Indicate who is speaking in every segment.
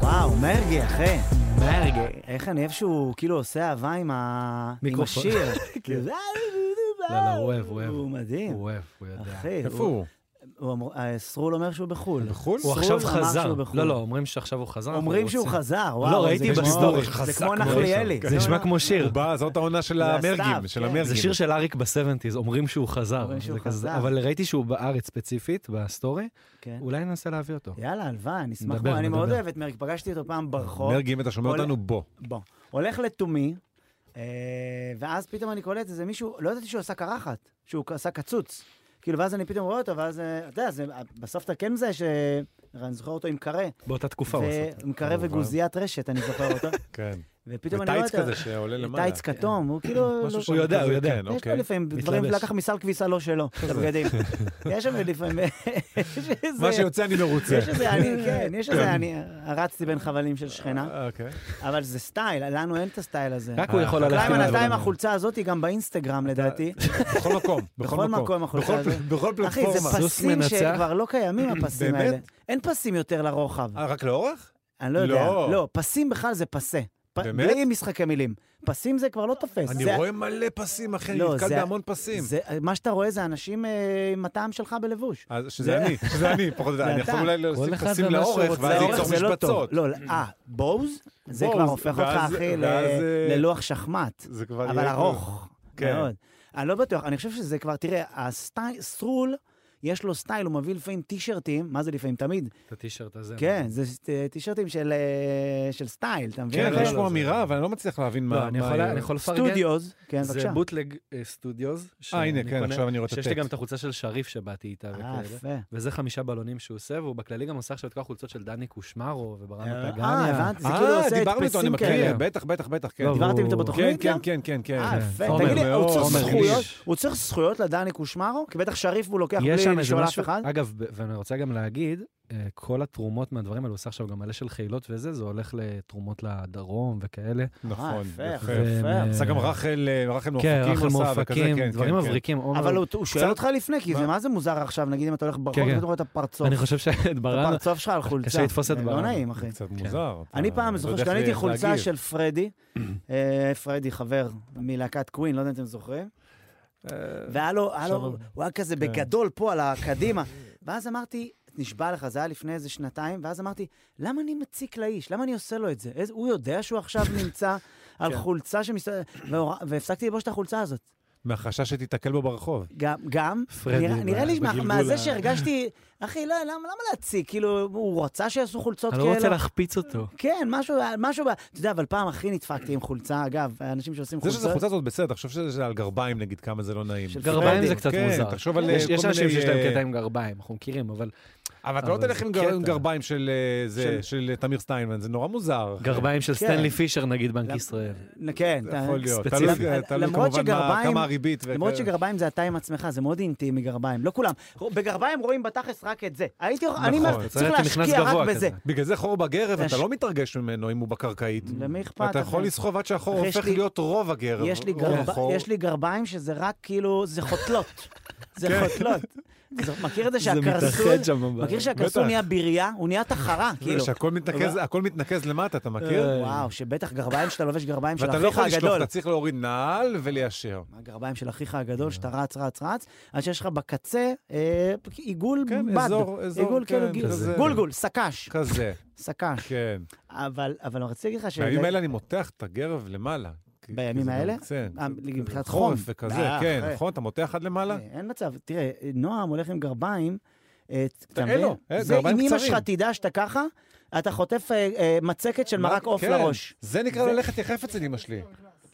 Speaker 1: וואו, מרגי, אחי. מרגי. איך אני אוהב שהוא כאילו עושה אהבה עם ה- עם
Speaker 2: מיקרופון.
Speaker 1: השיר.
Speaker 2: כן.
Speaker 1: לא,
Speaker 2: לא, לא, הוא אוהב, הוא אוהב.
Speaker 1: הוא מדהים.
Speaker 2: הוא אוהב, הוא יודע.
Speaker 1: אחי,
Speaker 3: איפה הוא?
Speaker 1: הוא אמר- אה, סרול אומר שהוא בחו"ל.
Speaker 3: בחו"ל?
Speaker 2: הוא
Speaker 1: סרול
Speaker 2: עכשיו
Speaker 1: אמר
Speaker 2: חזר.
Speaker 1: שהוא בחו"ל.
Speaker 2: לא, לא, אומרים שעכשיו הוא חזר. אנחנו
Speaker 1: אומרים שהוא
Speaker 2: רוצים-
Speaker 1: חזר, וואו.
Speaker 2: לא,
Speaker 1: זה
Speaker 2: ראיתי
Speaker 1: כמו-
Speaker 2: בסטורי.
Speaker 1: זה
Speaker 3: חזק
Speaker 1: כמו
Speaker 3: מאוד.
Speaker 1: נחליאלי.
Speaker 2: זה נשמע
Speaker 1: לא,
Speaker 2: כמו שיר.
Speaker 3: הוא בא, זאת העונה של
Speaker 1: זה הסתיו,
Speaker 3: המרגים, של
Speaker 1: כן.
Speaker 3: המרגים.
Speaker 2: זה שיר של אריק בסבנטיז, אומרים שהוא חזר.
Speaker 1: אומרים שהוא
Speaker 2: זה כזה-
Speaker 1: חזר.
Speaker 2: אבל ראיתי שהוא בארץ ספציפית, בסטורי,
Speaker 1: כן.
Speaker 2: אולי ננסה להביא אותו.
Speaker 1: יאללה, הלוואי, אני אשמח.
Speaker 2: נדבר,
Speaker 1: מאוד. אני מאוד
Speaker 2: נדבר.
Speaker 1: אוהב את מרגי, פגשתי אותו פעם ברחוב.
Speaker 3: מרגי, אם אתה שומע
Speaker 1: כל-
Speaker 3: אותנו, בוא.
Speaker 1: בוא. הולך לתומי, אה, ואז פתאום אני קולט איזה מישהו, לא ידעתי שהוא עשה קרחת, שהוא עשה קצוץ. כאילו, ואז אני פתאום רואה אותו, ואז, אה, אתה יודע, זה- בסוף אתה כן מזהה ש... אני זוכר אותו עם קרה.
Speaker 2: באותה תקופה הוא עשה. את זה.
Speaker 1: עם קרה
Speaker 3: כמובן.
Speaker 1: וגוזיית רשת, אני זוכר אותו.
Speaker 3: כן.
Speaker 1: ופתאום אני רואה
Speaker 3: וטייץ
Speaker 1: אותו.
Speaker 3: כזה שעולה למעלה. כן.
Speaker 1: טייץ כתום, הוא כאילו...
Speaker 3: משהו
Speaker 1: לא-
Speaker 3: שהוא
Speaker 2: כן. הוא יודע, הוא
Speaker 3: כזה,
Speaker 2: יודע.
Speaker 3: כן,
Speaker 1: יש לו
Speaker 3: אוקיי.
Speaker 1: לפעמים דברים,
Speaker 2: מתלבש.
Speaker 1: לקח מסל כביסה לא שלו, את הבגדים. יש שם לפעמים... יש איזה-
Speaker 3: מה שיוצא אני לא מרוצה.
Speaker 1: יש איזה אני, כן, יש איזה אני, רצתי בין חבלים של שכנה,
Speaker 3: אוקיי.
Speaker 1: אבל זה סטייל, לנו אין את הסטייל הזה.
Speaker 2: רק הוא יכול ללכת
Speaker 1: חקלאי
Speaker 2: עם הדבר
Speaker 1: מנתה עם
Speaker 2: הזה.
Speaker 1: החולצה הזאת היא גם באינסטגרם לדעתי.
Speaker 3: בכל מקום,
Speaker 1: בכל מקום החולצה
Speaker 3: בכל-
Speaker 1: הזאת.
Speaker 3: בכל
Speaker 1: אחי, זה
Speaker 3: פלטפורמה.
Speaker 2: סוס
Speaker 1: פסים
Speaker 2: מנצח.
Speaker 1: שכבר לא קיימים, הפסים
Speaker 3: באמת?
Speaker 1: האלה. אין פסים יותר לרוחב.
Speaker 3: אה, רק לאורך?
Speaker 1: אני לא יודע.
Speaker 3: לא.
Speaker 1: לא, פסים בכלל זה פסה. פ-
Speaker 3: באמת?
Speaker 1: בלי משחקי מילים. פסים זה כבר לא תופס.
Speaker 3: אני
Speaker 1: זה-
Speaker 3: רואה מלא פסים, אחי, אני
Speaker 1: לא,
Speaker 3: נתקל
Speaker 1: זה-
Speaker 3: בהמון פסים.
Speaker 1: זה- מה שאתה רואה זה אנשים אה, עם הטעם שלך בלבוש.
Speaker 3: אז
Speaker 1: זה-
Speaker 3: אה, שזה אני, שזה אני, פחות או יותר.
Speaker 1: זה
Speaker 3: אני
Speaker 1: אתה.
Speaker 3: יכול אולי
Speaker 2: כל
Speaker 3: להוסיף
Speaker 2: אחד
Speaker 3: פסים
Speaker 2: ומה שהוא
Speaker 3: לאורך,
Speaker 2: רוצה.
Speaker 3: ואז
Speaker 1: לאורך
Speaker 3: ליצור
Speaker 1: זה לא טוב.
Speaker 3: משבצות.
Speaker 1: לא, אה, בוז? זה
Speaker 3: בוז,
Speaker 1: כבר הופך אותך,
Speaker 3: ואז-
Speaker 1: אחי, ל-
Speaker 3: ואז, אה,
Speaker 1: ללוח שחמט.
Speaker 3: זה כבר
Speaker 1: אבל
Speaker 3: יהיה-
Speaker 1: ארוך,
Speaker 3: כן.
Speaker 1: מאוד. אני לא בטוח, אני חושב שזה כבר, תראה, הסטייל, סרול, יש לו סטייל, הוא מביא לפעמים טישרטים, מה זה לפעמים? תמיד.
Speaker 2: את הטישרט הזה.
Speaker 1: כן, זה ס- אה, טישרטים של אה, של סטייל, אתה מבין?
Speaker 3: כן,
Speaker 2: לא,
Speaker 3: יש
Speaker 2: לא,
Speaker 3: פה
Speaker 2: זה-
Speaker 3: אמירה, אבל אני לא מצליח להבין מה...
Speaker 2: לא, אני
Speaker 3: מה
Speaker 2: יכול-
Speaker 3: היא-
Speaker 2: אני יכול לפרגן.
Speaker 1: סטודיוז, כן,
Speaker 2: זה
Speaker 1: בבקשה.
Speaker 2: בוטלג אה, סטודיוז.
Speaker 3: אה, הנה,
Speaker 2: שאני
Speaker 3: כן,
Speaker 2: קונה,
Speaker 3: עכשיו אני רואה את
Speaker 2: שיש לי
Speaker 3: הטקסט.
Speaker 2: גם את החולצה של שריף שבאתי איתה
Speaker 1: אה,
Speaker 2: וכאלה.
Speaker 1: יפה.
Speaker 2: וזה חמישה בלונים שהוא עושה, והוא בכללי גם עושה עכשיו את כל החולצות של דני קושמרו וברמה פגניה.
Speaker 1: אה, הבנתי, זה
Speaker 3: אה,
Speaker 1: כאילו עושה
Speaker 3: דיברנו איתו, אני
Speaker 1: הדפסים כאלה.
Speaker 3: מכיר, בטח, בטח, בטח, כן.
Speaker 2: לא,
Speaker 3: דיברנו-
Speaker 1: דיברתם איתו
Speaker 2: הוא-
Speaker 3: כן,
Speaker 1: בתוכנית
Speaker 3: כן,
Speaker 1: גם?
Speaker 3: כן, כן, כן.
Speaker 1: אה, יפה.
Speaker 2: עומר
Speaker 1: תגיד לי, הוא צריך
Speaker 2: מאוד,
Speaker 1: זכויות?
Speaker 2: איש.
Speaker 1: הוא צריך זכויות לדני קושמרו? כי בטח שריף הוא לוקח
Speaker 2: יש
Speaker 1: בלי
Speaker 2: שם איזה
Speaker 1: לשאול אף
Speaker 2: משהו,
Speaker 1: אחד?
Speaker 2: אגב, ב- ואני רוצה גם להגיד, אה, כל התרומות מהדברים האלה, הוא עושה עכשיו גם מלא של חילות וזה, זה הולך לתרומות לדרום וכאלה.
Speaker 3: נכון,
Speaker 1: יפה,
Speaker 3: יפה.
Speaker 2: והם, אה,
Speaker 3: עשה גם רחל, אה, רחל מאופקים,
Speaker 2: כן, רחל
Speaker 3: עשה, וכזה, כן,
Speaker 2: מאופקים,
Speaker 3: כן,
Speaker 2: דברים
Speaker 3: כן.
Speaker 2: מבריקים. עומר-
Speaker 1: אבל הוא- הוא שואל
Speaker 3: קצת-
Speaker 1: אותך לפני, כי זה
Speaker 3: מה?
Speaker 1: מה זה מוזר עכשיו, נגיד אם אתה הולך ברחוב,
Speaker 2: כן, כן.
Speaker 1: ואתה רואה את הפרצוף.
Speaker 2: אני חושב שאת
Speaker 1: את
Speaker 2: ברן,
Speaker 1: הפרצוף שלך על חולצה.
Speaker 2: קשה לתפוס את
Speaker 1: זה לא
Speaker 2: ברן. כן.
Speaker 1: נעים, אחי.
Speaker 3: קצת מוזר. אתה
Speaker 1: אני פעם
Speaker 3: לא
Speaker 1: זוכר
Speaker 3: יודע איך
Speaker 1: שקניתי
Speaker 3: להגיב.
Speaker 1: חולצה של פרדי, אה, פרדי חבר מלהקת קווין, לא יודע אם אתם זוכרים,
Speaker 3: אה,
Speaker 1: והיה לו, היה לו- הוא היה
Speaker 3: כן.
Speaker 1: כזה בגדול פה על הקדימה, ואז אמרתי, נשבע לך, זה היה לפני איזה שנתיים, ואז אמרתי, למה אני מציק לאיש? למה אני עושה לו את זה? איזה- הוא יודע שהוא עכשיו נמצא על
Speaker 3: כן.
Speaker 1: חולצה שמסתובבת, והפסקתי ללבוש את החולצה הזאת.
Speaker 3: מהחשש שתיתקל בו ברחוב.
Speaker 1: גם, גם,
Speaker 2: פרדי
Speaker 1: נראה- נראה לי מה-
Speaker 2: בגלגול
Speaker 1: מהזה
Speaker 2: ה-
Speaker 1: שהרגשתי, אחי, לא, למה למה להציק? כאילו, הוא רצה שיעשו חולצות
Speaker 2: אני
Speaker 1: כאלה?
Speaker 2: לא רוצה להחפיץ אותו.
Speaker 1: כן, משהו, משהו, ב- אתה יודע, אבל פעם הכי נדפקתי עם חולצה, אגב, האנשים שעושים
Speaker 3: זה
Speaker 1: חולצות.
Speaker 3: שזה חולצה זאת בסדר, תחשוב שזה על גרביים נגיד, כמה זה לא נעים.
Speaker 1: של
Speaker 2: גרביים
Speaker 1: פרדי.
Speaker 2: זה קצת
Speaker 3: כן,
Speaker 2: מוזר.
Speaker 3: תחשוב על,
Speaker 2: יש-
Speaker 3: אה,
Speaker 2: יש
Speaker 3: כל
Speaker 2: אנשים
Speaker 3: מיני,
Speaker 2: שיש להם
Speaker 3: אה,
Speaker 2: קטע עם גרביים, אנחנו מכירים, אבל
Speaker 3: אבל אתה לא
Speaker 2: אבל
Speaker 3: תלך
Speaker 2: זה
Speaker 3: עם גר- עם
Speaker 2: קטע.
Speaker 3: גרביים של אה, זה-
Speaker 1: של-
Speaker 3: של תמיר סטיינמן, זה נורא מוזר. אחי.
Speaker 2: גרביים של
Speaker 1: כן.
Speaker 2: סטנלי פישר, נגיד בנק
Speaker 1: למ-
Speaker 2: ישראל.
Speaker 1: כן,
Speaker 3: זה
Speaker 1: אתה-
Speaker 3: יכול להיות.
Speaker 2: ספציפית.
Speaker 3: תלוי- תלוי
Speaker 1: למרות
Speaker 3: כמובן מה-
Speaker 1: שגרביים-
Speaker 3: כמה הריבית. וכאלה.
Speaker 1: למרות שגרביים זה אתה עם עצמך, זה מאוד אינטימי גרביים, לא כולם. בגרביים רואים בתכלס רק את זה. הייתי, אני
Speaker 3: נכון,
Speaker 1: אומר,
Speaker 3: אתה
Speaker 1: צריך
Speaker 2: אתה נכנס
Speaker 1: להשקיע
Speaker 2: גבוה
Speaker 1: רק
Speaker 2: כזה.
Speaker 1: בזה.
Speaker 3: בגלל זה חור בגרב, אתה
Speaker 1: יש-
Speaker 3: לא מתרגש ממנו אם הוא בקרקעית.
Speaker 1: למי אכפת?
Speaker 3: אתה יכול
Speaker 1: אחי?
Speaker 3: לסחוב עד שהחור
Speaker 1: אחי, יש
Speaker 3: הופך
Speaker 1: לי-
Speaker 3: להיות רוב הגרב.
Speaker 1: יש לי
Speaker 3: רוב
Speaker 1: גרב-
Speaker 3: החור.
Speaker 1: יש לי גרביים שזה רק כאילו, זה חותלות. זה
Speaker 3: כן.
Speaker 1: חותלות. זה- מכיר את זה
Speaker 2: זה
Speaker 1: שהקרסול,
Speaker 2: מתאחד שם בבית.
Speaker 1: מכיר שהקרסול
Speaker 3: בטח.
Speaker 1: נהיה בירייה? הוא נהיה תחרה, כאילו.
Speaker 3: שהכל מתנקז- הכל מתנקז למטה, אתה מכיר?
Speaker 2: אה,
Speaker 1: וואו, שבטח גרביים שאתה לובש גרביים של
Speaker 3: ואתה לא
Speaker 1: אחיך
Speaker 3: יכול לשלוף,
Speaker 1: הגדול.
Speaker 3: אתה צריך להוריד נעל וליישר.
Speaker 1: הגרביים של אחיך
Speaker 3: אה.
Speaker 1: הגדול, שאתה רץ, רץ, רץ, אז שיש לך בקצה אה, עיגול
Speaker 3: כן,
Speaker 1: בד.
Speaker 3: אזור, אזור,
Speaker 1: עיגול,
Speaker 3: כן,
Speaker 1: כאילו, גיל-
Speaker 3: כזה.
Speaker 1: גולגול, סק"ש,
Speaker 3: כזה,
Speaker 1: סק"ש.
Speaker 3: כן.
Speaker 1: אבל אבל רציתי להגיד לך ש...
Speaker 3: בימים האלה אני מותח את הגרב למעלה. כי-
Speaker 1: בימים
Speaker 3: כי זה
Speaker 1: האלה?
Speaker 3: מרצה.
Speaker 1: אה, מבחינת
Speaker 3: כזה
Speaker 1: חום.
Speaker 3: חורף וכזה,
Speaker 1: אה,
Speaker 3: כן,
Speaker 1: אחרי.
Speaker 3: נכון? אתה מותח עד למעלה?
Speaker 1: אה, אין מצב, תראה, נועם הולך עם גרביים. אה, אתה
Speaker 3: אין
Speaker 1: מבין?
Speaker 3: לו, אה,
Speaker 1: זה
Speaker 3: גרביים
Speaker 1: אם אמא
Speaker 3: קצרים.
Speaker 1: שלך תדע שאתה ככה, אתה חוטף אה, אה, מצקת של מרק עוף
Speaker 3: כן,
Speaker 1: לראש.
Speaker 3: זה נקרא ללכת יחף אצל אמא שלי.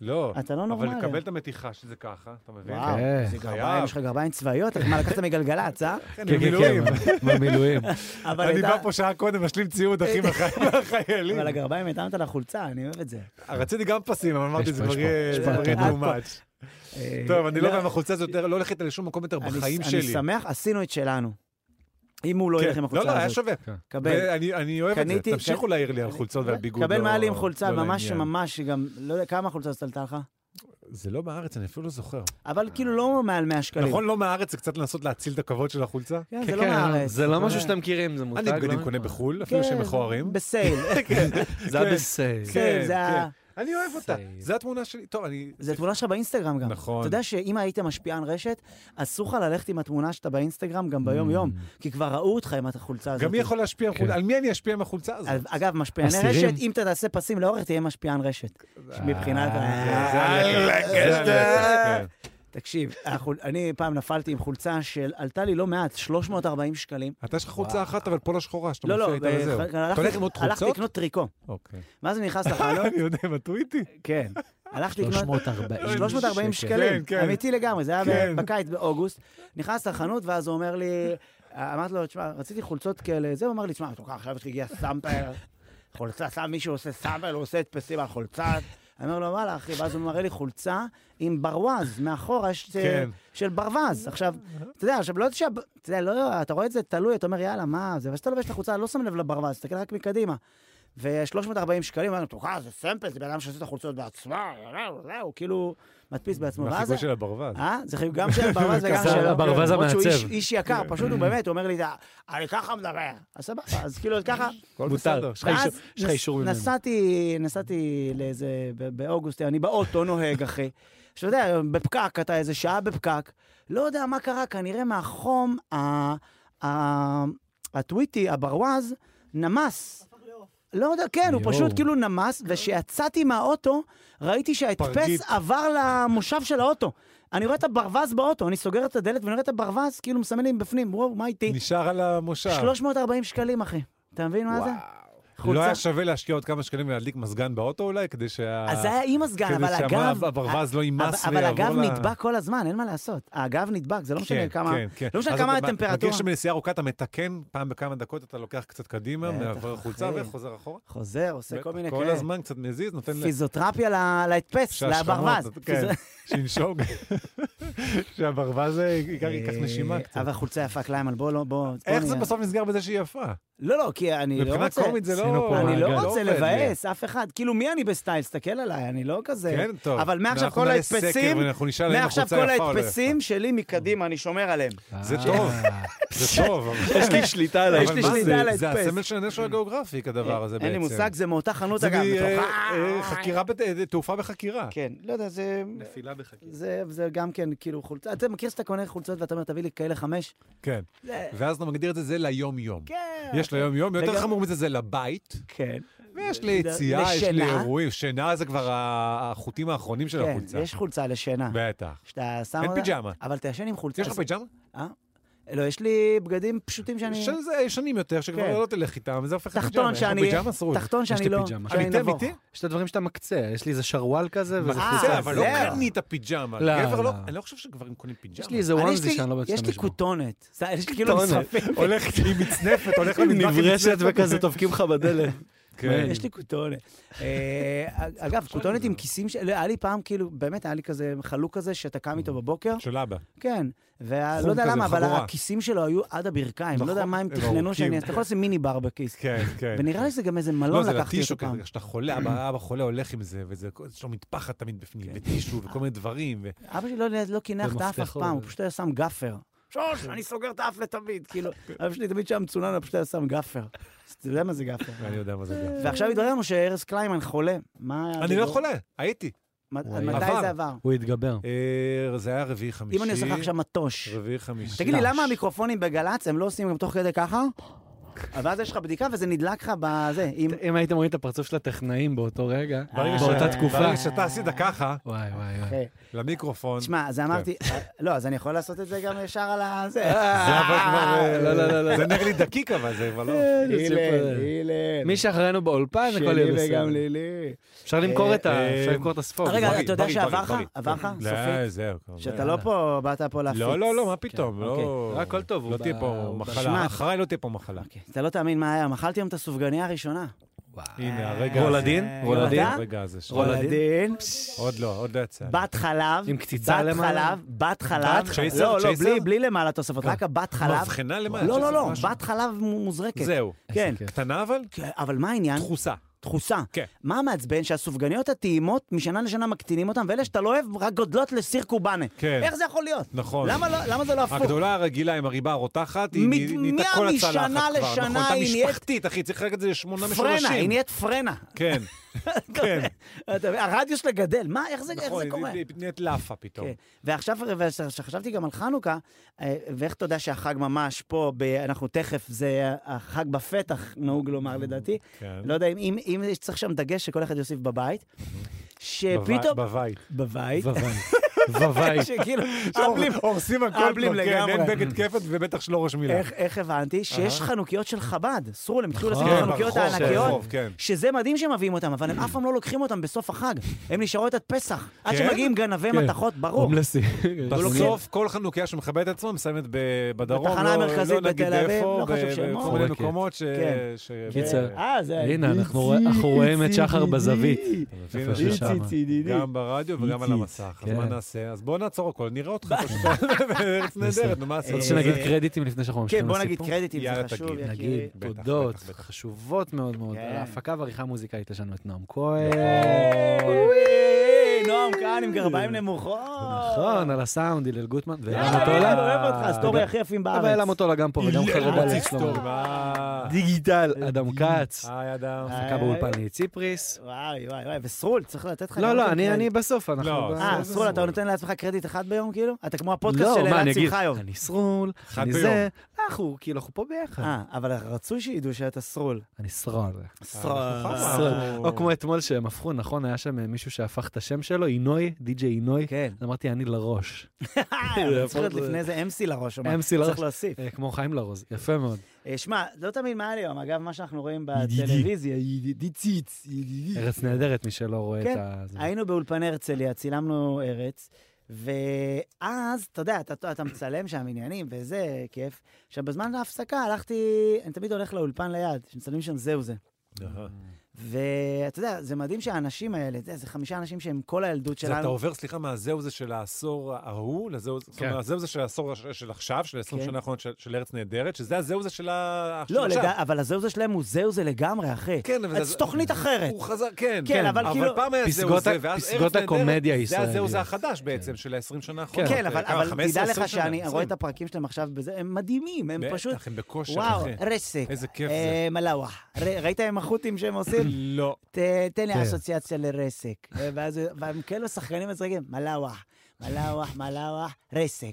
Speaker 3: לא.
Speaker 1: אתה לא
Speaker 3: אבל
Speaker 1: נורמלי.
Speaker 3: לקבל את המתיחה שזה ככה, אתה מבין?
Speaker 1: וואו,
Speaker 2: כן,
Speaker 1: זה גרביים,
Speaker 3: חייב.
Speaker 1: יש לך גרביים צבאיות, מה לקחת מגלגלצ, אה?
Speaker 3: כן,
Speaker 2: כן, כן,
Speaker 3: במילואים.
Speaker 2: כן, במילואים.
Speaker 1: אבל אה,
Speaker 3: אני
Speaker 1: הייתה-
Speaker 3: בא פה שעה קודם, משלים ציוד, אחי, מהחי- מהחיילים. אה,
Speaker 1: אבל הגרביים התאמת לחולצה, אני אוהב את זה.
Speaker 3: רציתי גם פסים, אבל אמרתי,
Speaker 2: אה, יש
Speaker 3: זה
Speaker 2: פה,
Speaker 3: כבר
Speaker 2: יש פה,
Speaker 3: יהיה
Speaker 2: יש
Speaker 3: זה
Speaker 1: פה.
Speaker 3: כבר יהיה
Speaker 1: אה,
Speaker 3: too much.
Speaker 1: אה,
Speaker 3: טוב, אני לא יודע אם החולצה הזאת יותר- לא הולכת איתה לשום מקום יותר
Speaker 1: אני-
Speaker 3: בחיים
Speaker 1: אני
Speaker 3: שלי.
Speaker 1: שמח, עשינו את שלנו. אם הוא לא
Speaker 3: כן.
Speaker 1: ילך עם
Speaker 3: לא, לא,
Speaker 1: החולצה
Speaker 3: היה
Speaker 1: הזאת.
Speaker 3: שווה.
Speaker 2: כן.
Speaker 1: קבל.
Speaker 3: ואני אני אוהב את זה.
Speaker 1: קניתי-
Speaker 3: תמשיכו להעיר לי על חולצות ועל ביגוד.
Speaker 1: קבל
Speaker 3: לא-
Speaker 1: מעלי עם חולצה,
Speaker 3: לא
Speaker 1: ממש
Speaker 3: לעניין.
Speaker 1: ממש, גם, לא יודע, כמה חולצה זאת עלתה לך?
Speaker 3: זה לא מהארץ, אני אפילו לא זוכר.
Speaker 1: אבל כאילו לא מעל 100 שקלים.
Speaker 3: נכון, לא מהארץ, זה קצת לנסות להציל את הכבוד של החולצה?
Speaker 1: כן,
Speaker 2: כן,
Speaker 1: זה לא
Speaker 2: כן,
Speaker 1: מהארץ.
Speaker 2: זה לא משהו
Speaker 1: אה,
Speaker 2: שאתם מכירים, זה מותג.
Speaker 3: אני בגדים
Speaker 2: לא?
Speaker 3: קונה בחו"ל, אפילו
Speaker 1: כן,
Speaker 3: שהם מכוערים.
Speaker 1: בסייל.
Speaker 2: זה
Speaker 3: כן.
Speaker 2: היה בסייל.
Speaker 3: כן,
Speaker 1: בסייל, זה ה-
Speaker 3: כן. אני אוהב אותה.
Speaker 2: סייל.
Speaker 3: זו התמונה שלי. טוב, אני...
Speaker 1: זה תמונה שלך באינסטגרם גם.
Speaker 3: נכון.
Speaker 1: אתה יודע שאם היית משפיען רשת, אסור לך ללכת עם התמונה שאתה באינסטגרם גם ביום-יום, כי כבר ראו אותך עם החולצה הזאת.
Speaker 3: Mm. גם מי יכול להשפיע עם
Speaker 2: כן.
Speaker 3: חולצה? על מי אני אשפיע עם החולצה הזאת?
Speaker 1: אוקיי. אז אגב, משפיעני
Speaker 2: אסירים.
Speaker 1: רשת, אם אתה תעשה פסים לאורך, תהיה משפיען רשת. מבחינת ה-
Speaker 3: אה, זה הלקט.
Speaker 1: אה,
Speaker 3: זה הלקט, כן.
Speaker 1: תקשיב, החול- אני פעם נפלתי עם חולצה של, עלתה לי לא מעט, 340 שקלים.
Speaker 3: אתה יש לך חולצה אחת, אבל פה לשחורה, שאתה
Speaker 1: לא, לא,
Speaker 3: מופיע איתה וזהו.
Speaker 1: ב-
Speaker 3: אתה הולך
Speaker 1: הלכתי-
Speaker 3: עם עוד
Speaker 1: הלכתי
Speaker 3: חולצות?
Speaker 1: לקנות טריקו.
Speaker 3: אוקיי.
Speaker 1: ואז אני נכנס לחלון,
Speaker 3: אני יודע, הם עטו איתי.
Speaker 1: כן. הלכתי לקנות
Speaker 2: 340
Speaker 1: 340
Speaker 3: כן,
Speaker 1: שקלים,
Speaker 3: כן.
Speaker 1: אמיתי לגמרי, זה היה
Speaker 3: כן.
Speaker 1: בקיץ, באוגוסט. נכנס לחנות, ואז הוא אומר לי, אמרתי לו, תשמע, רציתי חולצות כאלה, זה, הוא אמר לי, תשמע, אתה כל כך עכשיו הגיע סאמפר, חולצה, שם מישהו עושה סאמפר, הוא עושה הדפסים על חולצה. אני אומר לו, וואלה, אחי, ואז הוא מראה לי חולצה עם ברווז, מאחורה יש,
Speaker 3: כן.
Speaker 1: של ברווז. עכשיו, אתה יודע, עכשיו, לא יודע, שהב- אתה יודע, לא, אתה רואה את זה תלוי, אתה אומר, יאללה, מה זה, וכשאתה לובש את החולצה, לא שם לב לברווז, תסתכל רק מקדימה. ו-340 שקלים, אמרנו, תוכל, זה סמפל, זה בן אדם שעושה את החולצות בעצמו, הוא כאילו מדפיס בעצמו. ואז-
Speaker 3: מהחיגול של הברווז.
Speaker 1: אה? זה חיוג גם של הברווז וגם
Speaker 2: זה
Speaker 1: שלו.
Speaker 2: הברווז
Speaker 1: למרות שהוא
Speaker 2: המעצב.
Speaker 1: איש- איש יקר, פשוט הוא באמת, הוא אומר לי, אני ככה מדבר. אז סבבה, אז כאילו ככה.
Speaker 3: הכל
Speaker 2: מותר,
Speaker 3: בסדר.
Speaker 2: יש לך אישור-
Speaker 1: ואז
Speaker 2: יש לך
Speaker 1: נס-
Speaker 2: אישור ממנו.
Speaker 1: נסעתי, נסעתי לאיזה, ב- באוגוסט, אני באוטו נוהג, אחי. שאתה יודע, בפקק, אתה איזה שעה בפקק, לא יודע מה קרה, כנראה מהחום ה- ה- הטוויטי, הברווז, נמס. לא יודע, כן, הוא
Speaker 2: יואו.
Speaker 1: פשוט כאילו נמס, וכשיצאתי מהאוטו, ראיתי שההדפס
Speaker 3: פרגית.
Speaker 1: עבר למושב של האוטו. אני רואה את הברווז באוטו, אני סוגר את הדלת ואני רואה את הברווז, כאילו מסמן לי מבפנים, וואו, מה איתי?
Speaker 3: נשאר על המושב.
Speaker 1: 340 שקלים, אחי. אתה מבין מה זה?
Speaker 3: לא
Speaker 1: חולצה
Speaker 3: היה שווה להשקיע עוד כמה שקלים ולהדליק מזגן באוטו אולי, כדי שה...
Speaker 1: אז זה היה עם הסגן, אבל
Speaker 3: אה, כדי
Speaker 1: הגב...
Speaker 3: שהברווז לא יימס
Speaker 1: אבל אבל
Speaker 3: ויעבור
Speaker 1: הגב
Speaker 3: ל-
Speaker 1: נדבק כל הזמן, אין מה לעשות. הגב נדבק, זה לא משנה
Speaker 3: כן,
Speaker 1: כמה...
Speaker 3: כן, כן.
Speaker 1: לא משנה
Speaker 3: אז
Speaker 1: כמה
Speaker 3: אתה מ-
Speaker 1: הטמפרטורה.
Speaker 3: מגיע שם בנסיעה ארוכה, אתה מתקן, פעם בכמה דקות אתה לוקח קצת קדימה,
Speaker 1: בטח,
Speaker 3: מעבר חולצה
Speaker 1: אחי.
Speaker 3: וחוזר אחורה.
Speaker 1: חוזר, עושה כל
Speaker 3: בטח,
Speaker 1: מיני
Speaker 3: כל
Speaker 1: כאלה.
Speaker 3: הזמן קצת מזיז, נותן ל-
Speaker 1: פיזיותרפיה ל- להדפס,
Speaker 3: שהשכמות,
Speaker 1: לברווז.
Speaker 3: כן,
Speaker 1: פיז-
Speaker 3: שינשום. שהברווז אה, ייקח ייקח נשימה קצת.
Speaker 1: אבל חולצה יפה קליימן, בוא, לא, בוא. בוא
Speaker 3: איך זה
Speaker 1: נהיה-
Speaker 3: בסוף נסגר בזה שהיא יפה?
Speaker 1: לא, לא, כי אני לא
Speaker 3: מבחינה
Speaker 1: רוצה...
Speaker 3: קומית זה
Speaker 2: עשינו
Speaker 3: לא...
Speaker 2: פה
Speaker 1: אני
Speaker 2: מעגל.
Speaker 1: לא רוצה
Speaker 3: עובד לי.
Speaker 1: לבאס אף אחד. כאילו, מי אני בסטייל? תסתכל עליי, אני לא כזה...
Speaker 3: כן, טוב.
Speaker 1: אבל מעכשיו
Speaker 3: אנחנו
Speaker 1: כל
Speaker 3: נעלה סקר
Speaker 1: ההדפסים...
Speaker 3: ואנחנו נשאל האם
Speaker 1: מעכשיו
Speaker 3: החולצה
Speaker 1: כל
Speaker 3: יפה או לא יפה.
Speaker 1: ההדפסים שלי מקדימה, אני שומר עליהם.
Speaker 3: זה טוב. זה טוב. אבל-
Speaker 2: יש לי שליטה עליי.
Speaker 1: אה. יש לי
Speaker 3: אבל מה
Speaker 1: שליטה
Speaker 3: זה?
Speaker 1: על ההדפס.
Speaker 3: זה הסמל של הנשר הגיאוגרפיק, הדבר הזה בעצם.
Speaker 1: אין לי מושג, זה מאותה חנות,
Speaker 3: זה
Speaker 1: אגב.
Speaker 3: מ-
Speaker 1: מתוך-
Speaker 3: אה, אה, חקירה, בת- אה, תעופה בחקירה.
Speaker 1: כן, לא יודע, זה...
Speaker 2: נפילה בחקירה.
Speaker 1: זה, זה גם כן, כאילו, חולצה, אתה מכיר שאתה קונה חולצות ואתה אומר, תביא לי כאלה חמש?
Speaker 3: כן.
Speaker 1: זה-
Speaker 3: ואז אתה מגדיר את זה, זה ליום-יום.
Speaker 1: כן.
Speaker 3: יש ליום-יום, יותר
Speaker 1: וגם-
Speaker 3: חמור מזה זה לבית,
Speaker 1: כן.
Speaker 3: ויש ליציאה, יש
Speaker 1: לשינה.
Speaker 3: לאירועים. שינה זה כבר ה- החוטים האחרונים של
Speaker 1: כן,
Speaker 3: החולצה.
Speaker 1: יש חולצה לשינה.
Speaker 3: בטח.
Speaker 1: שאתה שם
Speaker 3: אין
Speaker 1: אותה-
Speaker 3: פיג'מה.
Speaker 1: אבל אתה ישן עם חולצה.
Speaker 3: יש לך פיג'מה?
Speaker 1: אה? לא, יש לי בגדים פשוטים שאני...
Speaker 3: של זה ישנים יותר,
Speaker 1: כן.
Speaker 3: שכבר לא תלך איתם, וזה הופך לפיג'מה.
Speaker 1: תחתון
Speaker 3: יש לך
Speaker 1: שאני...
Speaker 3: פיג'מה שרוד.
Speaker 1: תחתון
Speaker 2: לי
Speaker 1: שאני לא...
Speaker 2: פיג'מה.
Speaker 1: שאני
Speaker 3: אמיתי,
Speaker 1: נבוך.
Speaker 3: אמיתי?
Speaker 2: יש את הדברים שאתה מקצה, יש לי איזה שרוואל כזה, וזה
Speaker 1: אה,
Speaker 2: חולצה.
Speaker 3: בסדר, אבל לא
Speaker 1: זהו.
Speaker 3: קנית פיג'מה.
Speaker 2: לא,
Speaker 3: גבר לא,
Speaker 2: לא.
Speaker 3: אני לא חושב שגברים קונים פיג'מה.
Speaker 2: יש לי איזה
Speaker 1: אני, יש לי-
Speaker 2: וונזי שאני לא
Speaker 1: יש לי
Speaker 2: משתמש בו.
Speaker 1: כותונת. זה- יש לי כאילו
Speaker 2: כותונת.
Speaker 1: מספק.
Speaker 3: הולך עם מצנפת, הולך למטבח עם מצנפת.
Speaker 2: דופקים לך בדלת.
Speaker 3: כן.
Speaker 1: יש לי כותונת. אה, אגב, כותונת עם כיסים, ש- לא, היה לי פעם, כאילו, באמת היה לי כזה חלוק כזה, שאתה קם
Speaker 3: Mm.
Speaker 1: איתו בבוקר,
Speaker 3: של אבא.
Speaker 1: כן, ולא
Speaker 3: חום
Speaker 1: יודע
Speaker 3: כזה,
Speaker 1: למה, אבל
Speaker 3: חבורה.
Speaker 1: הכיסים שלו היו עד הברכיים, לא
Speaker 3: נכון,
Speaker 1: יודע מה הם
Speaker 3: הם
Speaker 1: תכננו שאני
Speaker 3: ארוכים.
Speaker 1: אעשה, אתה יכול לשים מיני בר בכיס.
Speaker 3: כן, כן.
Speaker 1: ונראה לי שזה גם איזה
Speaker 3: לא,
Speaker 1: מלון
Speaker 3: זה
Speaker 1: לקחתי
Speaker 3: לטישו
Speaker 1: אותו
Speaker 3: כזה,
Speaker 1: פעם.
Speaker 3: כשאתה חולה, אבא אבא חולה הולך עם זה, וזה, יש לו מטפחת תמיד בפנים, וטישו, וכל מיני דברים. ו-
Speaker 1: כן. אבא שלי לא- לא קינח את האף אף
Speaker 2: ומפתחות.
Speaker 1: פעם, הוא פשוט היה שם גאפר. שוש, אני סוגר את האף לתמיד, כאילו, אבא שלי תמיד שהיה מצונן, הוא פשוט היה שם גאפר. אז אתה יודע מה זה גאפר.
Speaker 3: ואני יודע מה זה גם.
Speaker 1: ועכשיו התברר לנו שארז קליימן חולה. מה...
Speaker 3: אני לא חולה, הייתי.
Speaker 1: מה-
Speaker 2: הוא
Speaker 1: עד מתי
Speaker 3: עבר.
Speaker 1: זה עבר?
Speaker 2: הוא התגבר.
Speaker 3: אה, זה היה רביעי חמישי.
Speaker 1: אם אני עושה לך עכשיו מטוש.
Speaker 3: רביעי חמישי.
Speaker 1: תגיד לי, למה המיקרופונים בגל"צ הם לא עושים גם תוך כדי ככה? ואז יש לך בדיקה וזה נדלק לך בזה. עם-
Speaker 2: אם הייתם רואים את הפרצוף של הטכנאים באותו רגע,
Speaker 3: ברגע ש-
Speaker 2: באותה תקופה.
Speaker 3: ברגע שאתה עשית ככה,
Speaker 2: וואי, וואי, וואי.
Speaker 1: אחי,
Speaker 3: למיקרופון. כן.
Speaker 1: תשמע, אוקיי. אז אמרתי, לא, אז אני יכול לעשות את זה גם ישר על ה... זה.
Speaker 3: זה אבל כבר... אה,
Speaker 2: לא, לא, לא, לא.
Speaker 3: זה נראה לי דקיק אבל, זה כבר לא...
Speaker 1: אה,
Speaker 2: אה,
Speaker 1: אילן, אילן.
Speaker 2: מי שאחרינו באולפן, הכל יהיה
Speaker 1: שלי
Speaker 2: בסדר.
Speaker 1: וגם לילי.
Speaker 2: אפשר למכור את ה...
Speaker 3: אה,
Speaker 2: אפשר למכור את הספוג.
Speaker 1: רגע,
Speaker 3: בריא,
Speaker 1: אתה יודע
Speaker 3: בריא,
Speaker 1: שעבר
Speaker 3: בריא,
Speaker 1: לך?
Speaker 3: בריא.
Speaker 1: עבר לך?
Speaker 3: לא,
Speaker 1: סופית?
Speaker 3: זהו.
Speaker 1: שאתה לא פה, באת פה להפיץ.
Speaker 3: לא, לא, לא, מה פתאום? לא...
Speaker 2: אוקיי. הכל טוב,
Speaker 3: לא
Speaker 2: הוא
Speaker 3: תהיה
Speaker 2: בא-
Speaker 3: פה
Speaker 2: הוא
Speaker 1: שמע.
Speaker 3: מחלה. אחריי לא תהיה פה מחלה.
Speaker 1: אוקיי, אתה לא תאמין מה היה, אכלתי היום את הסופגניה הראשונה.
Speaker 3: הנה, הרגע הזה.
Speaker 2: רולדין?
Speaker 1: אה,
Speaker 2: רולדין?
Speaker 1: אתה?
Speaker 3: הרגע הזה. שלך.
Speaker 2: רולדין.
Speaker 3: עוד לא, עוד לא יצא.
Speaker 1: בת חלב,
Speaker 2: עם קציצה
Speaker 1: בת
Speaker 2: למעלה?
Speaker 1: חלב, בת חלב,
Speaker 3: צ'ייסר?
Speaker 1: לא, לא,
Speaker 3: צ'ייסר?
Speaker 1: בלי- בלי למעלה תוספות, רק הבת חלב,
Speaker 3: מבחנה למה?
Speaker 1: לא, לא, לא,
Speaker 3: משהו?
Speaker 1: בת חלב מוזרקת.
Speaker 3: זהו.
Speaker 1: כן.
Speaker 2: איזה כיף.
Speaker 3: קטנה אבל?
Speaker 1: כן, אבל מה העניין?
Speaker 3: דחוסה.
Speaker 1: תחוסה.
Speaker 3: כן.
Speaker 1: מה המעצבן? שהסופגניות הטעימות משנה לשנה מקטינים אותן, ואלה שאתה לא אוהב רק גודלות לסיר קובאנה.
Speaker 3: כן.
Speaker 1: איך זה יכול להיות?
Speaker 3: נכון.
Speaker 1: למה לא- למה זה לא הפוך?
Speaker 3: הגדולה הרגילה עם הריבה הרותחת, היא
Speaker 1: מ-
Speaker 3: נהי- נהייתה
Speaker 1: מה-
Speaker 3: כל
Speaker 1: משנה
Speaker 3: הצלחת כבר, נכון?
Speaker 1: לשנה
Speaker 3: היא
Speaker 1: היא
Speaker 3: נהיית...
Speaker 1: נהיית-
Speaker 3: משפחתית, אחי, צריך רגע את זה לשמונה משולשים.
Speaker 1: פרנה, היא נהיית פרנה.
Speaker 3: כן, כן.
Speaker 1: אתה מבין? הרדיוס שלה גדל, מה, איך זה איך
Speaker 3: נכון,
Speaker 1: זה
Speaker 3: היא
Speaker 1: קורה?
Speaker 3: נהיית- היא נהיית לאפה פתאום.
Speaker 1: כן. ועכשיו, כשחשבתי גם על חנוכה, אה, ואיך אתה יודע שהחג ממש פה, ב- אנחנו תכף, זה החג בפתח, נהוג לומר לדעתי.
Speaker 3: כן.
Speaker 1: לא יודע אם- אם אם יש- צריך שם דגש שכל אחד יוסיף בבית,
Speaker 3: בבי-
Speaker 1: שפתאום...
Speaker 3: Mm-hmm. בבית.
Speaker 1: בבית.
Speaker 3: בבית.
Speaker 1: אה, שכאילו,
Speaker 3: אורלים, הורסים הכל
Speaker 1: אבלים
Speaker 3: כבר, כן,
Speaker 1: לגמרי.
Speaker 3: אין בגד כפת ובטח שלא ראש מילה.
Speaker 1: איך, איך הבנתי? שיש חנוכיות של חב"ד, סרול, הם התחילו לשים את
Speaker 2: כן,
Speaker 1: החנוכיות
Speaker 3: נכון, ברחוב,
Speaker 1: הענקיות,
Speaker 3: ברחוב, כן.
Speaker 1: שזה מדהים שהם מביאים אותם, אבל הם אף פעם לא לוקחים אותם בסוף החג. הם נשארות עד פסח, עד
Speaker 3: כן?
Speaker 1: שמגיעים גנבי
Speaker 2: כן.
Speaker 1: מתכות, ברור.
Speaker 2: הומלסי.
Speaker 3: בסוף כל חנוכיה שמכבדת את עצמה מסיימת ב- בדרום,
Speaker 1: בתחנה
Speaker 3: לא-
Speaker 1: המרכזית
Speaker 3: לא נגיד
Speaker 1: בתל אביב,
Speaker 3: איפה,
Speaker 1: לא
Speaker 3: ב-
Speaker 1: חשוב שמות.
Speaker 3: בכל מיני
Speaker 2: חורקת.
Speaker 3: מקומות ש...
Speaker 1: כן.
Speaker 3: ש-
Speaker 2: קיצר,
Speaker 1: אה, זה...
Speaker 2: הנה, אנחנו רוא- אנחנו רואים את שחר בזווית.
Speaker 3: אתה מבין?
Speaker 2: איפה
Speaker 3: איציק,
Speaker 2: ששם.
Speaker 3: גם ברדיו וגם על המסך, אז
Speaker 2: כן.
Speaker 3: מה נעשה? אז בוא נעצור הכל, נראה אותך פשוט. ארץ נהדרת, נו, מה
Speaker 2: אתה
Speaker 3: עשית?
Speaker 2: רוצה שנגיד קרדיטים לפני שאנחנו ממשיכים
Speaker 1: כן, בוא נגיד
Speaker 2: לסיפור?
Speaker 1: קרדיטים, זה
Speaker 3: יאללה,
Speaker 1: חשוב,
Speaker 3: תגיד,
Speaker 1: יקירי.
Speaker 2: נגיד
Speaker 3: בטח, בטח,
Speaker 2: תודות
Speaker 3: בטח.
Speaker 2: חשובות מאוד מאוד.
Speaker 1: כן.
Speaker 2: על ההפקה והעריכה המוזיקאית יש לנו את נועם
Speaker 3: נכון.
Speaker 2: כהן.
Speaker 1: וואי, נועם כהן עם גרביים נמוכות.
Speaker 2: נכון, על הסאונד, הלל גוטמן. ואילן
Speaker 1: יאללה,
Speaker 2: מוטולה.
Speaker 1: אני אוהב אותך, הסטורי הכי יפים
Speaker 2: אבל אלה
Speaker 1: בארץ.
Speaker 2: מוטולה גם פה וגם חרדה
Speaker 3: איציק
Speaker 2: לשלום.
Speaker 3: סטורי, מה?
Speaker 2: דיגיטל, אדם כץ.
Speaker 3: אה, היי אדם.
Speaker 2: הפקה באולפן ליהי ציפריס.
Speaker 1: אה, וואי, וואי, וואי, וסרול, צריך לתת לך...
Speaker 2: לא,
Speaker 1: גם
Speaker 2: לא,
Speaker 1: כן
Speaker 2: אני
Speaker 1: קרדיט.
Speaker 2: אני בסוף, אנחנו...
Speaker 3: לא,
Speaker 2: ב-
Speaker 1: אה,
Speaker 3: זה
Speaker 1: סרול, אתה
Speaker 3: סרול.
Speaker 1: נותן לעצמך קרדיט אחד ביום, כאילו? אתה כמו הפודקאסט
Speaker 2: לא,
Speaker 1: של
Speaker 2: מה,
Speaker 1: אלעד
Speaker 2: אני אגיד,
Speaker 1: שמחיוב.
Speaker 2: אני סרול,
Speaker 3: אחד
Speaker 2: אני
Speaker 3: ביום.
Speaker 2: זה, אנחנו, כאילו, אנחנו פה ביחד.
Speaker 1: אה, אבל רצוי שידעו שאתה סרול.
Speaker 2: אני סרול.
Speaker 1: סרול.
Speaker 3: אה,
Speaker 2: סרול.
Speaker 3: אנחנו-
Speaker 2: או כמו אתמול שהם הפכו, נכון, היה שם אה, מישהו שהפך את השם שלו, עינוי, די.ג'יי עינוי.
Speaker 1: כן.
Speaker 2: אז אמרתי, אני לראש.
Speaker 1: אה, צריך להיות לפני זה MC לראש, או מה?
Speaker 2: MC לראש.
Speaker 1: צריך לא להוסיף.
Speaker 2: אה, כמו חיים לרוז, יפה מאוד.
Speaker 1: אה, שמע, לא תמיד מה היום, אגב, מה שאנחנו רואים
Speaker 2: ידידי.
Speaker 1: בטלוויזיה, ידידי ציץ, ידידי.
Speaker 2: ארץ נהדרת, מי שלא רואה את
Speaker 1: כן,
Speaker 2: ה... זה.
Speaker 1: היינו באולפני הרצליה, צילמנו ארץ, ואז, אתה יודע, אתה, אתה מצלם שם עניינים, וזה כיף. עכשיו, בזמן ההפסקה הלכתי, אני תמיד הולך לאולפן ליד, שמצלמים שם זהו זה.
Speaker 3: אהה.
Speaker 1: ואתה יודע, זה מדהים שהאנשים האלה, זה, זה חמישה אנשים שהם כל
Speaker 3: אז
Speaker 1: הילדות
Speaker 3: אתה
Speaker 1: שלנו.
Speaker 3: עובר, סליחה, מהזהו זה של העשור ההוא, לזהו זה- זאת אומרת,
Speaker 2: כן.
Speaker 3: הזהו זה של העשור הש- של עכשיו, של 20
Speaker 1: כן.
Speaker 3: שנה האחרונות של- של ארץ נהדרת, שזה הזהו זה של ה- של
Speaker 1: לא,
Speaker 3: עכשיו.
Speaker 1: לדע, אבל הזהו זה שלהם הוא זהו זה לגמרי, אחי.
Speaker 3: כן, אבל
Speaker 1: אז תוכנית אחרת.
Speaker 3: הוא חזר, כן.
Speaker 1: כן, אבל כאילו-
Speaker 3: אבל פעם היה זהו
Speaker 2: פסגות
Speaker 3: זה,
Speaker 2: ה-
Speaker 3: ואז
Speaker 2: פסגות
Speaker 3: ארץ נהדרת,
Speaker 2: הקומדיה כן.
Speaker 3: זה היה זהו
Speaker 2: הישראלית.
Speaker 3: זה החדש בעצם, של ה-20 שנה אה, האחרונות.
Speaker 2: אוקיי.
Speaker 1: כן, אבל,
Speaker 3: נכון. כמה,
Speaker 1: אבל
Speaker 3: 15,
Speaker 1: תדע לך
Speaker 3: 20 שנה,
Speaker 1: שאני רואה
Speaker 3: 20.
Speaker 1: את הפרקים שלהם עכשיו בזה, הם מדהימים, הם פשוט...
Speaker 3: בטח, הם בכושר,
Speaker 1: וואו,
Speaker 3: אחי.
Speaker 1: רסק.
Speaker 3: איזה כיף
Speaker 1: אה,
Speaker 3: זה.
Speaker 1: מלאווח. ר- ראית עם החות'ים שהם עושים?
Speaker 3: לא.
Speaker 1: ת, תן לי
Speaker 2: כן.
Speaker 1: אסוציאציה לרסק. אה, ואז הוא- והם כאילו שחקנים מצחיקים, מלאווח, מלאווח, מלאווח, רסק.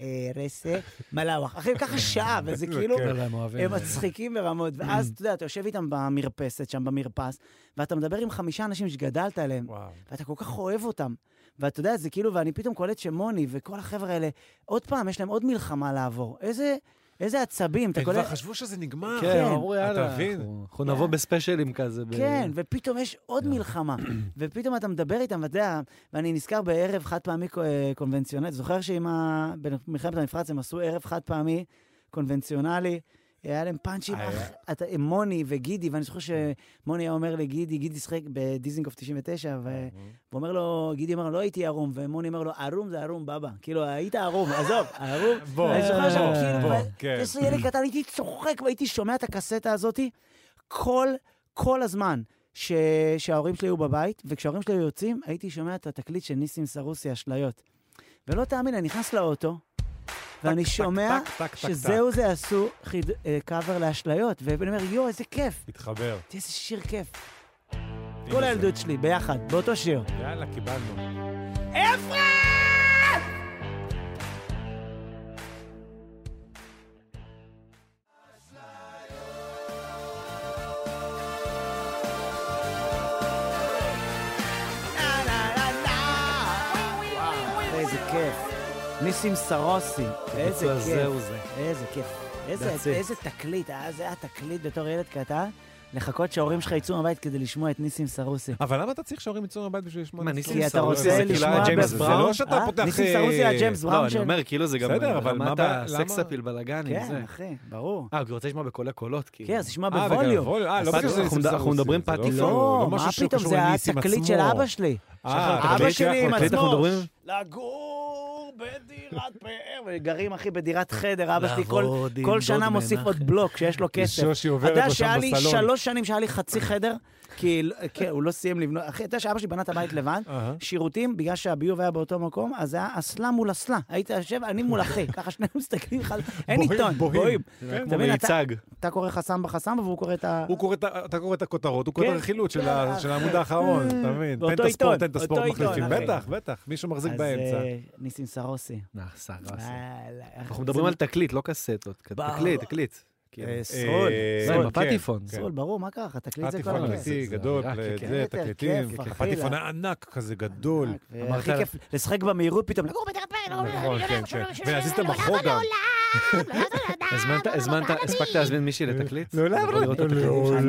Speaker 1: אה, רסק, מלאווח. אחי, ככה שעה, וזה כאילו...
Speaker 3: כן.
Speaker 2: אבל לא, הם אוהבים.
Speaker 1: הם מצחיקים ברמות, ואז אתה יודע, אתה יושב איתם במרפסת, שם במרפס, ואתה מדבר עם חמישה אנשים שגדלת עליהם,
Speaker 3: וואו.
Speaker 1: ואתה כל כך אוהב אותם. ואתה יודע, זה כאילו, ואני פתאום קולט שמוני וכל החבר'ה האלה, עוד פעם, יש להם עוד מלחמה לעבור. איזה, איזה עצבים, אתה
Speaker 3: הם
Speaker 1: קולט...
Speaker 3: כבר חשבו שזה נגמר.
Speaker 2: כן,
Speaker 1: כן.
Speaker 2: הם אמרו,
Speaker 3: אתה
Speaker 2: יאללה,
Speaker 3: מבין?
Speaker 2: אנחנו אנחנו נבוא
Speaker 1: כן.
Speaker 2: בספיישלים כזה. ב-
Speaker 1: כן, ופתאום יש עוד מלחמה, ופתאום אתה מדבר איתם, ואתה יודע, ואני נזכר בערב חד פעמי ק- אה, קונבנציונלי, זוכר שעם ה... במלחמת המפרץ הם עשו ערב חד פעמי קונבנציונלי, היה להם פאנצ'ים,
Speaker 3: היה.
Speaker 1: אח- אתה- עם מוני וגידי, ואני זוכר שמוני היה אומר לגידי, גידי שיחק בדיזינגוף 99, ו- ואומר לו, גידי אמר לו, לא הייתי ערום, ומוני אומר לו, ערום זה ערום, בבא. כאילו, היית ערום, עזוב, ערום.
Speaker 3: בוא,
Speaker 1: אני זוכר
Speaker 3: בוא, בוא,
Speaker 1: שכאילו,
Speaker 3: כן.
Speaker 1: יש לי ילד קטן, הייתי צוחק והייתי שומע את הקסטה הזאת כל, כל הזמן. ש... שההורים שלי היו בבית, וכשההורים שלי היו יוצאים, הייתי שומע את התקליט של ניסים סרוסי, אשליות. ולא תאמין, אני נכנס לאוטו, ואני
Speaker 3: טק,
Speaker 1: שומע
Speaker 3: טק, טק, טק,
Speaker 1: שזהו זה עשו חיד... אה, קאבר לאשליות, ואני אומר, יואו, איזה כיף,
Speaker 3: התחבר.
Speaker 1: תראה איזה שיר כיף.
Speaker 3: הנה
Speaker 1: כל
Speaker 3: זה.
Speaker 1: הילדות שלי, ביחד, באותו שיר.
Speaker 3: יאללה, קיבלנו.
Speaker 1: איזה כיף. ניסים סרוסי, איזה
Speaker 2: בקיצור,
Speaker 1: כיף.
Speaker 2: זהו זה.
Speaker 1: איזה כיף. איזה-
Speaker 2: That's it.
Speaker 1: איזה תקליט, אה, זה היה תקליט בתור ילד קטן, לחכות שההורים שלך יצאו מהבית כדי לשמוע את ניסים סרוסי.
Speaker 3: אבל למה אתה צריך שההורים יצאו מהבית בשביל לשמוע?
Speaker 2: מה,
Speaker 3: את
Speaker 2: ניסים
Speaker 3: הסטורי?
Speaker 1: כי אתה
Speaker 2: סרוסי
Speaker 1: רוצה
Speaker 3: זה כאילו
Speaker 1: לשמוע
Speaker 3: היה ג'יימס,
Speaker 1: בס בראון?
Speaker 3: זה לא שאתה
Speaker 1: אה?
Speaker 3: פותח...
Speaker 1: ניסים
Speaker 3: אה,
Speaker 1: סרוסי היה ג'יימס
Speaker 2: לא,
Speaker 1: בראון
Speaker 2: אני
Speaker 1: של...
Speaker 2: אומר, כאילו זה גם
Speaker 3: בסדר, אבל מה
Speaker 2: רמת
Speaker 3: הבעיה?
Speaker 2: הסקס
Speaker 3: למה?
Speaker 2: אפיל בלאגנים, זה.
Speaker 1: כן, אחי, ברור.
Speaker 2: אה, הוא רוצה לשמוע בקולי קולות, כאילו.
Speaker 1: כן, אז תשמע
Speaker 3: אה, וגם
Speaker 1: בווליום.
Speaker 3: ווליום. אה, לא
Speaker 2: אז
Speaker 3: בגלל שזה
Speaker 2: אנחנו-
Speaker 3: ניסים
Speaker 2: אנחנו
Speaker 3: סרוסי,
Speaker 2: מדברים
Speaker 3: זה לא-
Speaker 2: פטיפון.
Speaker 1: לא,
Speaker 3: משהו
Speaker 1: מה
Speaker 3: שקשור
Speaker 1: פתאום, זה
Speaker 3: לניסים
Speaker 1: התקליט
Speaker 3: עצמו.
Speaker 1: של אבא שלי.
Speaker 3: אה,
Speaker 1: אבא
Speaker 2: התקליט
Speaker 1: שלי
Speaker 2: שלך,
Speaker 1: עם
Speaker 2: התקליט אוקיי,
Speaker 1: עצמו.
Speaker 2: אנחנו מדברים?
Speaker 1: לגור גרו בדירת פאר, וגרים, אחי, בדירת חדר, אבא שלי כל- כל שנה מוסיף עוד בלוק שיש לו כסף.
Speaker 3: שושי עוברת
Speaker 1: אתה
Speaker 3: לו
Speaker 1: יודע
Speaker 3: שם
Speaker 1: שהיה לי
Speaker 3: בסלון.
Speaker 1: שלוש שנים שהיה לי חצי חדר, כי כי הוא לא סיים לבנות, אחי, אתה יודע שאבא שלי בנה את הבית לבד,
Speaker 3: אהה.
Speaker 1: שירותים, בגלל שהביוב היה באותו מקום, אז זה היה אסלה מול אסלה. היית יושב, אני מול אחי, ככה שנינו מסתכלים אחד, אין
Speaker 3: בוהים,
Speaker 1: עיתון,
Speaker 3: בוהים. כן.
Speaker 1: בוהים.
Speaker 2: זה היה
Speaker 1: אתה
Speaker 2: כמו
Speaker 1: מבין, אתה-
Speaker 2: מיצג.
Speaker 1: אתה קורא חסם בחסם, והוא קורא את ה...
Speaker 3: הוא קורא את ה- אתה קורא את הכותרות, הוא קורא את
Speaker 1: כן.
Speaker 3: הרכילות של
Speaker 1: יאללה,
Speaker 3: ה- של העמוד האחרון, אתה מבין? תן את
Speaker 1: באותו
Speaker 3: הספורט,
Speaker 1: עיתון,
Speaker 3: תן את הספורט
Speaker 1: אותו עיתון,
Speaker 3: מחליפים.
Speaker 1: אחי.
Speaker 3: בטח, בטח, מישהו מחזיק
Speaker 1: אז,
Speaker 3: באמצע. אה,
Speaker 1: אה, ניסים סרוסי.
Speaker 2: נא, שר עשה.
Speaker 1: וואלה, איך-
Speaker 2: אנחנו מדברים על תקליט, לא קסטות.
Speaker 1: ברור.
Speaker 2: תקליט, תקליט. כאילו.
Speaker 1: אה,
Speaker 3: אה,
Speaker 1: סרול,
Speaker 3: אה,
Speaker 2: זה
Speaker 1: סרול.
Speaker 2: עם הפטיפון.
Speaker 3: כן.
Speaker 1: סרול, ברור, מה קרה לך? תקליט זה כל
Speaker 3: פטיפון
Speaker 1: הכיף.
Speaker 3: אמיתי,
Speaker 2: זה
Speaker 3: גדול,
Speaker 2: אווירה, כן,
Speaker 3: זה,
Speaker 1: כן.
Speaker 3: תקליטים.
Speaker 1: כיף, אחי,
Speaker 3: הפטיפון
Speaker 1: לה.
Speaker 3: הענק כזה גדול.
Speaker 2: אמרת-
Speaker 1: אה, הכי כיף לשחק במהירות פתאום, לגור בדירת פלא,
Speaker 3: נכון, כן, כן. ולהזיז את המחור גם.
Speaker 2: הזמנת, הזמנת, הספקת להזמין מישהי לתקליט?
Speaker 3: לא,
Speaker 2: לבוא לראות את התקליט?
Speaker 3: לעולם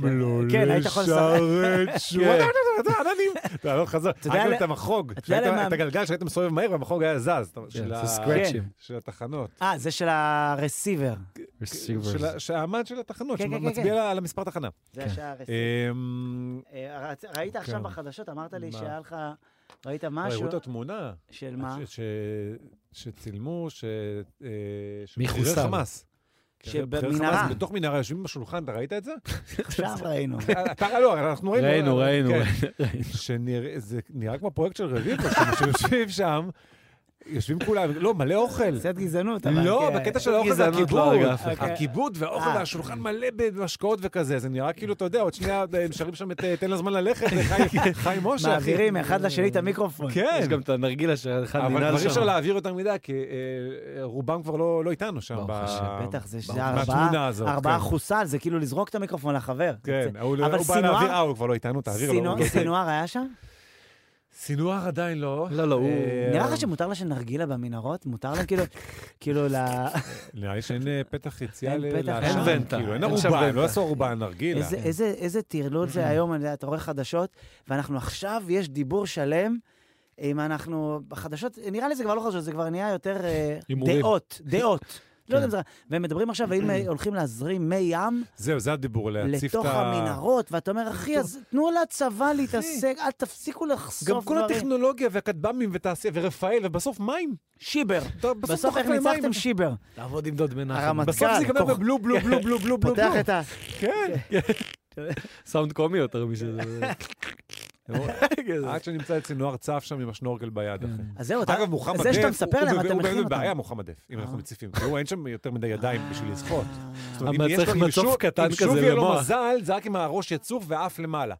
Speaker 3: לא
Speaker 1: לא כן, היית יכול
Speaker 3: לשרת שוב.
Speaker 2: כן.
Speaker 3: אתה יודע, עננים. אתה לא חזר.
Speaker 1: יודע
Speaker 3: היה גם
Speaker 1: ל-
Speaker 3: את המחוג.
Speaker 1: אתה יודע
Speaker 3: שהיית-
Speaker 1: למה-
Speaker 3: את הגלגל שהיית מסובב מהר והמחוג היה זז. אתה- של
Speaker 2: זה
Speaker 3: ה-
Speaker 2: סקרצ'ים.
Speaker 3: של התחנות.
Speaker 1: אה, זה של הרסיבר.
Speaker 2: Receivers.
Speaker 3: של ה- שהאמן של התחנות,
Speaker 1: כן, כן, כן,
Speaker 3: שמצביע
Speaker 1: כן.
Speaker 3: על על המספר תחנה. אה,
Speaker 1: זה
Speaker 2: כן.
Speaker 1: השער הרסיבר.
Speaker 3: אמ,
Speaker 1: אה, רצ- ראית עכשיו בחדשות, אמרת לי
Speaker 3: כן. מה?
Speaker 1: שהיה לך, ראית
Speaker 3: וואי,
Speaker 1: משהו
Speaker 3: הראו את התמונה.
Speaker 1: של מה?
Speaker 3: ש- ש- שצילמו, ש... אה, של
Speaker 2: מי
Speaker 3: בכירי
Speaker 2: חוסל?
Speaker 3: חמאס. בכירי
Speaker 1: שבמנהרה,
Speaker 3: חמאס בתוך מנהרה יושבים בשולחן, אתה ראית את זה?
Speaker 1: עכשיו ראינו.
Speaker 3: אתה, לא, אנחנו ראינו.
Speaker 2: ראינו, ראינו,
Speaker 3: כן.
Speaker 2: ראינו.
Speaker 3: שנראה, זה נראה כמו פרויקט של רביבו, שהם- שיושבים שם, יושבים כולם, לא, מלא אוכל.
Speaker 1: קצת גזענות, אבל...
Speaker 3: לא,
Speaker 1: כן.
Speaker 3: בקטע של האוכל זה
Speaker 2: גזענות לא
Speaker 3: הכיבוד.
Speaker 2: הרגה אף
Speaker 1: אחד.
Speaker 3: הכיבוד והאוכל
Speaker 1: אה.
Speaker 3: והשולחן מלא במשקאות וכזה, זה נראה כאילו, אתה יודע, עוד שנייה הם שרים שם את אה, תן לזמן ללכת, לחיים- חיים משה, אחי.
Speaker 1: כן. מעבירים אחד לשני את המיקרופון.
Speaker 3: כן.
Speaker 2: יש גם את הנרגילה שאחד
Speaker 3: אבל
Speaker 2: ננעל
Speaker 3: כבר אי אפשר
Speaker 2: שם.
Speaker 3: להעביר יותר מדי, כי אה, אה, רובם כבר לא לא איתנו שם.
Speaker 2: ברוך
Speaker 3: ב-
Speaker 2: השם,
Speaker 1: בטח, זה
Speaker 3: ב-
Speaker 1: שזה ארבעה,
Speaker 3: מהתמונה הזאת,
Speaker 1: ארבעה
Speaker 3: כן.
Speaker 1: חוסל, זה כאילו לזרוק את המיקרופון לחבר.
Speaker 3: כן,
Speaker 1: זה-
Speaker 3: הוא
Speaker 1: אבל
Speaker 3: הוא בא
Speaker 1: סינואר-
Speaker 3: להעביר, אה, הוא כבר לא איתנו, תעביר לו.
Speaker 1: סינואר-
Speaker 3: הוא לא-
Speaker 1: סינואר היה שם?
Speaker 3: סינואר עדיין לא.
Speaker 2: לא, לא, הוא-
Speaker 3: אה,
Speaker 1: נראה לך שמותר לה שנרגילה במנהרות? מותר להם כאילו, כאילו ל...
Speaker 3: נראה לי שאין אה, פתח יציאה
Speaker 1: אין
Speaker 3: ל-
Speaker 1: פתח,
Speaker 3: לעשן,
Speaker 1: אין
Speaker 2: ונטה,
Speaker 3: כאילו, אין
Speaker 2: אין שם
Speaker 3: ערובה, הם לא
Speaker 2: ונטה.
Speaker 3: עשו ערובה על נרגילה.
Speaker 1: איזה- איזה- איזה טרלול זה היום, אני יודע, אתה רואה חדשות, ואנחנו עכשיו, יש דיבור שלם. אם אנחנו, בחדשות, נראה לי זה כבר לא חדשות, זה כבר נהיה יותר אה,
Speaker 2: הימורים.
Speaker 1: דעות, דעות.
Speaker 3: כן.
Speaker 1: לא יודע אם זה... והם מדברים עכשיו, האם אה, הולכים להזרים מי ים
Speaker 3: זהו, זה הדיבור, להציף את ה...
Speaker 1: לתוך המנהרות, ואתה אומר, אחי, אז תנו לצבא להתעסק, אל תפסיקו
Speaker 3: גם
Speaker 1: לחשוף
Speaker 3: כל
Speaker 1: דברים.
Speaker 3: הטכנולוגיה והכטב"מים ותעשייה ורפאל, ובסוף מים.
Speaker 1: שיבר.
Speaker 3: אתה-
Speaker 1: בסוף
Speaker 3: אתה
Speaker 1: איך
Speaker 3: חוטף מים.
Speaker 1: ניצחתם שיבר?
Speaker 2: לעבוד עם דוד מנחם.
Speaker 1: הרמטכ"ל.
Speaker 3: בסוף זה ייגמר
Speaker 1: כוח-
Speaker 3: בבלו, בלו, בלו, בלו, בלו, בלו.
Speaker 1: פותח את ה...
Speaker 3: כן.
Speaker 2: סאונד קומי יותר משזה.
Speaker 3: עד שנמצא את סינואר צף שם עם השנורקל ביד, אחי.
Speaker 1: אז זהו, אתה...
Speaker 3: אגב, מוחמד דף,
Speaker 1: זה שאתה
Speaker 3: הוא-
Speaker 1: מספר
Speaker 3: הוא
Speaker 1: להם,
Speaker 3: ב-
Speaker 1: אתה
Speaker 3: הוא
Speaker 1: מכין
Speaker 3: באמת
Speaker 1: אותם.
Speaker 3: בבעיה, מוחמד דף, אם אנחנו
Speaker 1: אה.
Speaker 3: מציפים. תראו, אין שם יותר מדי ידיים בשביל לזחות. זאת אומרת,
Speaker 2: אבל
Speaker 3: אם יש
Speaker 2: צריך
Speaker 3: לו- אם
Speaker 2: מצוף
Speaker 3: שוב-
Speaker 2: קטן
Speaker 3: אם
Speaker 2: כזה
Speaker 3: שוב יהיה לו
Speaker 2: למוח.
Speaker 3: מזל, זה רק עם הראש יצוף ואף למעלה.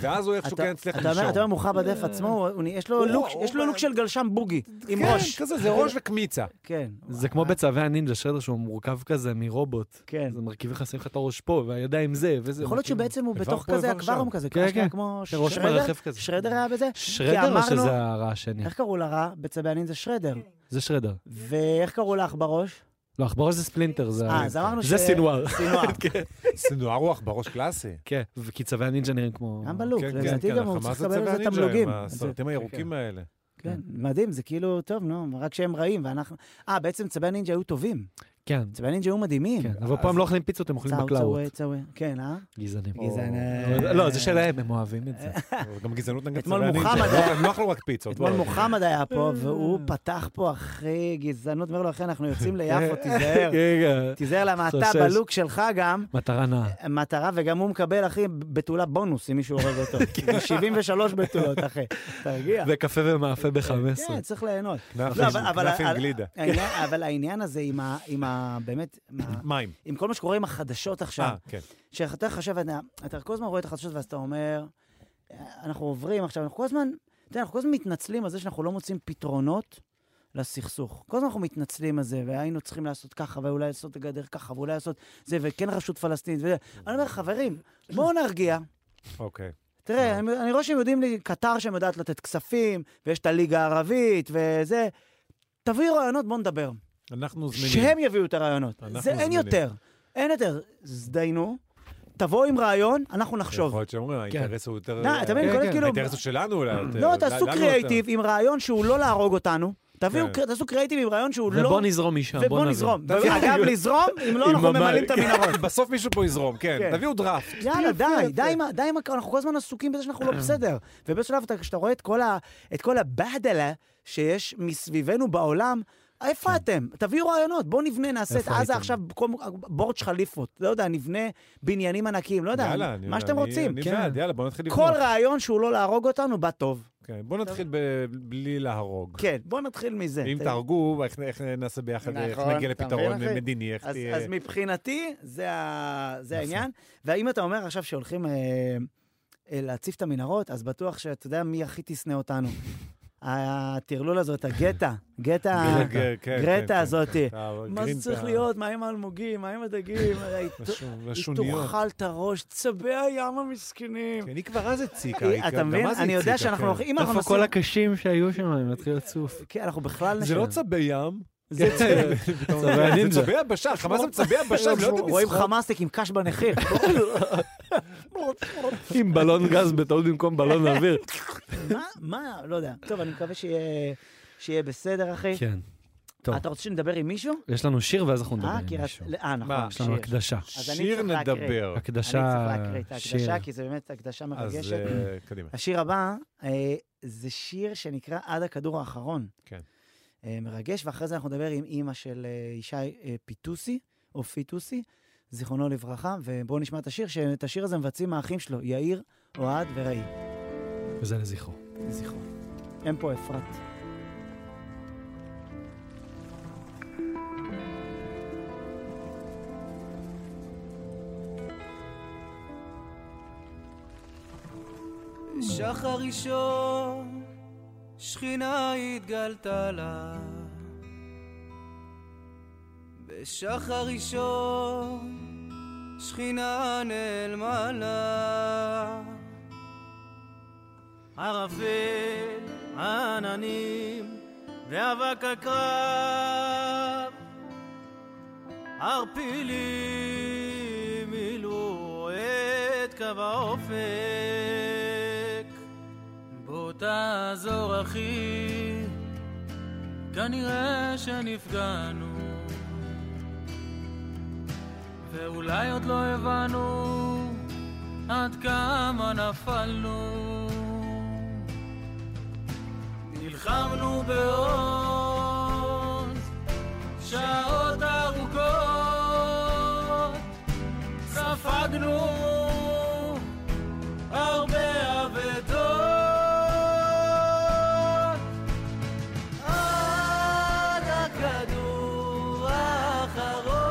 Speaker 3: ואז הוא איכשהו
Speaker 1: אתה-
Speaker 3: כן יצליח
Speaker 1: אתה אומר,
Speaker 3: לנשום.
Speaker 1: אתה אומר, מוחמד דף עצמו, הוא- הוא- יש לו
Speaker 3: הוא-
Speaker 1: לוק-
Speaker 3: הוא-
Speaker 1: יש לו לוק של גלשם בוגי, עם ראש.
Speaker 3: כן, כזה, זה ראש וקמיצה.
Speaker 1: כן.
Speaker 2: זה כמו בצווי הנינג'ה שרדר שהוא מורכב כזה מרובוט.
Speaker 1: כן.
Speaker 2: זה מרכיב לך, שמים לך את הראש פה, והידיים זה, וזה.
Speaker 1: יכול להיות
Speaker 2: כאילו-
Speaker 1: שבעצם הוא
Speaker 3: איבר
Speaker 1: בתוך
Speaker 3: פה,
Speaker 1: כזה
Speaker 3: איבר שם.
Speaker 1: אקוורום כזה,
Speaker 2: כן,
Speaker 1: ככה שנייה,
Speaker 2: כן.
Speaker 1: כמו
Speaker 2: ראש
Speaker 1: שרדר.
Speaker 2: מרחף כזה.
Speaker 1: שרדר היה בזה? כי
Speaker 2: שרדר או
Speaker 1: אמרנו-
Speaker 2: שזה הרע השני?
Speaker 1: איך קראו לרע בצבי הנין זה שרדר.
Speaker 2: זה שרדר.
Speaker 1: ואיך קראו לך בראש?
Speaker 2: לא, עכברוש זה ספלינטר, זה...
Speaker 1: אה, אז אמרנו ש...
Speaker 2: זה סינואר.
Speaker 1: סינואר.
Speaker 3: כן, סינואר רוח בראש קלאסי.
Speaker 2: כן, וכי צווי הנינג'ה נראים כמו...
Speaker 1: גם בלוק,
Speaker 3: כן, כן,
Speaker 1: לדעתי
Speaker 3: כן,
Speaker 1: גם הוא
Speaker 3: החמאס
Speaker 1: צריך
Speaker 3: זה
Speaker 1: לקבל
Speaker 3: צבע
Speaker 1: איזה
Speaker 3: הנינג'ה,
Speaker 1: תמלוגים.
Speaker 3: עם הסרטים הירוקים האלה.
Speaker 1: כן, מדהים, זה כאילו, טוב, נו, רק שהם רעים, ואנחנו... אה, בעצם צבי הנינג'ה היו טובים.
Speaker 2: כן,
Speaker 1: צבי הנינג'ה היו מדהימים.
Speaker 2: כן. אבל פה הם לא אוכלים פיצות, הם אוכלים
Speaker 1: צאו,
Speaker 2: בקלאות.
Speaker 1: צאווה, צאווה. כן, אה?
Speaker 2: גזענים.
Speaker 1: גזעני.
Speaker 2: לא, זה שלהם, הם אוהבים את זה.
Speaker 3: אבל גם גזענות נגד
Speaker 1: אתמול
Speaker 3: צווי הנינג'ה.
Speaker 1: מוחמד
Speaker 3: לא, הם לא אכלו רק פיצות.
Speaker 1: אתמול
Speaker 3: לא.
Speaker 1: מוחמד היה פה, והוא פתח פה אחרי גזענות, אומר לו, אחי, אנחנו יוצאים ליפו, תיזהר.
Speaker 2: רגע.
Speaker 1: תיזהר למה אתה
Speaker 2: כן, חושש.
Speaker 1: בלוק שלך גם,
Speaker 2: מטרה נאה.
Speaker 1: מטרה, וגם הוא מקבל, אחי, בתולה בונוס, אם מישהו הורג אותו. 73 בתולות, אחי. תרגיע.
Speaker 2: וקפה ומאפה ב-15.
Speaker 1: כן, צריך ליהנות.
Speaker 3: כנף
Speaker 1: לא,
Speaker 3: עם-
Speaker 1: אבל- אבל-
Speaker 3: כנף עם
Speaker 1: אבל-
Speaker 3: גלידה.
Speaker 1: העניין- אבל העניין הזה עם ה... עם ה... באמת, עם ה-
Speaker 3: מים.
Speaker 1: עם כל מה שקורה עם החדשות עכשיו,
Speaker 3: אה, כן.
Speaker 1: שאתה חושב, אתה- אתה כל הזמן רואה את החדשות ואז אתה אומר, "אה, אנחנו עוברים עכשיו, אנחנו כל הזמן, אתה יודע, אנחנו כל הזמן מתנצלים על זה שאנחנו לא מוצאים פתרונות לסכסוך. כל הזמן אנחנו מתנצלים על זה, והיינו צריכים לעשות ככה, ואולי לעשות גדר ככה, ואולי לעשות זה, וכן רשות פלסטינית. וזה. אני אומר, חברים, בואו נרגיע.
Speaker 3: אוקיי.
Speaker 1: תראה, אני, אני רואה שהם יודעים לי, קטר שהם יודעת לתת כספים, ויש את הליגה הערבית, וזה. תביאי רעיונות, בואו נדבר.
Speaker 3: אנחנו זמינים.
Speaker 1: שהם יביאו את הרעיונות.
Speaker 3: אנחנו
Speaker 1: זה אין
Speaker 3: זמינים.
Speaker 1: יותר. אין יותר. זדיינו, תבואו עם רעיון, אנחנו נחשוב.
Speaker 3: יכול להיות שאומרים,
Speaker 2: כן.
Speaker 3: האינטרס הוא יותר...
Speaker 1: די, אתה מבין, כל
Speaker 2: כן, כן.
Speaker 1: הזמן כאילו...
Speaker 3: האינטרס הוא שלנו אולי יותר.
Speaker 1: לא, תעשו
Speaker 3: לנו יותר.
Speaker 1: קריאייטיב עם רעיון שהוא לא להרוג אותנו, תביאו,
Speaker 3: כן.
Speaker 1: תעשו קריאיטיב עם רעיון שהוא לא...
Speaker 2: ובוא נזרום משם, בוא
Speaker 1: ובוא
Speaker 2: נבין.
Speaker 1: נזרום.
Speaker 3: תביאו-
Speaker 1: אגב, לזרום, אם לא,
Speaker 2: עם
Speaker 1: אנחנו
Speaker 2: המים.
Speaker 1: ממלאים את המנהרות.
Speaker 3: בסוף מישהו פה יזרום, כן.
Speaker 1: כן.
Speaker 3: תביאו דראפט. כן.
Speaker 1: יאללה, די, די, עם ה- די, עם הק- אנחנו כל הזמן עסוקים בזה שאנחנו לא בסדר. ובאיזשהו שלב, אתה- כשאתה רואה את כל ה- את כל הבהדלה שיש מסביבנו בעולם,
Speaker 3: כן.
Speaker 1: איפה אתם? תביאו רעיונות, בואו נבנה, נעשה את
Speaker 2: איפה
Speaker 1: עזה
Speaker 2: הייתם?
Speaker 1: עכשיו במקום בורג' חליפות. לא יודע, נבנה בניינים ענקיים, לא יודע,
Speaker 3: יאללה, אני-
Speaker 1: מה שאתם
Speaker 3: אני-
Speaker 1: רוצים.
Speaker 3: אני
Speaker 2: כן.
Speaker 3: בעד, יאללה, בוא נתחיל
Speaker 1: כל
Speaker 3: לבנות.
Speaker 1: רעיון שהוא לא להרוג אותנו, בא טוב.
Speaker 3: כן, בוא נתחיל ב- בלי להרוג.
Speaker 1: כן, בואו נתחיל מזה.
Speaker 3: אם
Speaker 1: ת-
Speaker 3: תהרגו, איך- איך נעשה ביחד, איך
Speaker 1: נכון,
Speaker 3: נגיע
Speaker 1: אתה מבין,
Speaker 3: לפתרון
Speaker 1: אחי?
Speaker 3: מדיני, איך
Speaker 1: אז,
Speaker 3: תהיה...
Speaker 1: אז מבחינתי, זה, ה... זה
Speaker 3: יפה.
Speaker 1: העניין. ואם אתה אומר עכשיו שהולכים אה, אה, להציף את המנהרות, אז בטוח שאתה יודע מי הכי תשנא אותנו. הטרלול הזאת, הגטה, גטה,
Speaker 3: גרטה, כן, כן, כן.
Speaker 1: גרטה הזאתי.
Speaker 3: אתה-
Speaker 1: מה
Speaker 3: גרינטה,
Speaker 1: זה צריך להיות? מה עם האלמוגים? מה עם הדגים? היא ת-
Speaker 3: לשו-
Speaker 1: היא
Speaker 3: לשוניות.
Speaker 1: תאכל את הראש, צבי הים המסכנים. אה,
Speaker 3: כן, היא כבר אז הציקה. היא
Speaker 1: אתה
Speaker 3: גם
Speaker 1: מבין?
Speaker 3: אז
Speaker 1: אני יודע
Speaker 3: הציקה,
Speaker 1: שאנחנו...
Speaker 3: כן.
Speaker 1: הולכים- אם אנחנו
Speaker 2: איפה כל
Speaker 1: נוסעים...
Speaker 2: הקשים שהיו שם, אני מתחיל לצוף.
Speaker 1: כן, אנחנו בכלל...
Speaker 3: זה
Speaker 1: נשאר.
Speaker 3: לא צבי ים.
Speaker 1: זה
Speaker 3: כן,
Speaker 1: צבי-
Speaker 3: פתאום-
Speaker 2: צבי הנינג'ה.
Speaker 3: זה צבי הבשה, חמאס זה צבי הבשה, הם לא יודעים
Speaker 1: רואים
Speaker 3: לשחות.
Speaker 1: חמאסניק עם קש בנחיר.
Speaker 2: עם בלון גז בטעות במקום בלון אוויר.
Speaker 1: מה, מה, לא יודע. טוב, אני מקווה שיהיה, שיהיה בסדר, אחי.
Speaker 2: כן. טוב.
Speaker 1: אתה רוצה שנדבר עם מישהו?
Speaker 2: יש לנו שיר ואז אנחנו נדבר
Speaker 1: אה,
Speaker 2: עם
Speaker 1: כי
Speaker 2: מישהו.
Speaker 1: רצ- אה, נכון,
Speaker 3: מה,
Speaker 2: יש לנו
Speaker 1: שיר.
Speaker 2: הקדשה.
Speaker 1: אז אני
Speaker 3: שיר
Speaker 1: צריך להקריא.
Speaker 3: נדבר.
Speaker 2: הקדשה,
Speaker 1: אני צריך להקריא את
Speaker 2: שיר.
Speaker 1: ההקדשה, כי זה באמת הקדשה
Speaker 3: אז
Speaker 1: מרגשת.
Speaker 3: אה, קדימה.
Speaker 1: השיר הבא אה, זה שיר שנקרא עד הכדור האחרון.
Speaker 3: כן.
Speaker 1: אה, מרגש, ואחרי זה אנחנו נדבר עם אימא של אה, ישי אה, פיטוסי, או פיטוסי, זיכרונו לברכה, ובואו נשמע את השיר, שאת השיר הזה מבצעים האחים שלו, יאיר, אוהד וראי.
Speaker 2: וזה לזכרו.
Speaker 1: זכרו. אין פה אפרת.
Speaker 4: שחר ראשון, שכינה התגלתה לה. בשחר ראשון, שכינה נעלמה לה. ערפל, עננים, ואבק הקרב, ערפילים מילאו את קו האופק. בוא תעזור אחי, כנראה שנפגענו, ואולי עוד לא הבנו עד כמה נפלנו. נלחמנו בעוז שעות ארוכות, ספגנו הרבה אבדות. עד הכדור האחרון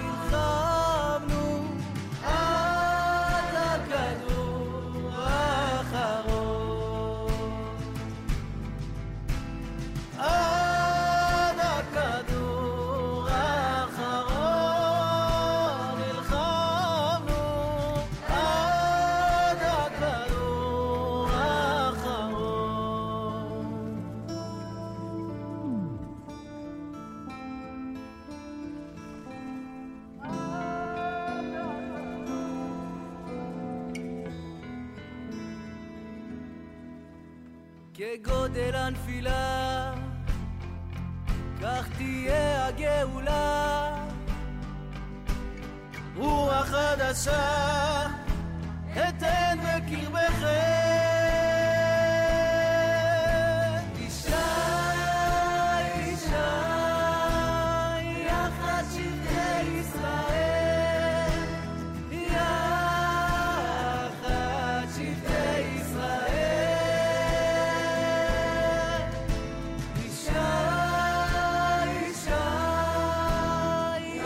Speaker 4: נלחמנו, עד הכדור האחרון. עד הכדור האחרון נלחמנו, עד הכדור האחרון. כגודל הנפילה, כך תהיה הגאולה. רוח חדשה, אתן בקרבכם. ישי, ישי, יחד שבטי ישראל. יחד שבטי ישראל. ישי, ישי,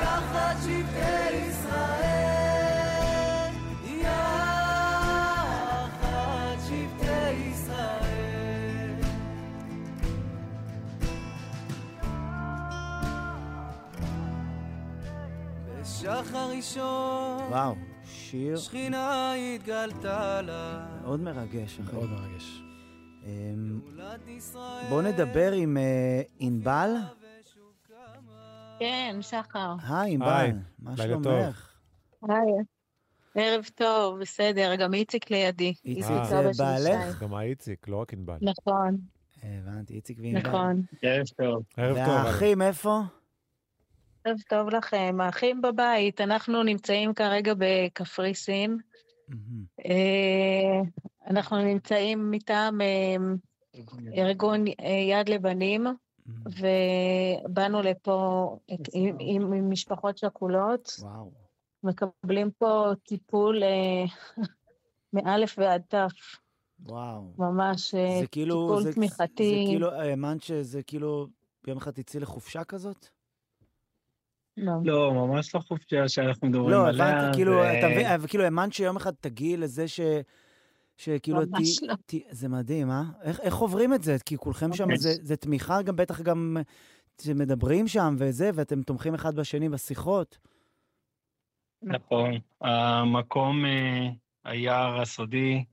Speaker 4: יחד שבטי ישראל. יחד שבטי ישראל. בשחר ראשון
Speaker 1: וואו, שיר
Speaker 4: שכינה התגלתה לה,
Speaker 1: מאוד מרגש. אחי.
Speaker 2: מאוד מרגש.
Speaker 1: אמ,
Speaker 4: מולד ישראל.
Speaker 1: בואו נדבר עם אה, ענבל.
Speaker 5: כן, שחר.
Speaker 1: היי, ענבל,
Speaker 3: היי,
Speaker 1: מה
Speaker 3: לילה טוב.
Speaker 1: שלומך?
Speaker 5: היי. ערב טוב, בסדר, גם איציק לידי.
Speaker 1: איציק
Speaker 3: אה.
Speaker 1: זה
Speaker 5: אבא של
Speaker 1: בעלך?
Speaker 3: גם האיציק, לא רק ענבל.
Speaker 5: נכון.
Speaker 1: הבנתי, איציק וענבר.
Speaker 5: נכון.
Speaker 6: ערב טוב.
Speaker 3: ערב טוב. אבל.
Speaker 1: והאחים איפה?
Speaker 5: ערב טוב לכם. האחים בבית, אנחנו נמצאים כרגע בקפריסין.
Speaker 1: מהמם.
Speaker 5: אה, אנחנו נמצאים מטעם אה, ארגון אה, יד לבנים,
Speaker 1: מהמם.
Speaker 5: ובאנו לפה את, עם, עם, עם משפחות שכולות.
Speaker 1: וואו.
Speaker 5: מקבלים פה טיפול אה, מאלף ועד תף,
Speaker 1: וואו.
Speaker 5: ממש אה,
Speaker 1: זה כאילו...
Speaker 5: טיפול
Speaker 1: זה-
Speaker 5: תמיכתי.
Speaker 1: זה כאילו, האמנת שזה כאילו יום אחד תצאי לחופשה כזאת?
Speaker 5: ממש.
Speaker 6: לא, ממש לא חופשה שאנחנו מדברים
Speaker 1: לא,
Speaker 6: עליה.
Speaker 1: הבנתי, כאילו,
Speaker 6: זה-
Speaker 1: אתה מבין, אבל כאילו, האמנת שיום אחד תגיעי לזה ש... שכאילו,
Speaker 5: ממש
Speaker 1: ת-
Speaker 5: לא.
Speaker 1: ת- זה מדהים, אה? איך, איך עוברים את זה? כי כולכם שם,
Speaker 6: ממש.
Speaker 1: זה, זה תמיכה, גם בטח גם אה, שמדברים שם וזה, ואתם תומכים אחד בשני בשיחות.
Speaker 6: נכון. המקום, אה, היער הסודי,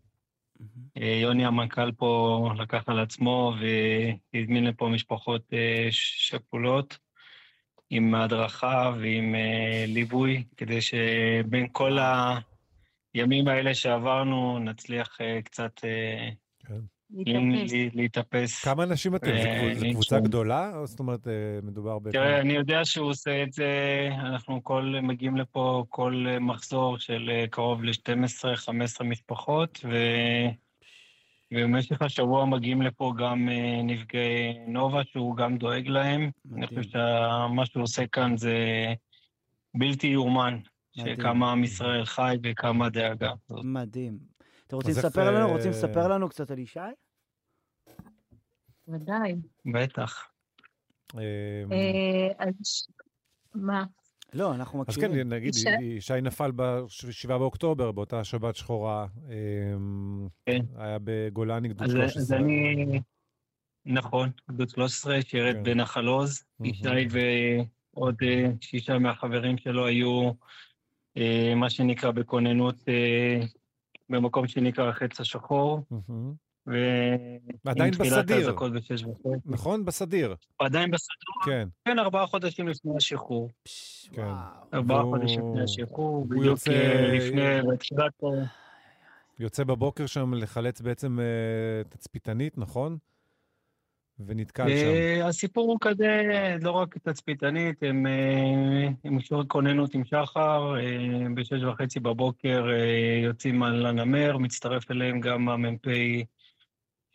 Speaker 6: אה, יוני המנכ"ל פה לקח על עצמו והזמין לפה משפחות אה, שכולות עם הדרכה ועם אה, ליווי, כדי שבין כל הימים האלה שעברנו נצליח אה, קצת אה,
Speaker 1: כן.
Speaker 5: להתאפס.
Speaker 6: להתאפס.
Speaker 3: כמה אנשים אתם? זה
Speaker 6: אה,
Speaker 3: קבוצ- זה
Speaker 6: אני
Speaker 3: קבוצה
Speaker 6: שם.
Speaker 3: גדולה? או זאת אומרת, אה, מדובר ב...
Speaker 6: תראה, אני יודע שהוא עושה את זה, אנחנו כל, מגיעים לפה כל אה, מחזור של אה, קרוב ל-12-15 משפחות, ו... ובמשך השבוע מגיעים לפה גם אה, נפגעי נובה, שהוא גם דואג להם. אני
Speaker 1: מדהים.
Speaker 6: חושב שמה שהוא עושה כאן זה בלתי יאומן,
Speaker 1: מדהים.
Speaker 6: שכמה עם ישראל חי וכמה דאגה.
Speaker 1: מדהים. אתם רוצים
Speaker 3: אז איך,
Speaker 1: לספר לנו?
Speaker 3: אה,
Speaker 1: רוצים לספר לנו קצת על ישי?
Speaker 5: ודאי.
Speaker 6: בטח.
Speaker 3: אה,
Speaker 5: אה, אז ש- מה?
Speaker 1: לא, אנחנו
Speaker 3: אז
Speaker 1: מקשיבים.
Speaker 3: כן, נגיד,
Speaker 5: ישי-
Speaker 3: ישי נפל ב-7 באוקטובר, באותה שבת שחורה. אה,
Speaker 6: כן.
Speaker 3: היה בגולני גדוד
Speaker 6: אז,
Speaker 3: 13.
Speaker 6: אז אני, נכון, גדוד 13, שירת
Speaker 3: כן.
Speaker 6: בנחל עוז,
Speaker 3: מהמם.
Speaker 6: ישי ועוד אה, שישה מהחברים שלו היו אה, מה שנקרא בכוננות אה, במקום שנקרא החץ השחור,
Speaker 3: מהמם.
Speaker 6: ועם
Speaker 3: עדיין
Speaker 6: תחילת
Speaker 3: בסדיר,
Speaker 6: האזעקות בשש וחצי.
Speaker 3: נכון? בסדיר,
Speaker 6: עדיין בסדיר,
Speaker 3: כן.
Speaker 6: כן, ארבעה חודשים לפני השחרור.
Speaker 1: פש,
Speaker 3: כן.
Speaker 1: וואו.
Speaker 6: ארבעה
Speaker 3: והוא-
Speaker 6: חודשים לפני השחרור, בדיוק
Speaker 3: יוצא-
Speaker 6: אה, לפני, בתחילת... ה-
Speaker 3: יוצא בבוקר שם לחלץ בעצם אה, תצפיתנית, נכון? ונתקל שם.
Speaker 6: אה, הסיפור הוא כזה, לא רק תצפיתנית, הם, אה, הם שיעור כוננות עם שחר, אה, בשש וחצי בבוקר אה, יוצאים על הנמר, מצטרף אליהם גם המ"פ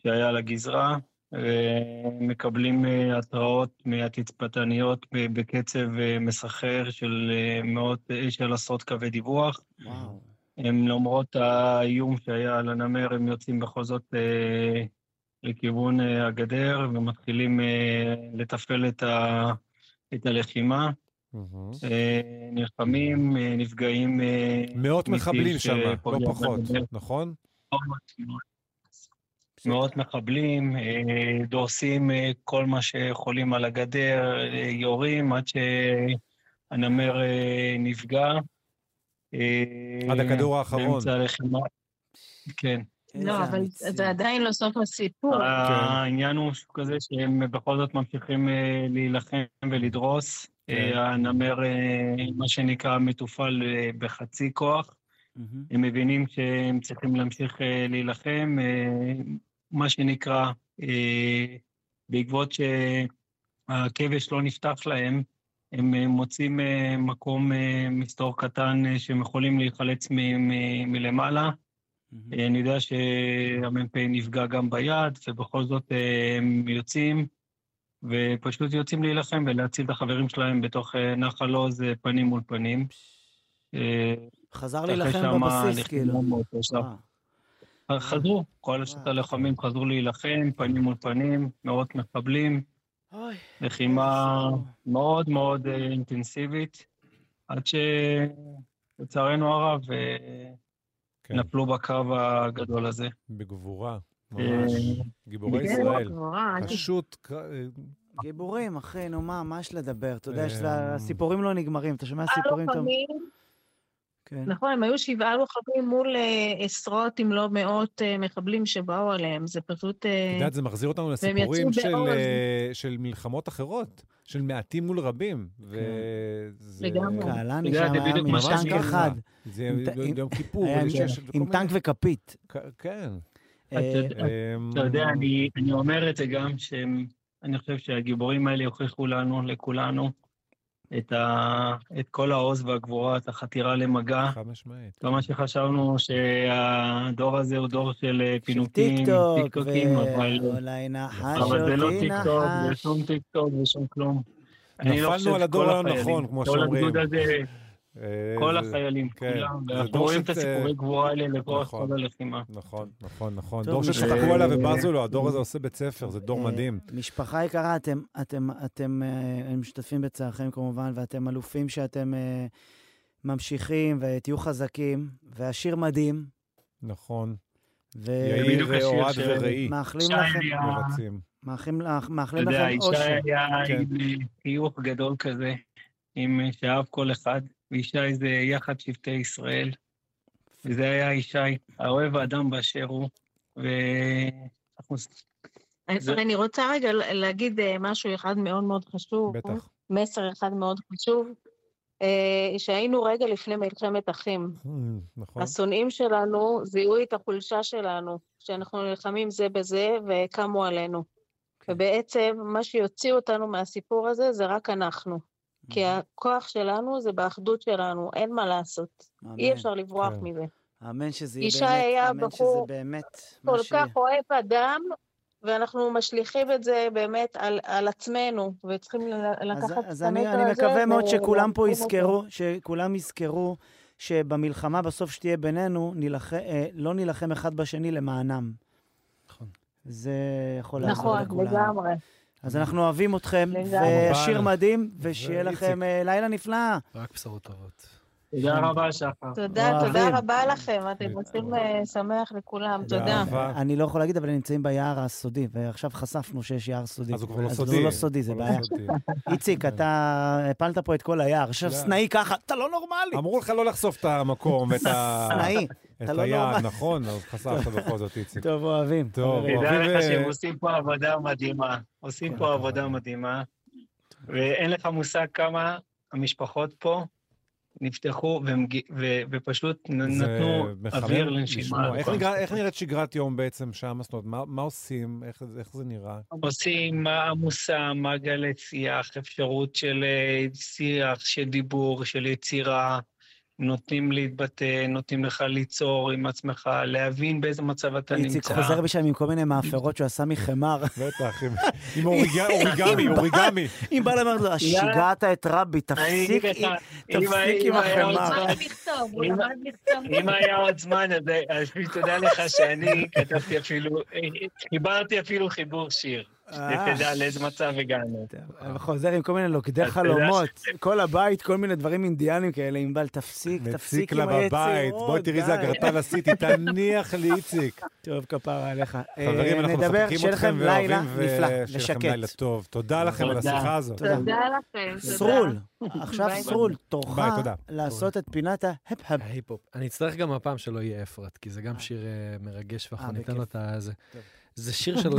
Speaker 6: שהיה על הגזרה, אה, מקבלים אה, התראות מהתצפיתניות ב- בקצב אה, מסחרר של, אה, מאות, אה, של עשרות קווי דיווח.
Speaker 1: וואו.
Speaker 6: הם למרות האיום שהיה על הנמר, הם יוצאים בכל זאת אה, לכיוון אה, הגדר ומתחילים אה, לתפעל את, ה, את הלחימה.
Speaker 3: מהמם.
Speaker 6: אה, נלחמים, אה, נפגעים... אה,
Speaker 3: מאות
Speaker 6: מטיל
Speaker 3: מחבלים שם, לא
Speaker 6: שפוגע
Speaker 3: פחות,
Speaker 6: בגדר.
Speaker 3: נכון?
Speaker 5: כן.
Speaker 6: מאות מחבלים, אה, דורסים אה, כל מה שיכולים על הגדר, אה, יורים עד שהנמר אה, נפגע. אה,
Speaker 3: עד הכדור האחרון.
Speaker 6: באמצע הלחימה. כן.
Speaker 5: לא, אבל זה עדיין לא סוף הסיפור.
Speaker 6: אה, העניין הוא שהוא כזה שהם בכל זאת ממשיכים אה, להילחם ולדרוס.
Speaker 3: כן.
Speaker 6: אה, הנמר, אה, מה שנקרא, מתופעל אה, בחצי כוח.
Speaker 1: מהמם.
Speaker 6: הם מבינים שהם צריכים להמשיך אה, להילחם. אה, מה שנקרא, אה, בעקבות שהכבש לא נפתח להם, הם אה, מוצאים אה, מקום אה, מסתור קטן אה, שהם יכולים להיחלץ מ- מ- מלמעלה. אה,
Speaker 1: מהמם.
Speaker 6: אני יודע שהמ"פ נפגע גם ביד, ובכל זאת אה, הם יוצאים, ופשוט יוצאים להילחם ולהציל את החברים שלהם בתוך אה, נחל עוז אה, פנים מול פנים. אה,
Speaker 1: חזר
Speaker 6: אחרי
Speaker 1: להילחם
Speaker 6: שמה
Speaker 1: בבסיס,
Speaker 6: נכנסו
Speaker 1: כאילו.
Speaker 6: באותו שלב.
Speaker 1: וואו. אה.
Speaker 6: חזרו, כל השת הלוחמים
Speaker 1: אוקיי.
Speaker 6: חזרו להילחם, פנים מול פנים, מאות מחבלים,
Speaker 1: אוי,
Speaker 6: לחימה
Speaker 1: איזה סיפור.
Speaker 6: מאוד מאוד אה, אינטנסיבית, עד שלצערנו הרב אה,
Speaker 3: כן,
Speaker 6: נפלו בקרב הגדול הזה.
Speaker 3: בגבורה,
Speaker 6: אה,
Speaker 3: ממש. גיבורי
Speaker 6: בגבורה.
Speaker 3: ישראל.
Speaker 5: גבורה, אל
Speaker 3: פשוט, ק- אה,
Speaker 1: גיבורים, אחי, נו מה, מה יש לדבר? אתה יודע,
Speaker 3: אה,
Speaker 1: שזה- הסיפורים לא נגמרים, אתה שומע
Speaker 5: תשמע
Speaker 1: סיפורים טוב?
Speaker 5: לוחמים,
Speaker 1: כן.
Speaker 5: נכון, הם היו שבעה לוחמים מול אה, עשרות אם לא מאות אה, מחבלים שבאו עליהם, זה פשוט... אה,
Speaker 3: את יודעת, זה מחזיר אותנו
Speaker 5: והם
Speaker 3: לסיפורים
Speaker 5: יצאו
Speaker 3: של,
Speaker 5: בעוז.
Speaker 3: אה, של מלחמות אחרות, של מעטים מול רבים. וזה-
Speaker 5: כן. לגמרי.
Speaker 1: קהלני
Speaker 6: אתה יודע,
Speaker 1: שם
Speaker 6: זה
Speaker 1: היה
Speaker 6: בדיוק
Speaker 1: עם
Speaker 6: מה שאני
Speaker 1: טנק
Speaker 3: אומר.
Speaker 1: אחד,
Speaker 3: זה
Speaker 1: עם ט-
Speaker 3: יום-
Speaker 1: עם-
Speaker 3: יום כיפור,
Speaker 1: היה עם-
Speaker 3: וזה שיש- וכל
Speaker 1: עם
Speaker 3: מיני-
Speaker 1: טנק וכפית.
Speaker 3: כ- כן. אמ,
Speaker 1: אה,
Speaker 6: אתה יודע, אני, אני אומר את זה גם, שאני חושב שהגיבורים האלה הוכיחו לנו, לכולנו, את, ה, את כל העוז והגבורה, את החתירה למגע.
Speaker 3: חד משמעית.
Speaker 6: כמה שחשבנו שהדור הזה הוא דור של אה,
Speaker 1: של
Speaker 6: פינוקים,
Speaker 1: טיקטוק,
Speaker 6: טיקטוקים, אבל,
Speaker 1: ואולי נחש
Speaker 6: אבל זה לא
Speaker 1: אותי
Speaker 6: טיקטוק, זה
Speaker 1: נחש.
Speaker 6: שום טיקטוק, זה שום כלום. אני לא חושב
Speaker 3: נפלנו על הדור
Speaker 6: שכל
Speaker 3: הלא
Speaker 6: החיילים,
Speaker 3: נכון, כמו
Speaker 6: כל
Speaker 3: שאומרים.
Speaker 6: הגדוד הזה,
Speaker 3: אה,
Speaker 6: כל
Speaker 3: זה-
Speaker 6: החיילים,
Speaker 3: כן.
Speaker 6: כולם,
Speaker 3: זה
Speaker 6: ואנחנו
Speaker 3: דור
Speaker 6: רואים
Speaker 3: שת-
Speaker 6: את הסיפורי גבורה האלה לאורך
Speaker 3: נכון.
Speaker 6: כל הלחימה.
Speaker 3: נכון, נכון, נכון.
Speaker 1: טוב,
Speaker 3: דור
Speaker 1: אה,
Speaker 3: שצחקו עליו ובזו לו, הדור הזה עושה בית ספר, זה דור
Speaker 1: אה,
Speaker 3: מדהים.
Speaker 1: משפחה יקרה, אתם, אתם, אתם אה, משתתפים בצערכם כמובן, ואתם אלופים שאתם אה, ממשיכים ותהיו חזקים, והשיר מדהים.
Speaker 3: נכון.
Speaker 1: ו...
Speaker 3: יאיר,
Speaker 6: בדיוק השיר
Speaker 3: אוהד
Speaker 6: ש-
Speaker 3: ורעי
Speaker 1: מאחלים
Speaker 6: שי
Speaker 1: לכם,
Speaker 6: היה-
Speaker 3: מבצעים.
Speaker 1: מאחלים, לך-
Speaker 6: אתה
Speaker 1: מאחלים
Speaker 6: יודע,
Speaker 1: לכם
Speaker 6: ישי
Speaker 1: אושר.
Speaker 6: היה
Speaker 3: כן.
Speaker 6: עם אה, חיוך גדול כזה, עם אה, שאהב כל אחד, וישי זה יחד שבטי ישראל. וזה היה ישי, האוהב האדם באשר הוא, ואנחנו...
Speaker 5: אז
Speaker 6: זה-
Speaker 5: אני רוצה רגע להגיד אה, משהו אחד מאוד מאוד חשוב.
Speaker 3: בטח.
Speaker 5: מסר אחד מאוד חשוב, אה, שהיינו רגע לפני מלחמת אחים.
Speaker 3: אמ, נכון.
Speaker 5: השונאים שלנו זיהו את החולשה שלנו, שאנחנו נלחמים זה בזה וקמו עלינו.
Speaker 1: כן.
Speaker 5: ובעצם מה שיוציא אותנו מהסיפור הזה זה רק אנחנו. כי הכוח שלנו זה באחדות שלנו, אין מה לעשות.
Speaker 1: אמן.
Speaker 5: אי אפשר לברוח
Speaker 3: כן.
Speaker 5: מזה.
Speaker 1: אמן שזה
Speaker 5: ישי
Speaker 1: יהיה
Speaker 5: היה
Speaker 1: באמת, אמן שזה
Speaker 5: בחור
Speaker 1: באמת מה
Speaker 5: כל
Speaker 1: שיהיה.
Speaker 5: כך אוהב אדם, ואנחנו משליכים את זה באמת על, על עצמנו, וצריכים ל-
Speaker 1: אז-
Speaker 5: לקחת
Speaker 1: אז
Speaker 5: את
Speaker 1: אני,
Speaker 5: המסר
Speaker 1: אני
Speaker 5: הזה
Speaker 1: מקווה מאוד
Speaker 5: ו-
Speaker 1: שכולם פה
Speaker 5: ולהרחיב אותו.
Speaker 1: יזכרו, שכולם יזכרו שבמלחמה בסוף שתהיה בינינו, נילח... אה, לא נילחם אחד בשני למענם.
Speaker 2: נכון.
Speaker 1: זה יכול לעזור
Speaker 5: נכון,
Speaker 1: לכולם.
Speaker 5: לגמרי.
Speaker 1: אז אנחנו אוהבים אתכם,
Speaker 5: לגמרי.
Speaker 1: והשיר
Speaker 3: כמובן.
Speaker 1: מדהים, ושיהיה
Speaker 3: ואיציק.
Speaker 1: לכם אה, לילה נפלא.
Speaker 2: רק בשורות טובות.
Speaker 6: תודה רבה, שחר.
Speaker 5: תודה,
Speaker 1: אוהבים. כן.
Speaker 5: תודה רבה לכם, אתם עושים אה, שמח לכולם, תודה.
Speaker 3: אהבה.
Speaker 1: אני לא יכול להגיד, אבל הם נמצאים ביער הסודי, ועכשיו חשפנו שיש יער סודי.
Speaker 3: אז הוא כבר לא
Speaker 1: אז
Speaker 3: סודי.
Speaker 1: הוא לא סודי, זה
Speaker 3: כבר לא
Speaker 1: בעיה.
Speaker 3: סודי.
Speaker 1: איציק, אתה הפלת פה את כל היער. עכשיו
Speaker 3: יער.
Speaker 1: סנאי ככה, אתה לא נורמלי.
Speaker 3: אמרו לך לא לחשוף את המקום ואת ה-
Speaker 1: סנאי.
Speaker 3: את
Speaker 1: אתה לא
Speaker 3: היעד,
Speaker 1: נורמל.
Speaker 3: נכון? אז חשפת בכל זאת, איציק.
Speaker 1: טוב, אוהבים.
Speaker 3: טוב, אוהבים.
Speaker 1: חברים.
Speaker 6: תדע
Speaker 3: אוהבים,
Speaker 6: לך
Speaker 3: אה,
Speaker 6: שהם עושים פה עבודה מדהימה. עושים פה עבודה מדהימה, ואין לך מושג כמה המשפחות פה נפתחו ומג- ו- ופשוט נ-
Speaker 3: זה
Speaker 6: נתנו
Speaker 3: אה, מחמם
Speaker 6: אוויר לנשימה.
Speaker 3: לשמוע. איך נראה- איך נראית שגרת יום בעצם שם? זאת אומרת, מה- מה עושים? איך זה- איך זה נראה?
Speaker 6: עושים עמוסה, מעגל שיח, אפשרות של אה, שיח, של דיבור, של יצירה, נותנים להתבטא, נותנים לך ליצור עם עצמך, להבין באיזה מצב אתה נמצא.
Speaker 1: איציק חוזר משם עם כל מיני מאפרות שהוא עשה מחמר.
Speaker 3: בטח, עם- עם אוריג- אוריגמי, אוריגמי.
Speaker 1: אם בא לומר לו, שיגעת את רבי,
Speaker 6: אני אגיד
Speaker 1: תפסיק.
Speaker 6: לך,
Speaker 1: עם-"
Speaker 6: אם
Speaker 1: תפסיק
Speaker 6: היה-
Speaker 1: עם
Speaker 6: אם היה עוד
Speaker 1: החמאה.
Speaker 6: זמן-
Speaker 5: לכתוב,
Speaker 6: הוא למד אם היה עוד זמן, אז- אז תדע לך שאני כתבתי אפילו, חיברתי אפילו חיבור שיר.
Speaker 1: אה.
Speaker 6: שתדע לאיזה מצב הגענו.
Speaker 3: אה.
Speaker 1: חוזר אה, עם כל מיני לוכדי
Speaker 6: אתה יודע
Speaker 1: חלומות, כל הבית, כל מיני דברים אינדיאנים כאלה, ענבל, תפסיק,
Speaker 3: מציק
Speaker 1: תפסיק
Speaker 3: לה
Speaker 1: עם היצירות.
Speaker 3: בבית, בואי תראי איזה
Speaker 1: די.
Speaker 3: אגרטל עשיתי, תניח לי, איציק.
Speaker 1: טוב, כפרה עליך.
Speaker 3: חברים,
Speaker 1: אה,
Speaker 3: אנחנו
Speaker 1: נדבר,
Speaker 3: מחזקים
Speaker 1: שיהיה
Speaker 3: אתכם
Speaker 1: לכם לילה
Speaker 3: ואוהבים,
Speaker 1: נפלא
Speaker 3: ושיהיה לכם לילה
Speaker 1: ושקט.
Speaker 3: טוב. תודה לכם על
Speaker 6: תודה.
Speaker 3: השיחה הזאת.
Speaker 1: תודה.
Speaker 5: תודה לכם, תודה.
Speaker 1: סרול, עכשיו
Speaker 5: ביי.
Speaker 1: סרול, תורך
Speaker 3: ביי, תודה.
Speaker 1: לעשות את פינת ההפ-הפ.
Speaker 2: ההיפ-הופ. אני אצטרך גם הפעם שלא יהיה אפרת, כי זה גם שיר אה, מרגש, ואנחנו
Speaker 1: אה,
Speaker 2: ניתן
Speaker 1: בכיף.
Speaker 2: לו את ה... זה.
Speaker 1: טוב.
Speaker 2: זה שיר של...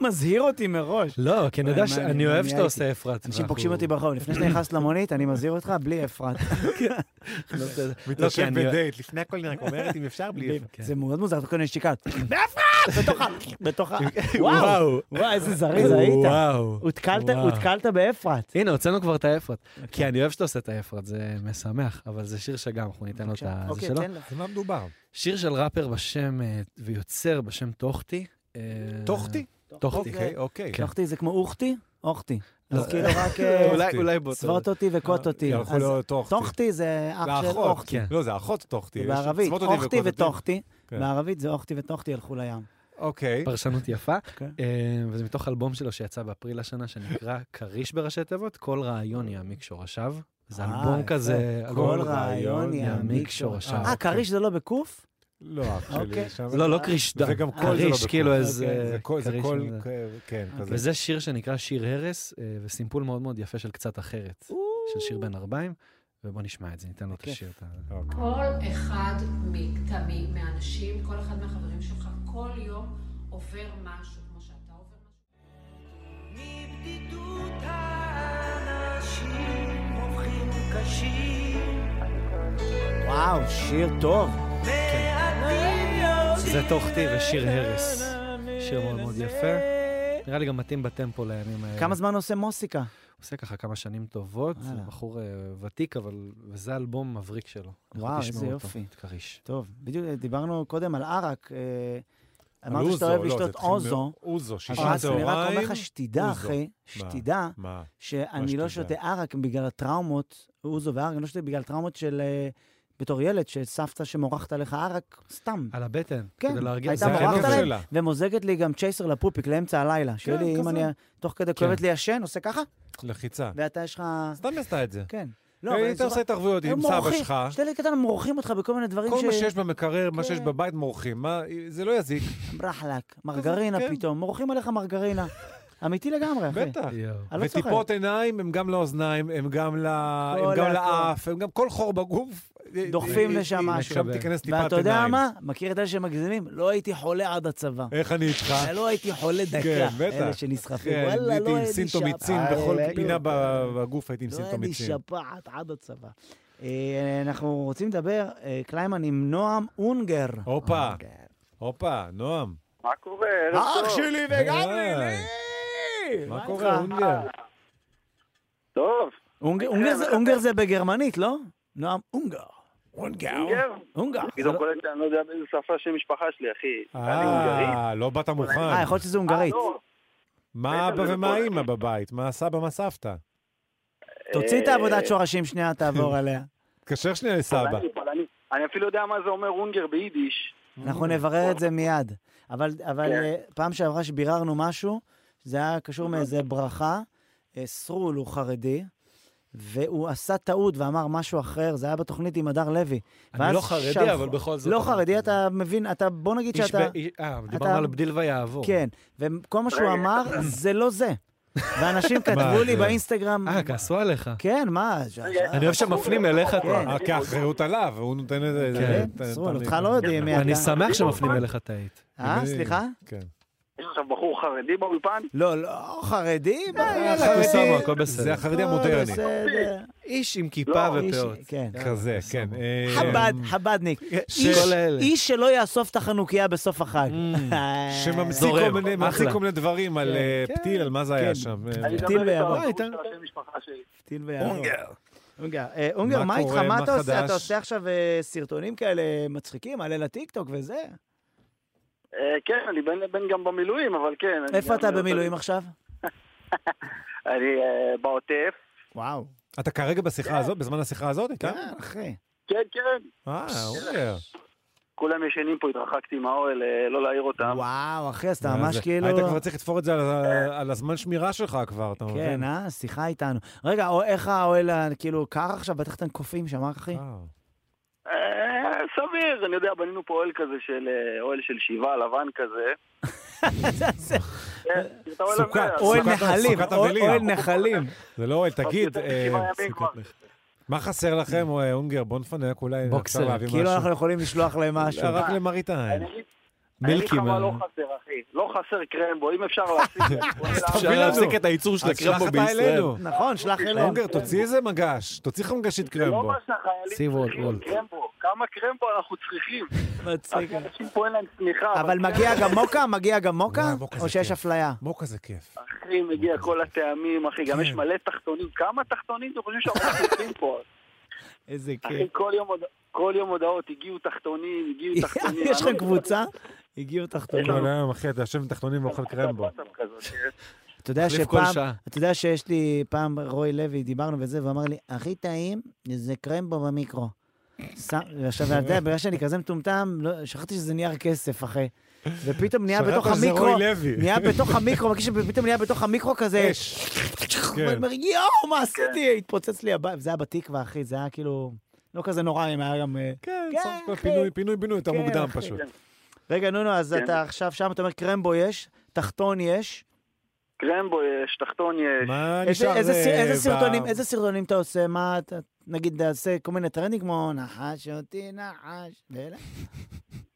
Speaker 1: מזהיר אותי מראש.
Speaker 2: לא, כי
Speaker 1: מה,
Speaker 2: אני יודע
Speaker 1: מה, אני-
Speaker 2: שאני אוהב
Speaker 1: אני
Speaker 2: שאתה
Speaker 1: הייתי.
Speaker 2: עושה אפרת.
Speaker 1: אנשים
Speaker 2: ואנחנו-
Speaker 1: פוגשים אותי ברחוב, לפני שאתה נכנס למונית, אני מזהיר אותך בלי אפרת.
Speaker 2: לא, זה- לא, כי
Speaker 3: מתיישב
Speaker 2: אני-
Speaker 3: בדייט, לפני הכל אני רק אומרת אם אפשר בלי...
Speaker 2: כן.
Speaker 1: זה מאוד מוזר, אתה קונה שתיקה. באפרת! בתוך ה... בתוך ה... וואו! וואו, איזה זריז היית.
Speaker 2: וואו.
Speaker 1: הותקלת-
Speaker 2: וואו.
Speaker 1: הותקלת באפרת. אוקיי.
Speaker 2: הנה, הוצאנו כבר את האפרת. כי אני אוהב שאתה עושה את האפרת, זה משמח, אבל זה שיר שגם, אנחנו ניתן לו את
Speaker 1: בבקשה.
Speaker 2: ה- זה
Speaker 1: אוקיי,
Speaker 2: שלו.
Speaker 1: תן לה.
Speaker 3: זה מה מדובר?
Speaker 2: שיר של ראפר בשם, אה, ויוצר בשם טוחטי. אה,
Speaker 3: טוחטי?
Speaker 2: טוחטי.
Speaker 3: אוקיי, אוקיי.
Speaker 2: כן.
Speaker 1: אוכתי זה כמו אוכתי? אוכתי.
Speaker 2: לא.
Speaker 1: אז כאילו רק
Speaker 2: אולי- אולי בוא.
Speaker 1: צבות אותי וכות אותי.
Speaker 3: הלכו
Speaker 1: אז
Speaker 3: לו טוחטי.
Speaker 1: טוחתי זה אח של
Speaker 3: לאחות.
Speaker 1: אוכתי.
Speaker 2: כן.
Speaker 3: לא, זה אחות טוחטי. יש
Speaker 1: בערבית,
Speaker 3: צמות אותי
Speaker 1: אוכתי
Speaker 3: וקוטתי.
Speaker 1: וטוחתי.
Speaker 3: כן.
Speaker 1: בערבית זה אוכתי וטוחתי הלכו לים.
Speaker 3: אוקיי.
Speaker 2: פרשנות יפה,
Speaker 1: אוקיי.
Speaker 2: אה, וזה מתוך אלבום שלו שיצא באפריל השנה, שנקרא כריש בראשי תיבות, כל רעיון יעמיק שורשיו. זה
Speaker 1: אה,
Speaker 2: אלבום
Speaker 1: יפה.
Speaker 2: כזה, אלבום-
Speaker 1: כל רעיון יעמיק שורשיו. אה, כריש זה לא בקוף?
Speaker 3: לא, אח
Speaker 1: אוקיי.
Speaker 3: שלי. שם-
Speaker 2: לא, לא כריש, דם,
Speaker 3: זה גם קול זה לא
Speaker 2: כריש,
Speaker 3: בקול.
Speaker 2: כאילו איזה...
Speaker 1: אוקיי,
Speaker 3: זה כל, זה
Speaker 2: כריש
Speaker 3: כל,
Speaker 2: וזה.
Speaker 3: כן, כזה.
Speaker 2: וזה שיר שנקרא שיר הרס, אה, וסימפול מאוד מאוד יפה של קצת אחרת, של שיר בן 40, ובוא נשמע את זה, ניתן לו את
Speaker 1: בכיף.
Speaker 2: השיר. את ה-
Speaker 3: אוקיי.
Speaker 7: כל אחד מתמי, מהאנשים, כל אחד מהחברים שלך, כל יום עובר משהו, כמו שאתה עובר משהו.
Speaker 4: מבדידות האנשים הופכים קשים,
Speaker 1: וואו, שיר טוב.
Speaker 2: כן.
Speaker 4: מעטים יוצאים
Speaker 2: זה תוך תי ושיר הרס. שיר מאוד מאוד יפה. נראה לי גם מתאים בטמפו לימים האלה.
Speaker 1: כמה זמן עושה מוסיקה?
Speaker 2: עושה ככה כמה שנים טובות,
Speaker 1: וואלה.
Speaker 2: זה בחור אה, ותיק, אבל... וזה אלבום מבריק שלו. לכו
Speaker 1: וואו,
Speaker 2: תשמעו
Speaker 1: איזה
Speaker 2: אותו,
Speaker 1: יופי.
Speaker 2: כריש.
Speaker 1: טוב, בדיוק דיברנו קודם על ערק. אה, אמרת
Speaker 3: על
Speaker 1: שאתה
Speaker 3: אוזו,
Speaker 1: אוהב
Speaker 3: לא, זה
Speaker 1: לשתות
Speaker 3: התחיל
Speaker 1: אוזו.
Speaker 3: מא- אוזו, שישה
Speaker 1: אז אני
Speaker 3: צהריים.
Speaker 1: רק אומר לך, שתדע,
Speaker 3: אוזו.
Speaker 1: אחי, שתדע,
Speaker 3: מה?
Speaker 1: שאני לא
Speaker 3: שתדע.
Speaker 1: שותה ערק בגלל הטראומות, אוזו וערק, אני לא שותה בגלל טראומות של... אה, בתור ילד, שסבתא שמורחת עליך ערק, סתם.
Speaker 2: על הבטן,
Speaker 1: כן,
Speaker 2: כדי להרגיע.
Speaker 1: הייתה
Speaker 2: זה
Speaker 3: מורה
Speaker 1: מורחת
Speaker 2: החינוך
Speaker 3: עליי?
Speaker 1: עליהם,
Speaker 2: שלה.
Speaker 3: שלה.
Speaker 1: ומוזגת לי גם צ'ייסר לפופיק לאמצע הלילה. שיהיה
Speaker 3: כן,
Speaker 1: לי, אם
Speaker 3: כזה.
Speaker 1: אני, תוך כדי כואבת לי השן, עושה ככה,
Speaker 3: כן. לחיצה.
Speaker 1: ואתה יש לך...
Speaker 3: סתם עשתה את זה.
Speaker 1: כן.
Speaker 3: לא, היית עושה התערבויות עם סבא שלך.
Speaker 1: שתי ילד קטן מורחים אותך בכל מיני דברים
Speaker 3: כל
Speaker 1: ש...
Speaker 3: מה שיש במקרר, מה שיש
Speaker 1: כן.
Speaker 3: בבית מורחים. מה, זה לא יזיק,
Speaker 1: ברחלק, מרגרינה
Speaker 3: כן.
Speaker 1: פתאום, מורחים עליך מרגרינה. אמיתי לגמרי, אחי.
Speaker 3: בטח.
Speaker 2: יואו.
Speaker 1: אני לא צוחק.
Speaker 3: וטיפות עיניים הם גם לאוזניים, הם גם ל- הם גם
Speaker 1: הכל.
Speaker 3: לאף, הם גם כל חור בגוף.
Speaker 1: דוחפים
Speaker 3: אה,
Speaker 1: לשם
Speaker 3: אה,
Speaker 1: משהו.
Speaker 3: שם תיכנס טיפת עיניים.
Speaker 1: ואתה יודע מה? מכיר את אלה שמגזימים? לא הייתי חולה עד הצבא.
Speaker 3: איך אני איתך?
Speaker 1: לא הייתי חולה דקה.
Speaker 3: כן, בטח.
Speaker 1: אלה שנסחפים,
Speaker 3: כן,
Speaker 1: וואלה,
Speaker 3: הייתי
Speaker 1: לא
Speaker 3: עם
Speaker 1: הייתי
Speaker 3: סינטומיצין
Speaker 1: שפעת.
Speaker 3: בכל
Speaker 1: אלה,
Speaker 3: פינה
Speaker 1: כן.
Speaker 3: ב- בגוף, הייתי עם
Speaker 1: לא הייתי
Speaker 3: סינטומיצין.
Speaker 1: שפעת עד הצבא. אה, אנחנו רוצים לדבר, אה, קליימן, עם נועם אונגר.
Speaker 3: הופה.
Speaker 1: אונגר.
Speaker 3: הופה, נועם.
Speaker 8: מה קורה? ערב
Speaker 1: האח
Speaker 8: טוב.
Speaker 1: שלי וגם
Speaker 3: אה,
Speaker 1: לי!
Speaker 3: מה קורה, אונגר?
Speaker 8: טוב,
Speaker 1: אונגר- אונגר זה- אונגר זה בגרמנית, לא? נועם אונגר.
Speaker 8: אונגר?
Speaker 1: אונגר.
Speaker 8: פתאום קולט שאני לא יודע באיזה שפה של משפחה שלי, אחי. אני הונגרי?
Speaker 3: אה, לא באת
Speaker 1: אה,
Speaker 3: מוכן.
Speaker 1: יכול להיות שזה
Speaker 8: אה,
Speaker 1: הונגרית.
Speaker 8: לא.
Speaker 3: מה
Speaker 8: בטח,
Speaker 3: אבא
Speaker 8: זה
Speaker 3: ומה
Speaker 8: נכון.
Speaker 3: אימא בבית? מה סבא, מה סבתא?
Speaker 1: תוציא את העבודת
Speaker 8: אה,
Speaker 1: שורשים שנייה, תעבור עליה.
Speaker 3: תתקשר שנייה לסבא.
Speaker 8: פולני, פולני. אני אפילו יודע מה זה אומר אונגר ביידיש.
Speaker 1: אנחנו נברר את זה מיד. אבל, אבל
Speaker 8: כן.
Speaker 1: אה, פעם שעברה שביררנו משהו, זה היה קשור מאיזה ברכה. אה, סרול הוא חרדי, והוא עשה טעות ואמר משהו אחר, זה היה בתוכנית עם הדר לוי.
Speaker 2: אני
Speaker 1: ואז
Speaker 2: לא חרדי,
Speaker 1: שלחו-
Speaker 2: אבל בכל זאת
Speaker 1: לא
Speaker 2: אמרתי
Speaker 1: חרדי,
Speaker 2: את
Speaker 1: אתה מבין, אתה, בוא נגיד
Speaker 2: איש
Speaker 1: שאתה...
Speaker 2: ב- איש- אה,
Speaker 1: אתה-
Speaker 2: דיברנו על בדיל ויעבור.
Speaker 1: כן, וכל מה שהוא
Speaker 8: רגע.
Speaker 1: אמר, זה לא זה. ואנשים כתבו
Speaker 3: זה?
Speaker 1: לי באינסטגרם,
Speaker 2: אה, כעסו עליך.
Speaker 1: כן, מה? ש-
Speaker 2: אני אוהב שמפנים אליך את
Speaker 1: כן.
Speaker 3: אה, כי האחריות עליו, הוא נותן איזה... אה,
Speaker 1: כן,
Speaker 3: נותן-
Speaker 1: סרול,
Speaker 3: נותן-
Speaker 1: אותך לא יודעים מי אתה.
Speaker 2: אני שמח שמפנים אליך את האית.
Speaker 1: אה, סליחה?
Speaker 3: כן.
Speaker 8: יש עכשיו בחור חרדי באולפן?
Speaker 1: לא, לא, חרדי?
Speaker 2: חרדי.
Speaker 1: חרדי.
Speaker 2: בסדר, אה, הכל בסדר. אה,
Speaker 3: זה החרדי
Speaker 1: הכל
Speaker 3: המודרני.
Speaker 1: בסדר.
Speaker 2: איש עם כיפה
Speaker 8: לא,
Speaker 2: ופאות.
Speaker 1: איש- כן.
Speaker 3: כזה, כן. אה,
Speaker 1: חב"ד, חב"דניק. איש-
Speaker 2: כל אלה.
Speaker 1: איש שלא יאסוף את החנוכיה בסוף החג. אה,
Speaker 3: שממציא
Speaker 2: זורם,
Speaker 3: Mm. כל מיני- ממציא
Speaker 2: אחלה.
Speaker 3: כל מיני דברים על
Speaker 2: כן,
Speaker 3: אה,
Speaker 2: כן,
Speaker 3: פתיל, על מה זה
Speaker 1: כן.
Speaker 3: היה שם. אה,
Speaker 8: אני גם
Speaker 1: טיל
Speaker 8: לא יודע
Speaker 1: ביער.
Speaker 8: מה
Speaker 2: הייתה-
Speaker 8: הפירוש של השם משפחה שלי.
Speaker 1: טיל ויער. אונגר. אה, אונגר,
Speaker 3: מה
Speaker 1: מה איתך?
Speaker 3: קורה?
Speaker 1: מה
Speaker 3: מה
Speaker 1: אתה עושה?
Speaker 3: חדש?
Speaker 1: אתה עושה עכשיו אה, סרטונים כאלה מצחיקים, עלה לטיקטוק וזה?
Speaker 8: אה, כן, אני בן- בן גם במילואים, אבל כן. אני
Speaker 1: איפה
Speaker 8: גם-
Speaker 1: אתה במילואים עכשיו?
Speaker 8: אני אה, בעוטף.
Speaker 1: וואו.
Speaker 3: אתה כרגע בשיחה הזאת, בזמן השיחה הזאת, אה, איתה?
Speaker 1: כן, אחי.
Speaker 8: כן, כן.
Speaker 3: אה, אוקיי.
Speaker 8: כולם ישנים פה, התרחקתי מהאוהל, אה, לא להעיר אותם.
Speaker 1: וואו, אחי, אז אתה
Speaker 3: מה
Speaker 1: ממש
Speaker 3: זה?
Speaker 1: כאילו... אה,
Speaker 3: היית כבר צריך לתפור את זה על ה- על הזמן שמירה שלך כבר, אתה מבין?
Speaker 1: כן, אה? שיחה איתנו. רגע, או- איך האוהל, ה- כאילו, קר עכשיו? בטח אתם קופאים שם, אה, אחי.
Speaker 3: אה.
Speaker 8: אה, סביר, אני יודע, בנינו פה אוהל כזה של... אה, אוהל של שבעה, לבן כזה. אה, את האוהל הזה,
Speaker 3: סוכה,
Speaker 8: אז-
Speaker 1: אוהל
Speaker 3: סוכת-
Speaker 1: נחלים,
Speaker 3: סוכת
Speaker 1: אוהל-
Speaker 3: אבלים.
Speaker 1: אוהל נחלים.
Speaker 3: זה לא אוהל, תגיד,
Speaker 8: יותר
Speaker 3: אה,
Speaker 8: משבעה ימים
Speaker 3: סוכת
Speaker 8: כבר.
Speaker 3: נחלים. מה חסר לכם, אה, אונגר? בוא נפנק, אולי
Speaker 2: בוקסר,
Speaker 3: אפשר להביא משהו.
Speaker 1: כאילו אנחנו יכולים לשלוח להם משהו.
Speaker 3: אה, רק למראית העין.
Speaker 8: אני אגיד- אני אגיד
Speaker 2: מילקי
Speaker 8: לך מה לא
Speaker 2: מה...
Speaker 8: חסר, אחי. לא חסר קרמבו, אם אפשר להפסיק את
Speaker 2: אפשר
Speaker 8: זה.
Speaker 2: להפסיק את הייצור של
Speaker 3: אז שלח
Speaker 2: הקרמבו
Speaker 3: אותה
Speaker 2: בישראל.
Speaker 3: אלינו.
Speaker 1: נכון, שלח
Speaker 8: לא.
Speaker 1: אליהם.
Speaker 3: אונגר, תוציא איזה מגש. תוציא לך מגשית
Speaker 8: זה לא
Speaker 3: קרמבו.
Speaker 8: מה שהחיילים
Speaker 2: סיב וולט,
Speaker 8: צריכים,
Speaker 2: וולט.
Speaker 8: קרמבו. כמה קרמבו אנחנו צריכים?
Speaker 1: מצחיק.
Speaker 8: אחי, אנשים פה אין להם כן, צמיחה.
Speaker 1: אבל מגיע גם מוקה? מגיע גם מוקה?
Speaker 3: וואי, מוקה
Speaker 1: או
Speaker 3: זה
Speaker 1: שיש
Speaker 3: כיף.
Speaker 1: אפליה?
Speaker 3: מוקה זה כיף.
Speaker 8: אחי, מגיע כל הטעמים, אחי. גם
Speaker 3: כן.
Speaker 8: יש מלא תחתונים. כמה תחתונים אתם חושבים שאנחנו צריכים פה?
Speaker 1: איזה
Speaker 8: אחי,
Speaker 1: כיף.
Speaker 8: כל יום הוד- כל יום הודעות, הגיעו תחתונים, הגיעו תחתונים.
Speaker 1: יש
Speaker 8: אני- לא
Speaker 1: לכם קבוצה? הגיעו תחתונים.
Speaker 3: כל היום, אחי, אתה יושב עם תחתונים ואוכל קרמבו.
Speaker 8: וואטסאפ כזאת, כן.
Speaker 1: אתה יודע
Speaker 2: מחליף כל
Speaker 1: שפעם,
Speaker 2: שעה.
Speaker 1: אתה יודע שיש לי, פעם רוי לוי, דיברנו וזה, והוא אמר לי, הכי טעים זה קרמבו במיקרו. שם- עכשיו, אתה יודע, בגלל שאני כזה מטומטם, לא- שכחתי שזה נייר כסף, אחי. ופתאום נהיה
Speaker 3: שכחת
Speaker 1: בתוך
Speaker 3: שזה
Speaker 1: המיקרו,
Speaker 3: רוי לוי.
Speaker 1: נהיה בתוך המיקרו, מרגיש שפתאום נהיה בתוך המיקרו כזה,
Speaker 3: אש.
Speaker 1: ואני
Speaker 3: כן.
Speaker 1: אומר, יואו, מה עשיתי? התפוצץ לי הבית, זה היה בתקווה, אחי, זה היה כאילו, לא כזה נורא, אם היה גם... אה,
Speaker 3: כן,
Speaker 1: כן,
Speaker 3: סך הכל
Speaker 1: אחי.
Speaker 3: פינוי, פינוי, בינוי, יותר
Speaker 1: כן,
Speaker 3: מוקדם
Speaker 1: אחי.
Speaker 3: פשוט.
Speaker 1: רגע, נו, נו, אז
Speaker 8: כן.
Speaker 1: אתה עכשיו שם, אתה אומר, קרמבו יש, תחתון יש.
Speaker 8: קרמבו יש, תחתון יש.
Speaker 3: מה
Speaker 1: איזה-
Speaker 3: נשאר?
Speaker 1: איזה סר-
Speaker 3: אה,
Speaker 1: איזה
Speaker 3: ב-
Speaker 1: סרטונים, איזה סרטונים אתה עושה? מה אתה, נגיד, תעשה כל מיני טרנדים כמו נחש אותי, נחש, ואלה.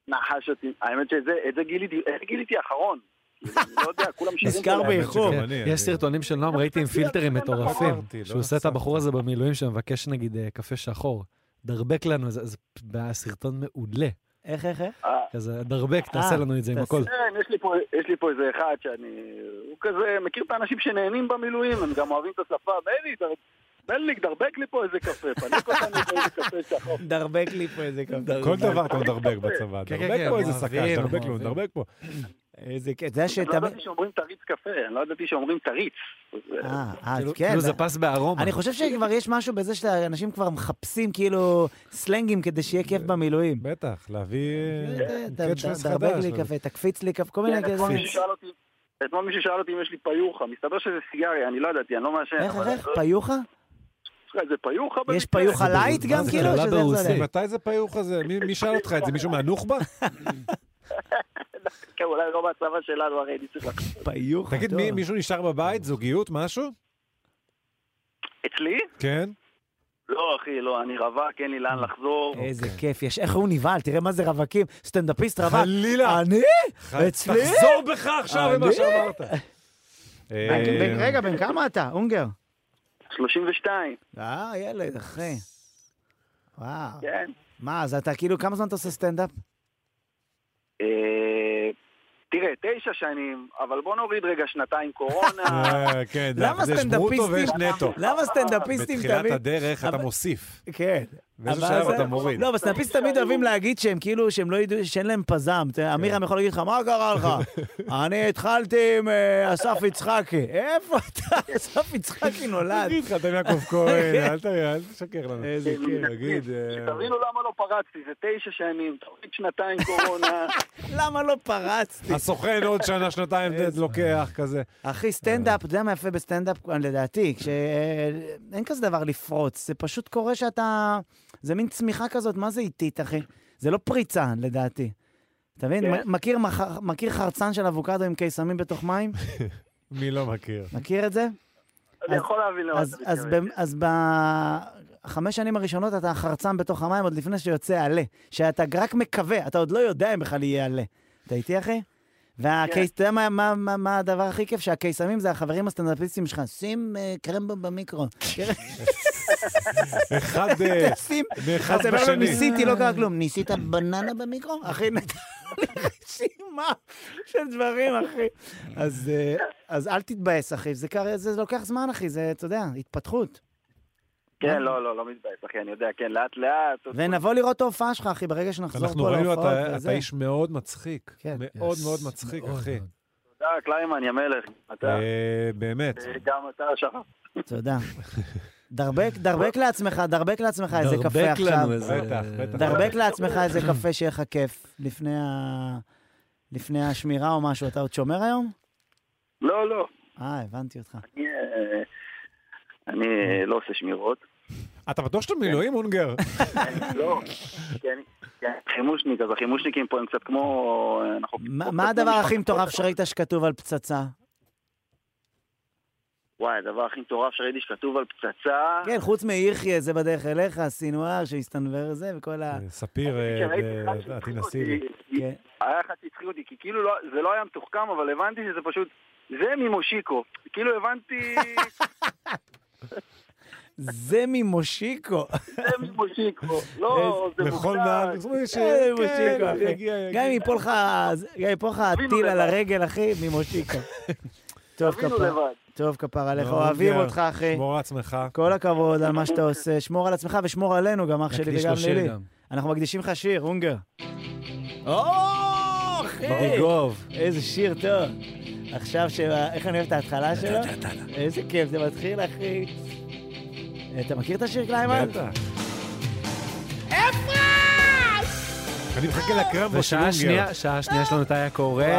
Speaker 8: נחש אותי. האמת שאת זה את זה גיליתי, את זה גיליתי האחרון. אני לא יודע, כולם שירים
Speaker 1: נזכר
Speaker 8: שלהם.
Speaker 1: באיחור.
Speaker 3: שגם
Speaker 2: כן,
Speaker 3: אני, אני-
Speaker 2: יש סרטונים של
Speaker 1: לא,
Speaker 2: נועם, ראיתי עם פילטרים מטורפים,
Speaker 3: אמרתי, לא
Speaker 2: שהוא עושה את
Speaker 3: נחשפתי.
Speaker 2: הבחור הזה במילואים שמבקש נגיד אה, קפה שחור. דרבק לנו, זה זה- זה סרטון מעולה.
Speaker 1: איך, איך, איך?
Speaker 8: אה,
Speaker 2: כזה, דרבק, תעשה
Speaker 1: אה,
Speaker 2: לנו את זה עם
Speaker 1: תעשה.
Speaker 2: הכל.
Speaker 8: כן, יש לי, פה, יש לי פה איזה אחד שאני... הוא כזה מכיר את האנשים שנהנים במילואים, הם גם אוהבים את השפה, בני, דר- מלניק, דרבק לי פה איזה קפה, פנק אותנו באיזה קפה שחור.
Speaker 1: דרבק לי פה איזה כמה.
Speaker 3: כל דבר אתה מדרבק בצבא,
Speaker 2: כן,
Speaker 3: דרבק
Speaker 2: כן,
Speaker 3: פה איזה
Speaker 2: אוהבים,
Speaker 3: שקה, דרבק
Speaker 2: אוהבים.
Speaker 3: לו, דרבק פה.
Speaker 1: איזה כיף. זה
Speaker 8: אני לא
Speaker 1: שתמיד...
Speaker 8: ידעתי שאומרים תריץ קפה, אני לא ידעתי שאומרים תריץ.
Speaker 1: אה, אה,
Speaker 2: כאילו-
Speaker 1: כן.
Speaker 2: כאילו זה פס בארומה.
Speaker 1: אני חושב שכבר יש משהו בזה שאנשים כבר מחפשים כאילו סלנגים כדי שיהיה כיף במילואים.
Speaker 3: בטח, להביא אה,
Speaker 1: אתה-
Speaker 3: קאץ'
Speaker 1: אתה-
Speaker 3: פרס
Speaker 1: דרבק
Speaker 3: חדש.
Speaker 1: לי קפה, תקפיץ לי קפה, כל מיני
Speaker 8: כן,
Speaker 1: כזה.
Speaker 8: אתמול מישהו שאל אותי- אתמול מישהו שאל אותי אם יש לי פיוחה, מסתבר שזה סיגריה, אני לא ידעתי, אני לא מעשן.
Speaker 1: איך,
Speaker 8: אבל-
Speaker 1: איך, פיוחה?
Speaker 8: יש לך איזה פיוחה
Speaker 1: יש
Speaker 8: במקרה?
Speaker 1: פיוחה לייט
Speaker 2: מה
Speaker 1: גם
Speaker 2: זה,
Speaker 1: כאילו?
Speaker 2: קללה
Speaker 1: שזה איך זה
Speaker 2: ברוסית.
Speaker 1: הולך?
Speaker 3: מתי זה פיוך הזה? מי- מי שאל אותך את זה? מישהו מהנוח'בה?
Speaker 8: כן, אולי לא בצבא שלנו, הרי אני צריך לחשוב.
Speaker 1: פיוחה.
Speaker 3: תגיד,
Speaker 1: טוב.
Speaker 3: מי- מישהו נשאר בבית? זוגיות? משהו?
Speaker 8: אצלי?
Speaker 3: כן?
Speaker 8: לא, אחי, לא, אני רווק, אין לי לאן לחזור.
Speaker 1: איזה
Speaker 3: אוקיי.
Speaker 1: כיף יש. איך הוא נבהל, תראה מה זה רווקים. סטנדאפיסט רווק.
Speaker 3: חלילה.
Speaker 1: אני?
Speaker 3: ח-
Speaker 1: אצלי?
Speaker 3: תחזור בך עכשיו ממה
Speaker 1: אני?
Speaker 3: שאמרת.
Speaker 1: בן-
Speaker 3: אה,
Speaker 1: בן- רגע, בן כמה אתה, אונגר?
Speaker 8: 32,
Speaker 1: אה, ילד, אחי. וואו.
Speaker 8: כן.
Speaker 1: מה, אז אתה כאילו, כמה זמן אתה עושה סטנדאפ?
Speaker 8: אה, תראה, תשע שנים, אבל בוא נוריד רגע שנתיים קורונה.
Speaker 3: אה, כן, זה-
Speaker 1: למה
Speaker 3: זה יש ברוטו ויש
Speaker 1: סטנדאפיסטים?
Speaker 3: נטו.
Speaker 1: למה סטנדאפיסטים
Speaker 3: בתחילת
Speaker 1: תמיד...
Speaker 3: הדרך אתה
Speaker 1: אבל-
Speaker 3: מוסיף.
Speaker 1: כן.
Speaker 3: באיזה
Speaker 1: אבל
Speaker 3: שלב
Speaker 1: זה-
Speaker 3: אתה מוריד.
Speaker 1: לא, אבל סטנדאפיסטים תמיד אוהבים להגיד שהם כאילו, שהם לא ידעו, שאין להם פזם.
Speaker 3: כן.
Speaker 1: אתה יודע, אמירם יכול להגיד לך, מה קרה לך? אני התחלתי עם אה, אסף יצחקי. איפה אתה? אסף יצחקי נולד. כן.
Speaker 3: תגיד לך, אתה יעקב כהן, אל ת- אל תשקר לנו.
Speaker 1: איזה כיף.
Speaker 3: תגיד,
Speaker 1: כן.
Speaker 3: אה,
Speaker 8: תבינו למה לא פרצתי, זה תשע שנים, תוריד שנתיים קורונה.
Speaker 1: למה לא פרצתי?
Speaker 3: הסוכן עוד שנה, שנתיים זה לוקח כזה.
Speaker 1: אחי, סטנדאפ, אתה יודע מה יפה בסטנדאפ, לדעתי, כשאין כזה דבר לפרוץ, זה פשוט קורה שאתה... זה מין צמיחה כזאת, מה זה איטית, אחי? זה לא פריצה, לדעתי. אתה מבין?
Speaker 8: כן.
Speaker 1: מכיר מח- מכיר חרצן של אבוקדו עם קיסמים בתוך מים?
Speaker 3: מי לא מכיר?
Speaker 1: מכיר את זה?
Speaker 8: אני
Speaker 1: אז-
Speaker 8: יכול להבין למה
Speaker 1: אז-
Speaker 8: אתה
Speaker 1: אז
Speaker 8: מתכוון. כן.
Speaker 1: במ- אז בחמש שנים הראשונות אתה חרצן בתוך המים עוד לפני שיוצא עלה, שאתה רק מקווה, אתה עוד לא יודע אם בכלל יהיה עלה. אתה איתי, אחי? והקייס, אתה יודע מה- מה- מה- מה הדבר הכי כיף? שהקייסמים זה החברים הסטנדאפיסטים שלך. שים אה, קרמבו במיקרו.
Speaker 3: אחד אה,
Speaker 1: שים.
Speaker 3: מאחד
Speaker 1: אז אתה אומר לו,
Speaker 3: בשני.
Speaker 1: ניסיתי, לא קרה כלום. ניסית בננה במיקרו? אחי, נתן לי רשימה של דברים, אחי. אז, אה, אז אל תתבאס, אחי. זה קרה- זה לוקח זמן, אחי. זה, אתה יודע, התפתחות.
Speaker 8: כן, לא, לא, לא מתבייש, אחי, אני יודע, כן, לאט לאט.
Speaker 1: ונבוא לראות את ההופעה שלך, אחי, ברגע שנחזור
Speaker 3: אנחנו
Speaker 1: פה
Speaker 3: ראינו,
Speaker 1: להופעות.
Speaker 3: אתה-
Speaker 1: וזה.
Speaker 3: אתה איש מאוד מצחיק.
Speaker 1: כן.
Speaker 3: מאוד
Speaker 2: יס,
Speaker 3: מאוד מצחיק,
Speaker 2: מאוד
Speaker 3: אחי.
Speaker 2: מאוד.
Speaker 8: תודה, אה, קליימן, יא מלך. אתה,
Speaker 3: אה, באמת.
Speaker 8: גם אתה, שחר.
Speaker 1: תודה. דרבק, דרבק לעצמך, דרבק לעצמך איזה קפה
Speaker 2: דרבק
Speaker 1: עכשיו.
Speaker 2: לנו איזה...
Speaker 3: בטח, בטח.
Speaker 1: דרבק לעצמך איזה קפה שיהיה לך כיף לפני ה- לפני השמירה או משהו. אתה עוד שומר היום?
Speaker 8: לא, לא,
Speaker 1: אה, הבנתי אותך.
Speaker 8: אני, אה, אני אה, לא עושה שמירות.
Speaker 3: אתה בטוח שאתה מילואים,
Speaker 1: כן.
Speaker 3: אונגר?
Speaker 8: אני לא, כי אני- כי אני חימושניק, אז החימושניקים פה הם קצת כמו... אה, אנחנו-
Speaker 1: מה מה הדבר הכי מטורף שראית שכתוב על פצצה?
Speaker 8: וואי, הדבר הכי מטורף שראיתי שכתוב על פצצה...
Speaker 1: כן, חוץ מיחיא, זה בדרך אליך, סינואר שהסתנוור זה וכל ה...
Speaker 3: אה, ספיר, אה,
Speaker 8: שראיתי אחד
Speaker 3: אה,
Speaker 8: שהצחיק
Speaker 3: עטינה
Speaker 8: אותי,
Speaker 3: סירי.
Speaker 1: כן.
Speaker 8: היה אחד שהצחיק אותי, כי כאילו לא- זה לא היה מתוחכם, אבל הבנתי שזה פשוט... זה ממושיקו. כאילו הבנתי...
Speaker 1: זה ממושיקו.
Speaker 8: זה ממושיקו. לא, זה
Speaker 3: לכל
Speaker 8: מוקדם.
Speaker 3: נער, תראו, יש-
Speaker 1: אה,
Speaker 3: כן,
Speaker 1: מושיקו, אחי.
Speaker 3: יגיע,
Speaker 1: גם
Speaker 3: יגיע.
Speaker 1: אם ייפול לך- גם אם ייפול לך הטיל על הרגל, אחי, ממושיקו. טוב,
Speaker 8: תבינו
Speaker 1: כפר.
Speaker 8: לבד.
Speaker 1: טוב, כפר עליך,
Speaker 3: לא,
Speaker 1: אוהבים
Speaker 3: אונגר,
Speaker 1: אותך, אחי.
Speaker 3: שמור על עצמך.
Speaker 1: כל הכבוד על מה שאתה עושה. שמור על עצמך ושמור עלינו, גם אח שלי
Speaker 2: נקדיש
Speaker 1: וגם
Speaker 2: לו שיר
Speaker 1: לילי.
Speaker 2: גם.
Speaker 1: אנחנו מקדישים לך שיר, אונגר. או, אחי!
Speaker 2: בדיגוב.
Speaker 1: איזה שיר טוב. עכשיו, ש- איך אני אוהב את ההתחלה שלו? איזה כיף, זה מתחיל, אחי. אתה מכיר את השיר קליימן?
Speaker 3: בטח. אני מחכה לקרמבו של
Speaker 2: ושעה
Speaker 3: אונגר.
Speaker 2: שנייה, שעה שנייה שלנו את היה קורא.
Speaker 1: וואו,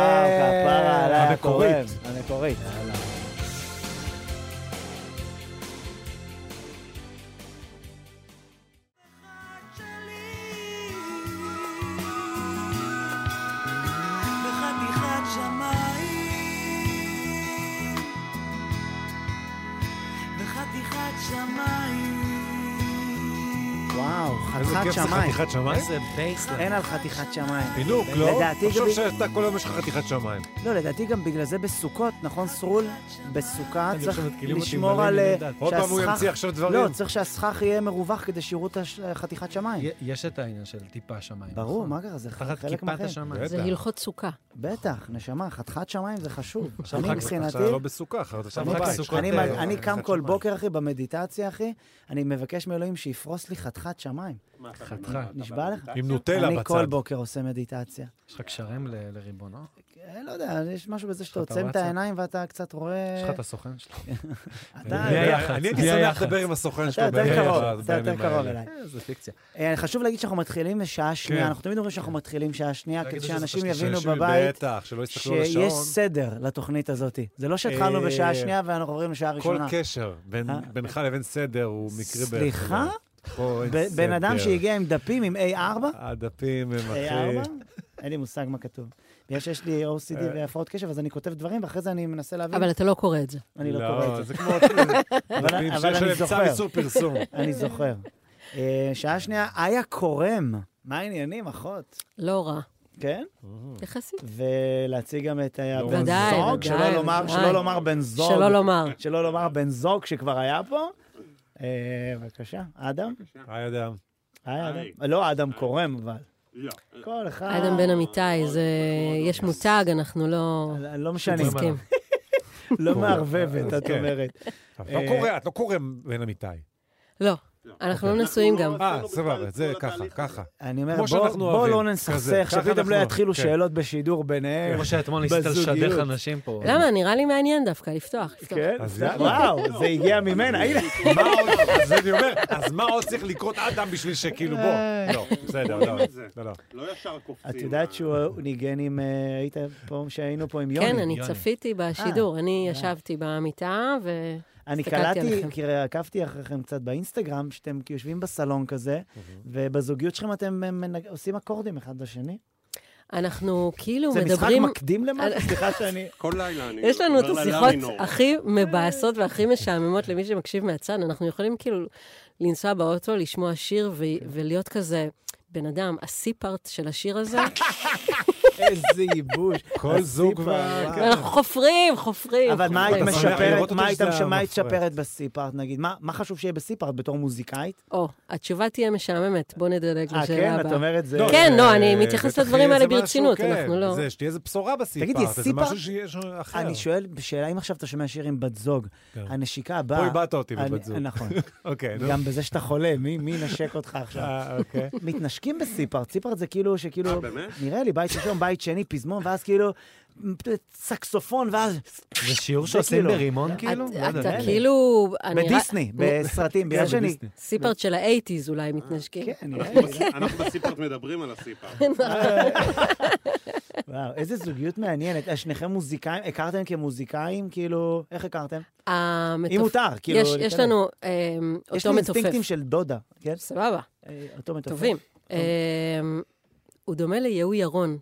Speaker 1: כפרה עליי
Speaker 3: המקורית.
Speaker 1: הקורם. המקורית.
Speaker 4: בחתיכת שמיים, בחתיכת שמיים.
Speaker 1: וואו, חתיכת חתיכת שמיים.
Speaker 3: חתיכת שמיים?
Speaker 9: איזה בייסליין.
Speaker 1: אין על חתיכת שמיים.
Speaker 3: פינוק, לא?
Speaker 1: לדעתי
Speaker 3: תחשוב
Speaker 1: גם-
Speaker 3: שאתה כל יום יש לך חתיכת שמיים.
Speaker 1: לא, לדעתי גם בגלל זה בסוכות, נכון, סרול? בסוכה
Speaker 3: אני
Speaker 1: צריך
Speaker 3: עכשיו מתקילים אותי עם
Speaker 1: לשמור
Speaker 3: מלא
Speaker 1: על... אה,
Speaker 3: מידע. עוד פעם הוא
Speaker 1: שהסכך-
Speaker 3: ימציא עכשיו דברים.
Speaker 1: לא, צריך שהסכך יהיה מרווח כדי שיראו את הש- אה, חתיכת שמיים.
Speaker 2: יש את העניין של טיפה שמיים.
Speaker 1: ברור,
Speaker 2: נכון?
Speaker 1: מה קרה? זה
Speaker 2: תחת
Speaker 1: חלק
Speaker 2: כיפת
Speaker 1: מהחיים.
Speaker 2: השמיים.
Speaker 3: בטח.
Speaker 9: זה הלכות סוכה.
Speaker 1: בטח, נשמה, חתיכת שמיים זה חשוב.
Speaker 2: עכשיו
Speaker 1: אני
Speaker 2: חג-
Speaker 1: מבחינתי...
Speaker 3: עכשיו לא בסוכה, אחרת עכשיו
Speaker 1: אני-
Speaker 2: חג
Speaker 3: בבית.
Speaker 2: סוכות,
Speaker 1: אני-
Speaker 2: אה,
Speaker 1: אני- אני
Speaker 3: חתיכת
Speaker 1: קם כל
Speaker 3: שמיים.
Speaker 1: בוקר, אחי, במדיטציה, אחי, אני מבקש מאלוהים שיפרוס לי חתיכת שמיים.
Speaker 2: חתיכה.
Speaker 1: נשבע לך?
Speaker 3: עם נוטלה
Speaker 1: אני כל
Speaker 3: בצד.
Speaker 1: בוקר אוקיי, עושה מדיטציה.
Speaker 2: יש לך קשרים ל- לריבונו?
Speaker 1: אה, לא יודע, יש משהו בזה שאתה
Speaker 2: יש לך את
Speaker 1: עוצם את
Speaker 2: הוואטסאפ?
Speaker 1: העיניים ואתה קצת רואה...
Speaker 2: יש לך את הסוכן שלו?
Speaker 1: אתה-
Speaker 2: מי היה?
Speaker 3: אני הייתי
Speaker 2: בלי
Speaker 3: שמח
Speaker 2: היח"צ.
Speaker 3: לדבר עם הסוכן
Speaker 1: אתה
Speaker 3: שלו.
Speaker 1: יותר
Speaker 3: בימים
Speaker 1: קרוב,
Speaker 3: האלה,
Speaker 1: אתה יותר
Speaker 3: בימים
Speaker 1: קרוב
Speaker 3: האלה.
Speaker 1: אליי.
Speaker 2: אה, זה פיקציה.
Speaker 1: אה, חשוב להגיד שאנחנו מתחילים בשעה שנייה,
Speaker 3: כן.
Speaker 1: אנחנו תמיד אומרים שאנחנו מתחילים שעה שנייה,
Speaker 3: להגיד את
Speaker 1: כדי
Speaker 3: זה,
Speaker 1: שאנשים
Speaker 3: שאנשים
Speaker 1: יבינו
Speaker 3: יושבים
Speaker 1: בבית
Speaker 3: בטח, שלא יסתכלו על
Speaker 1: שיש
Speaker 3: השעון.
Speaker 1: סדר לתוכנית הזאת. זה לא שהתחלנו
Speaker 3: אה,
Speaker 1: בשעה שנייה ואנחנו עוברים לשעה
Speaker 3: כל
Speaker 1: ראשונה.
Speaker 3: קשר בין-
Speaker 1: אה?
Speaker 3: בינך לבין סדר הוא מקרי בערך.
Speaker 1: סליחה?
Speaker 3: פה אין אה,
Speaker 1: ב- בן אדם אה,
Speaker 3: סדר.
Speaker 1: שהגיע עם דפים, עם A4,
Speaker 3: הדפים הם
Speaker 1: A4?
Speaker 3: הכי...
Speaker 1: אין לי מושג מה כתוב. בגלל שיש לי OCD
Speaker 3: אה.
Speaker 1: והפרעות קשב, אז אני כותב דברים, ואחרי זה אני מנסה להבין,
Speaker 9: אבל אתה לא קורא את זה.
Speaker 1: אני לא קורא את זה.
Speaker 3: זה כמו... הדפים
Speaker 1: אבל
Speaker 3: שיש
Speaker 1: אני
Speaker 3: עליהם צו
Speaker 1: זוכר.
Speaker 3: איסור פרסום.
Speaker 1: אני זוכר. אה, שעה שנייה, איה קורם. מה העניינים, אחות?
Speaker 9: לא רע.
Speaker 1: כן?
Speaker 9: יחסית.
Speaker 1: ולהציג גם את אה,
Speaker 2: לא
Speaker 3: ודאי,
Speaker 1: הבן
Speaker 9: ודאי,
Speaker 1: זוג, שלא
Speaker 9: ודאי.
Speaker 1: לומר- שלא לומר בן זוג.
Speaker 9: שלא לומר.
Speaker 1: שלא לומר בן זוג שכבר היה פה. אה, בבקשה, אדם?
Speaker 3: היי אדם.
Speaker 1: היי, אדם. לא אדם קורם, אבל. לא. כל אחד...
Speaker 9: אדם בן אמיתי, זה... יש מותג, אנחנו לא...
Speaker 1: לא משנה,
Speaker 9: מתעסקים.
Speaker 1: לא מערבבת, את
Speaker 3: כן.
Speaker 1: אומרת. אה,
Speaker 3: את לא קורא, את לא קורא בן אמיתי.
Speaker 9: לא. אנחנו לא נשואים גם.
Speaker 3: אה, סבבה, זה ככה, ככה.
Speaker 1: אני אומר,
Speaker 3: כמו
Speaker 1: בוא-
Speaker 3: שאנחנו
Speaker 1: בוא
Speaker 3: אוהבים,
Speaker 1: לא
Speaker 3: כזה.
Speaker 1: נסכסך,
Speaker 3: ככה
Speaker 1: שפתאום
Speaker 3: אנחנו
Speaker 1: לא
Speaker 3: אוהבים,
Speaker 1: יתחילו
Speaker 3: כן.
Speaker 1: שאלות בשידור ביניהם.
Speaker 2: כמו שאתמול ניסית
Speaker 1: בזוגיות.
Speaker 2: לשדך אנשים פה.
Speaker 9: למה? נראה לי מעניין דווקא, לפתוח, לפתוח.
Speaker 1: כן,
Speaker 3: אז
Speaker 1: זה-
Speaker 3: יאללה.
Speaker 1: וואו, זה הגיע ממנה, הנה.
Speaker 3: מה עוד? אז אני אומר, אז מה עוד צריך לקרות אדם בשביל שכאילו,
Speaker 9: אה.
Speaker 3: בוא. לא, בסדר, לא, לא, לא.
Speaker 1: את יודעת שהוא הוא ניגן עם, אה, היית פה, שהיינו פה עם יוני.
Speaker 9: כן, אני
Speaker 2: יוני.
Speaker 9: צפיתי בשידור. אני ישבתי במיטה, ו...
Speaker 1: אה, אני
Speaker 9: הסתכלתי
Speaker 1: קלטתי,
Speaker 9: עליכם.
Speaker 1: כי עקבתי אחריכם קצת באינסטגרם, שאתם כאילו יושבים בסלון כזה, ובזוגיות שלכם אתם אה, מנג- עושים אקורדים אחד לשני.
Speaker 9: אנחנו כאילו
Speaker 1: זה משחק
Speaker 9: מדברים...
Speaker 1: מקדים למשהו? סליחה שאני...
Speaker 10: כל לילה אני...
Speaker 9: יש לנו את
Speaker 10: עובר ללילה
Speaker 9: השיחות
Speaker 10: מינור.
Speaker 9: הכי מבאסות והכי משעממות למי שמקשיב מהצד. אנחנו יכולים כאילו לנסוע באוטו, לשמוע שיר ו-
Speaker 10: כן.
Speaker 9: ולהיות כזה, בן אדם, הסי-פארט של השיר הזה.
Speaker 10: כן.
Speaker 1: איזה ייבוש.
Speaker 3: כל זוג
Speaker 1: הסיפור,
Speaker 3: וה...
Speaker 1: וואו.
Speaker 3: כן.
Speaker 9: אנחנו חופרים, חופרים.
Speaker 1: אבל מה היית
Speaker 3: אתה שמח לראות
Speaker 1: משפרת,
Speaker 3: אותו
Speaker 1: מה היית
Speaker 3: שזה
Speaker 1: מה היית
Speaker 3: המפרט.
Speaker 1: משפרת בסי-פארט, נגיד? מה מה חשוב שיהיה בסי-פארט בתור מוזיקאית?
Speaker 9: או, התשובה תהיה משעממת, בוא נדלג
Speaker 1: אה,
Speaker 9: לשאלה
Speaker 1: כן, את
Speaker 9: הבאה.
Speaker 1: אומרת זה...
Speaker 3: לא,
Speaker 9: כן,
Speaker 3: אה,
Speaker 9: לא, אני מתייחסת
Speaker 3: בטח
Speaker 9: לדברים
Speaker 3: יהיה
Speaker 9: האלה
Speaker 3: איזה
Speaker 9: ברצינות,
Speaker 3: משהו, כן,
Speaker 9: אנחנו לא-
Speaker 3: זה, שתהיה איזה בשורה בסיפארט,
Speaker 1: תגידי,
Speaker 3: איזה
Speaker 1: סיפארט-
Speaker 3: משהו שיהיה שם אחר.
Speaker 1: אני שואל, בשאלה, אם עכשיו אתה שומע שיר עם בת זוג,
Speaker 3: כן.
Speaker 1: הנשיקה
Speaker 3: פה
Speaker 1: הבאה...
Speaker 3: איבדת אותי
Speaker 1: אני-
Speaker 3: בבת זוג.
Speaker 1: נכון.
Speaker 3: אוקיי, נו.
Speaker 1: גם בזה שאתה חולה, מי מי ינשק אותך עכשיו?
Speaker 3: אה, אוקיי.
Speaker 1: מתנשקים בסיפארט, סיפארט זה כאילו, שכאילו,
Speaker 10: אה, באמת?
Speaker 1: נראה לי, בית ראשון, בית שני, פזמון, ואז כאילו, סקסופון, ואז
Speaker 2: זה שיעור
Speaker 1: זה
Speaker 2: שעושים
Speaker 1: כאילו-
Speaker 2: ברימון כאילו?
Speaker 9: את-
Speaker 2: לא יודע.
Speaker 9: אתה
Speaker 1: אלה.
Speaker 9: כאילו... אני כן, רק-
Speaker 1: בדיסני, בסרטים, ביד שני.
Speaker 2: בדיסני.
Speaker 9: סי-פארט של האייטיז אולי מתנשקים.
Speaker 1: כן, נראה
Speaker 10: אנחנו
Speaker 1: לי.
Speaker 10: בס- אנחנו בסיפארט מדברים על הסיפארט.
Speaker 1: אה, וואו, איזה זוגיות מעניינת. אה, שניכם מוזיקאים, הכרתם כמוזיקאים? כאילו, איך הכרתם?
Speaker 9: המתופ-
Speaker 1: אם מותר, כאילו...
Speaker 9: יש- יש
Speaker 1: ניתן להם.
Speaker 9: לנו אה,
Speaker 1: יש
Speaker 9: אותו
Speaker 1: לי
Speaker 9: מתופף.
Speaker 1: אינסטינקטים של דודה, כן?
Speaker 9: סבבה,
Speaker 1: אה, אותו מתופף.
Speaker 9: טובים. אה, הוא דומה ליהוא ירון.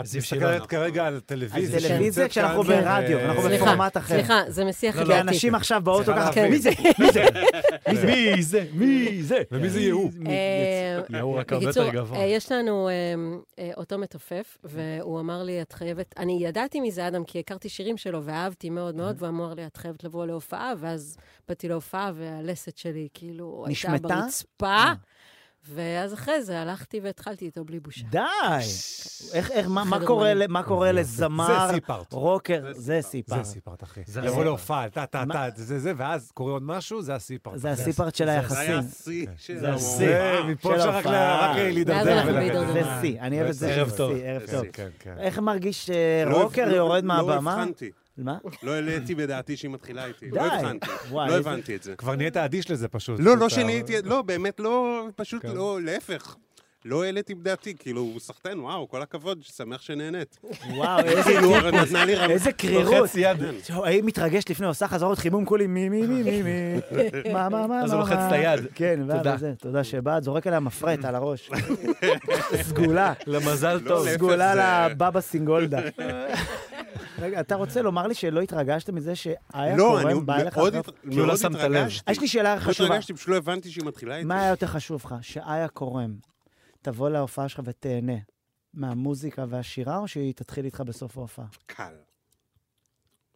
Speaker 3: את
Speaker 2: זיו
Speaker 3: מסתכלת כרגע על
Speaker 1: על
Speaker 3: טלוויזיה.
Speaker 1: טלוויזיה
Speaker 3: שנמצאת
Speaker 1: כשאנחנו
Speaker 3: כאן, אה,
Speaker 1: ברדיו, אנחנו
Speaker 9: סליחה,
Speaker 1: בפורמט אחר.
Speaker 9: סליחה, זה משיח
Speaker 1: כי
Speaker 9: חברתי.
Speaker 1: לא, אנשים עכשיו באוטו
Speaker 3: צריכה
Speaker 1: ככה,
Speaker 3: להבין.
Speaker 1: מי זה?
Speaker 3: כן. מי זה? מי זה? ומי זה יהוא?
Speaker 9: אה,
Speaker 2: יהוא רק הרבה
Speaker 9: בקיצור,
Speaker 2: יותר גבוה.
Speaker 9: אה, יש לנו אה, אה, אותו מתופף, והוא אמר לי, את חייבת... אני ידעתי מי זה אדם, כי הכרתי שירים שלו ואהבתי מאוד מאוד, והוא אמר לי, את חייבת לבוא להופעה, ואז באתי להופעה, והלסת שלי כאילו הייתה
Speaker 1: נשמטה?
Speaker 9: ברצפה. ואז אחרי זה הלכתי והתחלתי איתו בלי בושה.
Speaker 1: די! איך, איך, מה- מה
Speaker 9: חדר
Speaker 1: קורה
Speaker 9: מלא.
Speaker 1: ל- מה קורה לזמר,
Speaker 3: זה סיפארט.
Speaker 1: רוקר, זה
Speaker 3: זה
Speaker 1: סיפארט.
Speaker 3: סיפארט, אחי.
Speaker 2: זה
Speaker 3: לבוא
Speaker 2: הסיפארט.
Speaker 3: להופעה, טה, טה,
Speaker 1: מה?
Speaker 3: טה, זה, זה, זה, ואז קורה עוד משהו, זה הסיפארט.
Speaker 1: זה הסיפארט של
Speaker 10: זה
Speaker 1: היחסים.
Speaker 10: היה שיא של...
Speaker 1: זה השיא.
Speaker 3: כן. זה,
Speaker 10: ההופעה.
Speaker 3: מפה
Speaker 1: של
Speaker 3: אפשר רק לה-
Speaker 1: ההופעה.
Speaker 3: רק
Speaker 9: ואז
Speaker 3: להידרדר אה.
Speaker 9: אנחנו
Speaker 1: זה
Speaker 9: בהידרדרות.
Speaker 3: ולרדת.
Speaker 1: שיא, אני אוהב את זה.
Speaker 2: ערב
Speaker 1: שזה
Speaker 2: טוב.
Speaker 1: שיא, ערב טוב.
Speaker 3: כן, כן.
Speaker 1: איך מרגיש אה,
Speaker 10: לא
Speaker 1: רוקר
Speaker 10: הבח-
Speaker 1: יורד
Speaker 10: לא
Speaker 1: מהבמה?
Speaker 10: הבחנתי.
Speaker 1: מה?
Speaker 10: לא העליתי בדעתי שהיא מתחילה איתי.
Speaker 1: די.
Speaker 10: לא הבחנתי.
Speaker 1: וואי,
Speaker 10: לא
Speaker 1: איזה-
Speaker 10: הבנתי את זה.
Speaker 3: כבר נהיית אדיש לזה פשוט.
Speaker 10: לא, לא
Speaker 3: אתה- אה,
Speaker 10: שיניתי, לא, באמת לא, פשוט
Speaker 3: כן.
Speaker 10: לא, להפך. לא העליתי בדעתי, כאילו, הוא סחטיין, וואו, כל הכבוד, שמח שנהנית.
Speaker 1: וואו, איזה-
Speaker 10: כאילו, נתנה לי רמת...
Speaker 1: איזה קרירות. טוב, הייתי מתרגש לפני, עושה חזרות חימום כולי מי מי מי מי מי. מה מה מה מה.
Speaker 2: אז הוא לוחץ
Speaker 1: מה.
Speaker 2: את היד.
Speaker 1: כן,
Speaker 2: תודה.
Speaker 1: ואז זה, תודה שבאת, זורק עליה מפרט על הראש. סגולה.
Speaker 2: למזל
Speaker 10: לא,
Speaker 2: טוב.
Speaker 10: להפך,
Speaker 1: סגולה
Speaker 10: זה-
Speaker 1: לבבא סינגולדה. רגע, אתה רוצה לומר לי שלא התרגשת מזה שאיה
Speaker 10: לא, אני
Speaker 1: קורן בא אליך? לא
Speaker 10: מאוד
Speaker 1: לחטוף?
Speaker 10: הת-
Speaker 2: לא
Speaker 10: מאוד התרגשתי.
Speaker 1: יש לי שאלה
Speaker 10: מאוד
Speaker 1: חשובה.
Speaker 10: התרגשתי, פשוט לא הבנתי שהיא מתחילה איתי.
Speaker 1: מה היה יותר חשוב לך? שאיה קורם תבוא להופעה שלך ותהנה מהמוזיקה והשירה, או שהיא תתחיל איתך בסוף ההופעה?
Speaker 10: קל.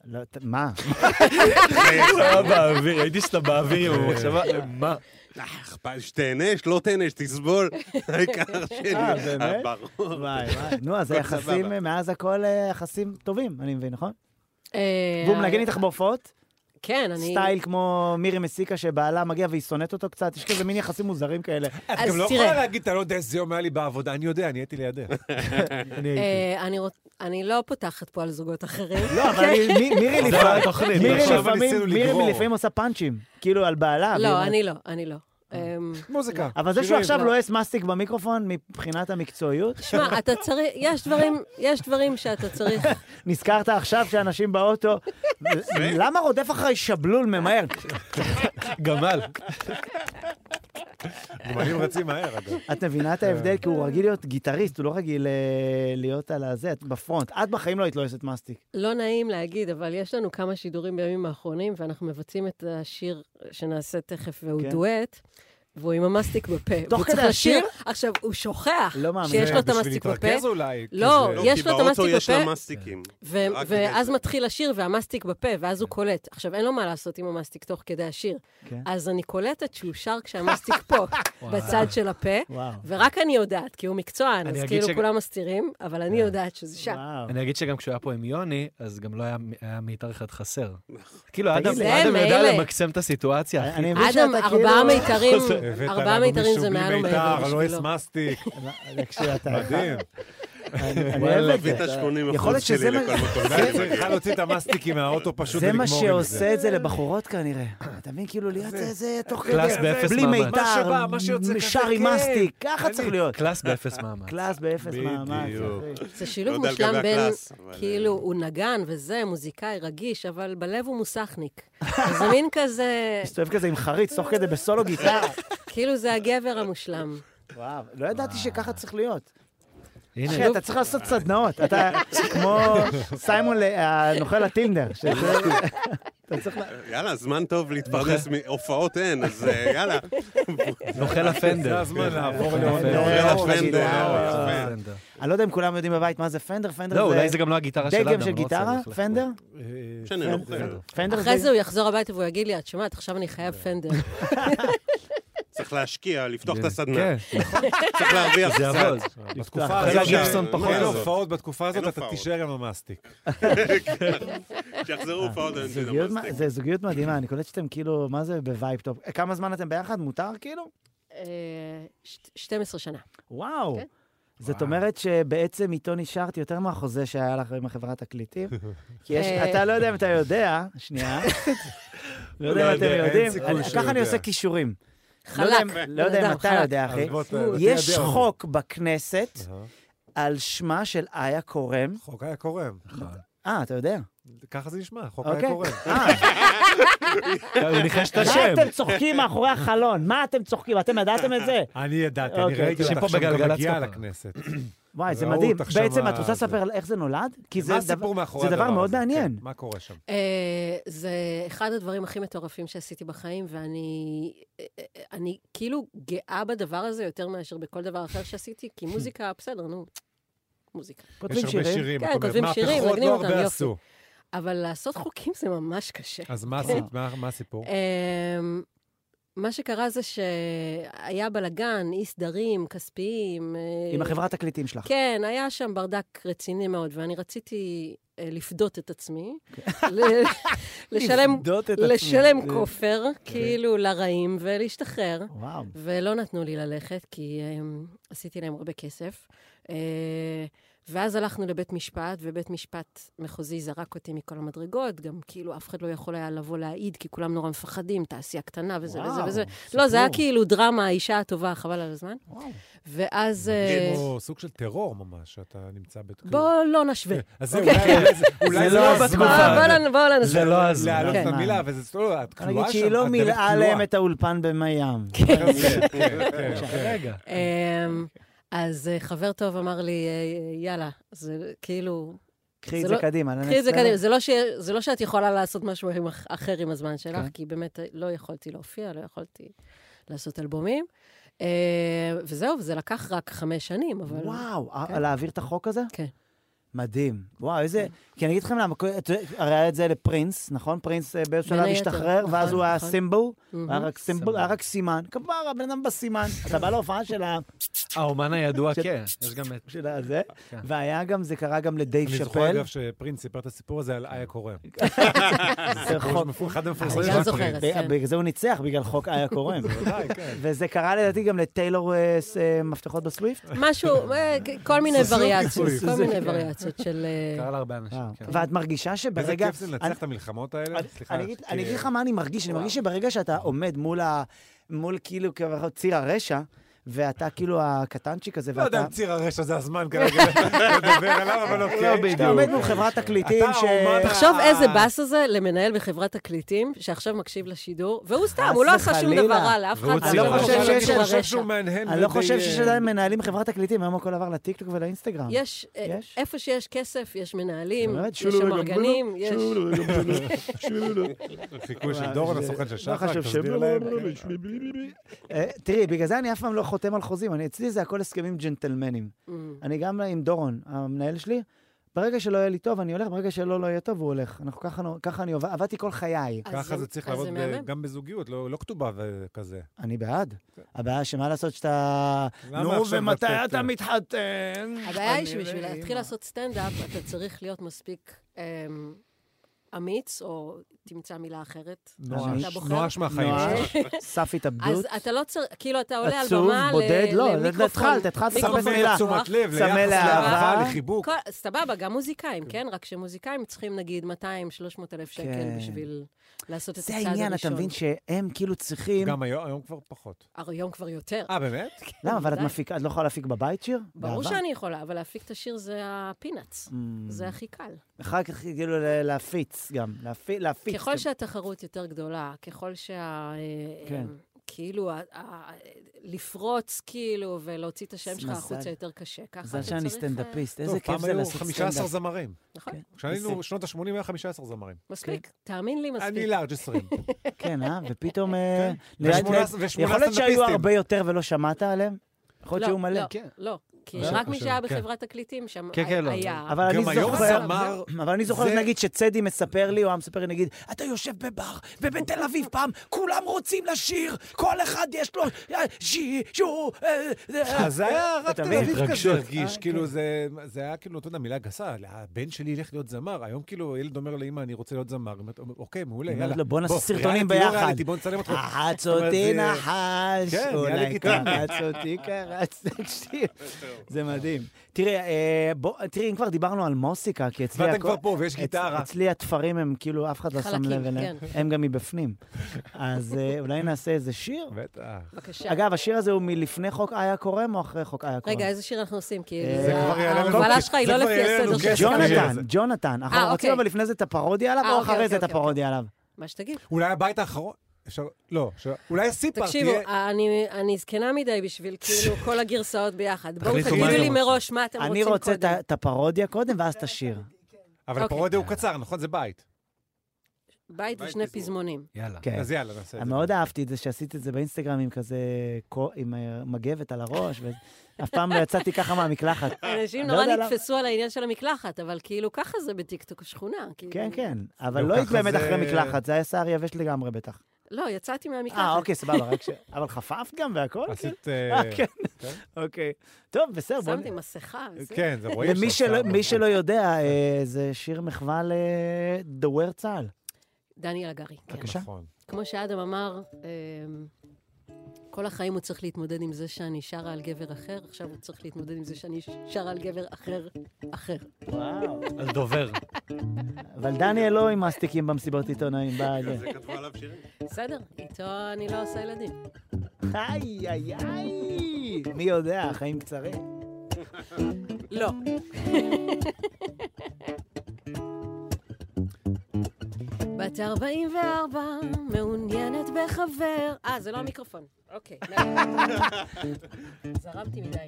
Speaker 1: לא, ת- מה?
Speaker 10: היה
Speaker 11: באוויר, הייתי שאתה באוויר,
Speaker 10: הוא
Speaker 11: במחשבה, מה?
Speaker 10: כן. אה, אכפת, שתהנה, שלא תהנה, שתסבול. העיקר שלי.
Speaker 1: אה, באמת?
Speaker 10: ברור.
Speaker 1: וואי, וואי. נו, אז
Speaker 10: הכל
Speaker 1: היחסים,
Speaker 10: סבבה.
Speaker 1: אה, מאז הכל אה, יחסים טובים, אני מבין, נכון?
Speaker 9: אה,
Speaker 1: והוא מנגן איתך בהופעות?
Speaker 9: כן, אני...
Speaker 1: סטייל כמו מירי מסיקה שבעלה מגיע והיא שונאת אותו קצת, יש כזה מין יחסים מוזרים כאלה.
Speaker 3: את גם לא יכולה להגיד, אתה לא יודע איזה יום היה לי בעבודה, אני יודע, אני הייתי לידך.
Speaker 9: אה, אני רוצ- אני לא פותחת פה על זוגות אחרים.
Speaker 1: לא, אבל אני- מי- מירי
Speaker 9: אוקיי?
Speaker 1: לפעמים- מירי
Speaker 3: עכשיו
Speaker 1: לפעמים-
Speaker 3: ניסינו
Speaker 1: מירי
Speaker 3: לגרור.
Speaker 1: לפעמים עושה פאנצ'ים, כאילו על בעלה. והיא
Speaker 9: לא,
Speaker 1: אומרת-
Speaker 9: אני לא, אני לא. אמ,
Speaker 3: מוזיקה.
Speaker 1: אבל זה שהוא
Speaker 3: לא.
Speaker 1: עכשיו לא- לועס מסטיק במיקרופון מבחינת המקצועיות,
Speaker 9: שמע, אתה צריך, יש דברים, יש דברים שאתה צריך.
Speaker 1: נזכרת עכשיו שאנשים באוטו, למה רודף אחרי שבלול ממהר?
Speaker 3: גמל. גמלים רצים מהר, אגב.
Speaker 1: את מבינה את ההבדל? כי הוא רגיל להיות גיטריסט, הוא לא רגיל אה, להיות על הזה, את בפרונט. את בחיים לא היית לועסת מסטיק.
Speaker 9: לא נעים להגיד, אבל יש לנו כמה שידורים בימים האחרונים, ואנחנו מבצעים את השיר שנעשה תכף, והוא
Speaker 1: כן.
Speaker 9: דואט. והוא עם המסטיק בפה.
Speaker 1: תוך
Speaker 9: והוא צריך
Speaker 1: כדי
Speaker 9: לשיר.
Speaker 1: השיר?
Speaker 9: לא עכשיו, הוא שוכח
Speaker 1: לא מאמין.
Speaker 9: שיש
Speaker 1: זה
Speaker 9: לו את
Speaker 1: בשביל
Speaker 9: המסטיק בפה.
Speaker 3: להתרכז אולי, כי
Speaker 9: לא,
Speaker 3: זה- לא,
Speaker 9: יש
Speaker 3: כי
Speaker 9: לו את
Speaker 3: באוטו
Speaker 9: המסטיק בפה.
Speaker 10: יש לה מסטיקים.
Speaker 9: ו-
Speaker 10: רק כדי
Speaker 9: ואז
Speaker 10: זה.
Speaker 9: מתחיל השיר והמסטיק בפה, ואז הוא קולט. עכשיו, אין לו מה לעשות עם המסטיק תוך כדי השיר.
Speaker 1: כן.
Speaker 9: אז אני קולטת שהוא שר כשהמסטיק פה, בצד של הפה,
Speaker 2: וואו.
Speaker 9: ורק אני יודעת, כי הוא מקצוען,
Speaker 2: אני
Speaker 9: אז
Speaker 2: אגיד
Speaker 9: כאילו
Speaker 2: שג-
Speaker 9: כולם מסתירים, אבל
Speaker 1: כן.
Speaker 9: אני יודעת שזה שם.
Speaker 2: אני אגיד שגם כשהוא היה פה עם יוני, אז גם לא היה- היה מיתר אחד חסר. כאילו,
Speaker 1: תגיד
Speaker 2: אדם
Speaker 1: לי.
Speaker 2: אדם
Speaker 1: זה
Speaker 2: יודע
Speaker 1: מילא.
Speaker 2: למקסם את הסיטואציה, אחי.
Speaker 1: אני מבין
Speaker 9: אדם,
Speaker 1: שאתה
Speaker 9: ארבעה
Speaker 1: כאילו-
Speaker 9: מיתרים,
Speaker 3: הבאת
Speaker 9: ארבעה
Speaker 3: לנו
Speaker 9: מיתרים
Speaker 3: מישהו
Speaker 9: זה
Speaker 3: בלי
Speaker 9: מעל ומעבר
Speaker 3: מיתר, לא
Speaker 9: בשבילו.
Speaker 3: אס מסטיק.
Speaker 1: תקשיב, אתה...
Speaker 3: מדהים.
Speaker 1: אני- אני
Speaker 3: וואלה,
Speaker 1: אוהב את זה.
Speaker 3: הבאת 80%
Speaker 1: יכול להיות
Speaker 3: שלי
Speaker 1: שזה מה-
Speaker 3: לכל מקום. צריכה להוציא את המסטיקים מהאוטו פשוט
Speaker 1: זה
Speaker 3: ולגמור
Speaker 1: מה
Speaker 3: עם זה.
Speaker 1: שעושה את זה לבחורות כנראה. אתה מבין? כאילו להיות איזה תוך כדי...
Speaker 2: קלאס באפס
Speaker 1: בלי
Speaker 2: מאמץ.
Speaker 1: מיתר,
Speaker 2: מה שבא, מה שיוצא כזה,
Speaker 1: שר עם
Speaker 2: כן.
Speaker 1: מסטיק, ככה צריך להיות.
Speaker 2: קלאס באפס מאמץ.
Speaker 1: קלאס באפס מאמץ, אחי.
Speaker 9: זה שילוב
Speaker 2: לא יודע
Speaker 9: מושלם
Speaker 2: לגבי
Speaker 9: בין,
Speaker 2: הקלאס, אבל- אה,
Speaker 9: כאילו, הוא נגן וזה, מוזיקאי רגיש, אבל בלב הוא מוסכניק. זה מין כזה,
Speaker 1: מסתובב כזה עם חריץ, תוך כדי בסולו גיטרה.
Speaker 9: כאילו זה הגבר המושלם.
Speaker 1: וואו, לא ידעתי שככה צריך להיות.
Speaker 2: הנה.
Speaker 1: אחי, אתה צריך לעשות סדנאות. אתה כמו סיימון, ל- הנוכל הטינדר. שזה- אתה צריך... לה-
Speaker 10: יאללה, זמן טוב להתפרנס
Speaker 1: אוקיי.
Speaker 10: מהופעות אין, אז אה, יאללה.
Speaker 2: נוכל כן. הפנדר.
Speaker 10: זה הזמן לעבור
Speaker 1: פנדר,
Speaker 10: נוכל
Speaker 1: נגיד,
Speaker 10: הפנדר.
Speaker 1: וואו.
Speaker 10: יפה.
Speaker 1: אני לא יודע אם כולם יודעים בבית מה זה פנדר, פנדר זה...
Speaker 2: לא, אולי זה גם לא הגיטרה של
Speaker 1: דגם
Speaker 2: אדם,
Speaker 1: של
Speaker 2: לא רוצה
Speaker 1: גיטרה,
Speaker 2: ללכת
Speaker 1: פנדר?
Speaker 10: משנה, לא חייב.
Speaker 1: פנדר
Speaker 9: אחרי זה הוא יחזור הביתה והוא יגיד לי, את שומעת, עכשיו אני חייב פנדר.
Speaker 10: צריך להשקיע, לפתוח את הסדנה.
Speaker 2: כן,
Speaker 10: צריך להרוויח
Speaker 2: זה יעבוד.
Speaker 10: קצת.
Speaker 3: בתקופה הזאת, אין הופעות בתקופה הזאת,
Speaker 10: אין
Speaker 3: אתה
Speaker 10: הופעות. כן.
Speaker 3: תישאר עם המסטיק.
Speaker 10: שיחזרו הופעות אין של
Speaker 1: זוגיות
Speaker 10: המסטיק.
Speaker 1: מה- זה זוגיות מדהימה, אני קולט שאתם כאילו, מה זה בווייב טוב? כמה זמן אתם ביחד? מותר כאילו?
Speaker 9: אה, ש- 12 שנה.
Speaker 1: וואו.
Speaker 9: כן.
Speaker 1: זאת אומרת שבעצם איתו נשארת יותר מהחוזה שהיה לך עם החברת תקליטים. כי יש,
Speaker 9: אה.
Speaker 1: אתה לא יודע אם אתה יודע, שנייה. לא יודע אם
Speaker 3: לא
Speaker 1: אתם
Speaker 3: יודע, אין
Speaker 1: יודעים.
Speaker 3: סיכוי
Speaker 1: אני-
Speaker 3: שהוא
Speaker 1: ככה אני
Speaker 3: יודע.
Speaker 1: עושה כישורים.
Speaker 9: חלק,
Speaker 1: לא יודע אם-
Speaker 9: בן
Speaker 1: לא יודע אם
Speaker 9: אדם,
Speaker 1: אתה
Speaker 9: חלק.
Speaker 1: יודע, אחי.
Speaker 3: אז בוא ת- תיידע
Speaker 1: יש
Speaker 3: אותי.
Speaker 1: חוק בכנסת על שמה של איה קורם.
Speaker 3: חוק היה קורם.
Speaker 1: אה, אתה יודע.
Speaker 3: ככה זה נשמע, חוק היה
Speaker 1: אוקיי.
Speaker 3: קורם.
Speaker 1: אה.
Speaker 2: הוא ניחש את
Speaker 1: מה
Speaker 2: השם.
Speaker 1: אתם צוחקים מאחורי החלון? מה אתם צוחקים? אתם ידעתם את זה?
Speaker 3: אני ידעתי, אני
Speaker 1: אוקיי,
Speaker 3: ראיתי
Speaker 1: תודה.
Speaker 3: אותך
Speaker 2: שפה
Speaker 3: עכשיו גם
Speaker 2: בגלגלצ
Speaker 3: מגיעה
Speaker 2: ככה.
Speaker 3: לכנסת.
Speaker 1: וואי, זה
Speaker 3: ראו
Speaker 1: מדהים.
Speaker 3: אותך
Speaker 1: בעצם
Speaker 3: שמה- כן,
Speaker 1: את רוצה לספר על איך זה נולד? כי זה
Speaker 3: מה
Speaker 1: דבר-
Speaker 3: הסיפור מאחורי
Speaker 1: זה
Speaker 3: הדבר
Speaker 1: דבר מאוד
Speaker 3: הזה?
Speaker 1: מעניין.
Speaker 3: כן, מה קורה שם?
Speaker 9: אה, זה אחד הדברים הכי מטורפים שעשיתי בחיים, ואני אה, אה, אני כאילו גאה בדבר הזה יותר מאשר בכל דבר אחר שעשיתי, כי מוזיקה, בסדר, נו, מוזיקה.
Speaker 1: כותבים
Speaker 3: יש הרבה שירים.
Speaker 9: כן,
Speaker 3: את אומרת,
Speaker 9: כותבים שירים,
Speaker 3: מהפכות
Speaker 9: מנגנים
Speaker 3: לא
Speaker 9: אותם,
Speaker 3: הרבה
Speaker 9: יופי.
Speaker 3: עשו.
Speaker 9: אבל לעשות חוקים זה ממש קשה.
Speaker 3: אז מה עשית? מה- מה הסיפור?
Speaker 9: אמ, מה שקרה זה שהיה בלאגן, אי סדרים, כספיים. אה,
Speaker 1: עם החברת תקליטים שלך.
Speaker 9: כן, היה שם ברדק רציני מאוד, ואני רציתי אה, לפדות את עצמי, ל- לשלם,
Speaker 1: כן. לפדות את עצמי. אה,
Speaker 9: לשלם כופר, כאילו, לרעים, ולהשתחרר.
Speaker 1: וואו.
Speaker 9: ולא נתנו לי ללכת, כי הם, עשיתי להם הרבה כסף. אה, ואז הלכנו לבית משפט, ובית משפט מחוזי זרק אותי מכל המדרגות, גם כאילו אף אחד לא יכול היה לבוא להעיד, כי כולם נורא מפחדים, תעשייה קטנה וזה
Speaker 1: וואו,
Speaker 9: וזה וזה.
Speaker 1: סיפור.
Speaker 9: לא, זה היה כאילו דרמה, האישה הטובה, חבל על הזמן.
Speaker 1: וואו.
Speaker 9: ואז... אה,
Speaker 3: כמו סוג של טרור ממש, שאתה נמצא בתקופה. כן,
Speaker 9: בוא לא נשווה.
Speaker 3: אז זהו,
Speaker 9: אוקיי?
Speaker 3: אולי- אולי
Speaker 2: זה
Speaker 3: זה
Speaker 2: לא
Speaker 3: לא
Speaker 2: בתקופה
Speaker 3: הזמן.
Speaker 9: בוא לא- בוא לא נשווה.
Speaker 3: להעלות
Speaker 9: כן.
Speaker 3: את המילה, אבל זה לא, את
Speaker 1: נגיד
Speaker 3: כלואה שם.
Speaker 1: שהיא לא
Speaker 3: את
Speaker 1: מילאה
Speaker 3: באמת
Speaker 1: להם את האולפן במיאם.
Speaker 3: כלואה. כן, כן, כן.
Speaker 2: רגע.
Speaker 9: אמ, אז אה, חבר טוב אמר לי, אה, יאללה, זה כאילו,
Speaker 1: קחי את זה
Speaker 9: לא-
Speaker 1: קדימה, לנצח.
Speaker 9: קחי את זה קדימה. זה לא ש- זה לא שאת יכולה לעשות משהו עם- אחר עם הזמן שלך,
Speaker 1: כן.
Speaker 9: כי באמת לא יכולתי להופיע, לא יכולתי לעשות אלבומים. אה, וזהו, וזה לקח רק חמש שנים, אבל...
Speaker 1: וואו,
Speaker 9: כן.
Speaker 1: אה, להעביר את החוק הזה?
Speaker 9: כן.
Speaker 1: מדהים. וואו, איזה... כי אני אגיד לכם למה, כל- את- הרי היה את זה לפרינס, נכון? פרינס אה, באיזשהו
Speaker 9: בין
Speaker 1: שלב
Speaker 9: היתר,
Speaker 1: השתחרר, ואז
Speaker 9: נכון,
Speaker 1: הוא היה
Speaker 9: נכון.
Speaker 1: סימבל,
Speaker 9: מהמם.
Speaker 1: היה רק סימבל, היה רק סימן. כבר הבן אדם בסימן, אתה בא להופעה של ה...
Speaker 2: האומן הידוע,
Speaker 1: של-
Speaker 2: כן, יש גם את...
Speaker 1: של הזה. והיה גם, זה קרה גם לדייב
Speaker 3: אני זוכר,
Speaker 1: שאפל.
Speaker 3: אגב, שפרינס סיפר את הסיפור הזה על איה קורם.
Speaker 1: זה חוק. לא
Speaker 3: אחד המפורסמים. אה, של פרינס.
Speaker 9: כן.
Speaker 1: ב- בגלל זה הוא ניצח, בגלל חוק איה קורם.
Speaker 3: בוודאי, כן.
Speaker 1: וזה קרה לדעתי גם לטיילור אה, ס- אה, מפתחות בסוויפט.
Speaker 9: משהו, אה, כל מיני
Speaker 1: סוזוקי,
Speaker 9: וריאציות, כל
Speaker 1: סוזוקי,
Speaker 9: מיני
Speaker 1: כן.
Speaker 9: וריאציות של... אה,
Speaker 2: קרה להרבה אנשים.
Speaker 1: כן. ואת מרגישה
Speaker 3: איזה
Speaker 1: שברגע...
Speaker 3: כיף זה
Speaker 1: אני-
Speaker 3: לנצח את המלחמות האלה. סליחה.
Speaker 1: אני אגיד-
Speaker 3: כי-
Speaker 1: אני אגיד לך מה אני מרגיש, אני מרגיש שברגע שאתה עומד מול ה... מול כאילו כביכול ציר הרשע, ואתה כאילו הקטנצ'יק הזה,
Speaker 3: לא יודע
Speaker 1: ואתה... לא
Speaker 3: אם ציר הרשע זה הזמן כרגע לדבר עליו, אבל אוקיי.
Speaker 1: כשאתה עומד מול חברת תקליטים ש...
Speaker 9: תחשוב איזה באס הזה למנהל בחברת תקליטים, שעכשיו מקשיב לשידור, והוא סתם, הוא לא
Speaker 1: חס
Speaker 9: עשה שום
Speaker 1: וחלילה.
Speaker 9: דבר רע לאף אחד.
Speaker 1: אני לא חושב שיש...
Speaker 9: הוא חושב שהוא
Speaker 3: מהנהן.
Speaker 1: אני לא
Speaker 3: ודי,
Speaker 1: חושב
Speaker 3: אה,
Speaker 1: שיש עדיין מנהלים חברת תקליטים, היום הכל עבר לטיקטוק ולאינסטגרם.
Speaker 9: יש, אה, איפה שיש כסף, יש מנהלים,
Speaker 1: אומרת,
Speaker 9: יש
Speaker 1: שולו לגמבולו,
Speaker 9: אמרגנים, יש...
Speaker 1: שולו לגמבולו, שולו.
Speaker 3: חיקוי של דורון, הסוכן של שחר,
Speaker 1: לא חשוב,
Speaker 3: תסביר
Speaker 1: שולו
Speaker 3: להם.
Speaker 1: לגמבולו, אה, תראי, בגלל זה אני אף פעם לא חותם על חוזים, אני, אצלי זה הכל הסכמים ג'נטלמנים.
Speaker 9: Mm.
Speaker 1: אני גם עם דורון, המנהל שלי, ברגע שלא יהיה לי טוב, אני הולך, ברגע שלא לא יהיה טוב, הוא הולך. אנחנו ככה, ככה אני עובד, עבדתי כל חיי.
Speaker 3: ככה זה צריך לעבוד ב- גם בזוגיות, לא לא כתובה וכזה.
Speaker 1: אני בעד. הבעיה שמה לעשות שאתה...
Speaker 3: כן. למה
Speaker 1: נו,
Speaker 3: עכשיו
Speaker 1: ומתי
Speaker 3: לתת,
Speaker 1: אתה
Speaker 3: אה?
Speaker 1: מתחתן?
Speaker 9: הבעיה היא
Speaker 1: אני
Speaker 9: שבשביל
Speaker 1: ואימא.
Speaker 9: להתחיל לעשות סטנדאפ, אתה צריך להיות מספיק אמ, אמיץ, או תמצא מילה אחרת.
Speaker 1: נואש.
Speaker 9: שאתה בוחר.
Speaker 1: נואש מהחיים
Speaker 9: נואש.
Speaker 1: שלך. סף
Speaker 9: אז
Speaker 1: התאבדות.
Speaker 9: אתה לא צריך, כאילו, אתה עולה על
Speaker 1: עצוב,
Speaker 9: במה ל-
Speaker 1: בודד, לא,
Speaker 9: למיקרופון.
Speaker 1: התחלת, התחלת לחפש
Speaker 9: מיקרופון פתוח.
Speaker 1: מילה. תשומת לב, ליחס, סמל לאהבה,
Speaker 9: סבבה.
Speaker 1: לחיבוק.
Speaker 9: כל- סבבה, גם מוזיקאים, כן? רק שמוזיקאים צריכים נגיד 200-300 אלף שקל
Speaker 1: כן.
Speaker 9: בשביל לעשות את
Speaker 1: זה
Speaker 9: הצעד הראשון.
Speaker 1: העניין, אתה מבין שהם כאילו צריכים...
Speaker 3: גם היום היום כבר פחות.
Speaker 9: היום כבר יותר.
Speaker 3: אה, באמת?
Speaker 1: למה, אבל את
Speaker 9: די.
Speaker 1: מפיקה, את לא יכולה להפיק בבית שיר?
Speaker 9: ברור
Speaker 1: באהבה?
Speaker 9: שאני יכולה, אבל להפיק את השיר זה הפינאץ.
Speaker 1: Mm.
Speaker 9: זה הכי קל.
Speaker 1: אחר כך כאילו ל- להפיץ גם, להפי- להפיץ.
Speaker 9: ככל שהתחרות יותר גדולה, ככל שה... אה,
Speaker 1: כן.
Speaker 9: כאילו, ה- ה- לפרוץ, כאילו, ולהוציא את השם שלך
Speaker 1: מזל.
Speaker 9: החוצה יותר קשה. ככה אתה
Speaker 1: מזל
Speaker 9: צריך...
Speaker 1: שאני
Speaker 9: אה,
Speaker 1: סטנדאפיסט, איזה
Speaker 3: טוב,
Speaker 1: כיף
Speaker 3: פעם
Speaker 1: זה
Speaker 3: היו
Speaker 1: לעשות סטנדאפ. כן.
Speaker 3: 15 זמרים.
Speaker 9: נכון.
Speaker 3: כשהיינו, שנות ה-80 היה 15 זמרים.
Speaker 9: מספיק, תאמין לי, מספיק.
Speaker 1: לא.
Speaker 3: אני לארג' 20.
Speaker 1: כן, אה? ופתאום... אה, לאט
Speaker 3: ושמונה-
Speaker 1: לאט-
Speaker 3: ושמונה
Speaker 1: יכול להיות שהיו
Speaker 3: סטנדאפיסטים. כן,
Speaker 1: הרבה יותר ולא שמעת עליהם? יכול להיות
Speaker 9: לא,
Speaker 1: שהיו מלא.
Speaker 9: לא, לא, כי
Speaker 1: לא,
Speaker 9: רק מי
Speaker 1: חושב,
Speaker 9: שהיה
Speaker 1: כן.
Speaker 9: בחברת תקליטים שם
Speaker 1: כן, כן, לא.
Speaker 9: היה.
Speaker 1: אבל אני זוכר, אבל אני זוכר,
Speaker 9: זה-
Speaker 1: נגיד, שצדי מספר לי, או היה מספר לי, נגיד, אתה יושב בבר, ובתל אביב פעם, כולם רוצים לשיר, כל אחד יש לו אה, שי, שהוא... אה, אה,
Speaker 3: אז זה היה רק
Speaker 1: אתה
Speaker 3: תל
Speaker 1: מבין?
Speaker 3: אביב כזה
Speaker 1: התרגשות.
Speaker 3: הרגיש,
Speaker 1: אה,
Speaker 3: כאילו
Speaker 1: כן.
Speaker 3: זה זה היה כאילו, אתה יודע, מילה גסה, הבן שלי ילך להיות זמר, היום כאילו ילד אומר לאמא, אני רוצה להיות זמר, היא אומרת, אוקיי, מעולה,
Speaker 1: היא
Speaker 3: יאללה.
Speaker 1: אומרת לו, "בוא נעשה סרטונים
Speaker 3: ריאליטי, לא
Speaker 1: ביחד."
Speaker 3: ריאליטי, בוא נצלם אותך.
Speaker 1: "רחץ
Speaker 3: זאת אומרת,
Speaker 1: אותי
Speaker 3: זה-
Speaker 1: נחש,
Speaker 3: כן, נהיה לי
Speaker 1: אולי
Speaker 3: גיטרה.
Speaker 1: קרץ אותי קרץ, תקשיב. זה מדהים. תראה, אה, בוא- תראי, אם כבר דיברנו על מוסיקה, כי אצלי...
Speaker 3: ואתם
Speaker 1: הכל-
Speaker 3: כבר פה, ויש
Speaker 1: אצ-
Speaker 3: גיטרה.
Speaker 1: אצלי התפרים הם כאילו, אף אחד לא שם
Speaker 9: חלקים,
Speaker 1: לב אליהם.
Speaker 9: כן.
Speaker 1: הם גם מבפנים. אז אה, אולי נעשה איזה שיר?
Speaker 3: בטח.
Speaker 9: בבקשה.
Speaker 1: אגב, השיר הזה הוא מלפני חוק איה קורם או אחרי חוק איה קורם?
Speaker 9: רגע, איזה שיר אנחנו עושים? כי
Speaker 1: אה,
Speaker 9: ההובלה שלך היא לא לפי הסדר של...
Speaker 1: ג'ונתן, ג'ונתן. אנחנו
Speaker 9: אה,
Speaker 1: רוצים
Speaker 9: אוקיי.
Speaker 1: אבל לפני זה את הפרודיה עליו,
Speaker 9: אה,
Speaker 1: או
Speaker 9: אוקיי,
Speaker 1: אחרי זה את
Speaker 9: אוקיי,
Speaker 1: הפרודיה עליו?
Speaker 9: מה שתגיד.
Speaker 3: אולי הבית האחרון, אפשר, לא, ש- אולי סיפר
Speaker 9: תקשיבו, אה,
Speaker 3: תהיה...
Speaker 9: אני- אני זקנה מדי בשביל כאילו כל הגרסאות ביחד. בואו
Speaker 3: תחליטו מה
Speaker 9: תגידו
Speaker 3: אתם
Speaker 9: לי
Speaker 3: רוצים.
Speaker 9: מראש מה אתם
Speaker 1: אני
Speaker 9: רוצים
Speaker 1: רוצה את
Speaker 9: קודם.
Speaker 1: ה- את הפרודיה קודם, ואז את השיר.
Speaker 3: אבל
Speaker 9: אוקיי.
Speaker 3: הפרודיה הוא קצר, נכון? זה בית.
Speaker 9: בית ושני פזמונים.
Speaker 3: יאללה.
Speaker 1: כן.
Speaker 3: אז יאללה, נעשה את זה.
Speaker 1: מאוד אהבתי את זה שעשית את זה באינסטגרם עם כזה, קו- עם אה, מגבת על הראש, ואף פעם לא יצאתי ככה מהמקלחת.
Speaker 9: אנשים
Speaker 1: לא
Speaker 9: נורא
Speaker 1: יודע למה-
Speaker 9: נתפסו על העניין של המקלחת, אבל כאילו ככה זה בטיקטוק שכונה. כאילו.
Speaker 1: כן, כן, אבל
Speaker 3: לא,
Speaker 1: לא היית
Speaker 3: ככה
Speaker 1: באמת
Speaker 3: זה-
Speaker 1: אחרי מקלחת, זה היה שיער יבש לגמרי בטח.
Speaker 9: לא, יצאתי מהמקלחת.
Speaker 1: אה, אוקיי, סבבה, רק ש... אבל חפפת גם והכל?
Speaker 3: עשית,
Speaker 1: כן.
Speaker 3: אה,
Speaker 1: אה, כן. אוקיי. טוב, בסדר, בוא...
Speaker 9: שמתי מסכה. זה-
Speaker 3: כן, זה רואים
Speaker 1: למי
Speaker 3: שאת שמה.
Speaker 1: שלא- מי שלא יודע, אה, זה שיר מחווה לדובר צה"ל.
Speaker 9: דניאל הגרי. כן.
Speaker 1: בבקשה.
Speaker 3: נכון.
Speaker 9: כמו שאדם אמר, אמ, כל החיים הוא צריך להתמודד עם זה שאני שרה על גבר אחר, עכשיו הוא צריך להתמודד עם זה שאני שרה על גבר אחר אחר.
Speaker 1: וואו.
Speaker 2: על דובר.
Speaker 1: אבל דניאל לא עם מסטיקים במסיבות עיתונאים. כן. ב- זה.
Speaker 10: כתבו עליו שירים.
Speaker 9: בסדר, איתו אני לא עושה ילדים.
Speaker 1: איי, איי, איי. מי יודע, החיים קצרים.
Speaker 4: כן.
Speaker 9: לא. בת 44, מעוניינת בחבר. אה, זה לא המיקרופון. אוקיי. זרמתי מדי.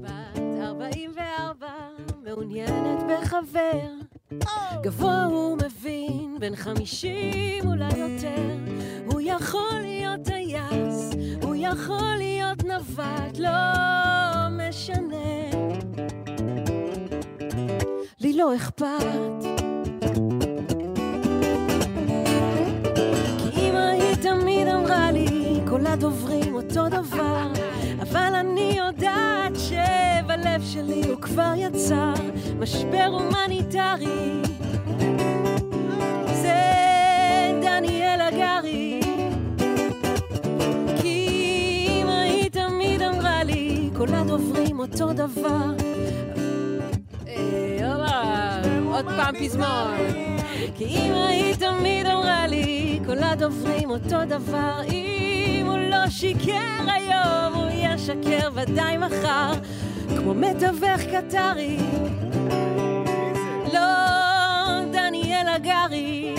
Speaker 9: בת 44,
Speaker 12: מעוניינת בחבר. גבוה הוא מבין, בן חמישים אולי יותר. הוא יכול להיות טייס, הוא יכול להיות נווט, לא משנה. לי לא אכפת. כי אמא היא תמיד אמרה לי, כל הדוברים אותו דבר, אבל אני יודעת שבלב שלי הוא כבר יצר משבר הומניטרי. זה דניאל הגרי. כי אמא היא תמיד אמרה לי, כל הדוברים אותו דבר, אה, יאללה, עוד פעם פזמון. כי אמא היא תמיד אמרה לי, כל הדוברים אותו דבר. אם הוא לא שיקר היום, הוא ישקר ודאי מחר, כמו מתווך קטרי. לא דניאל הגרי.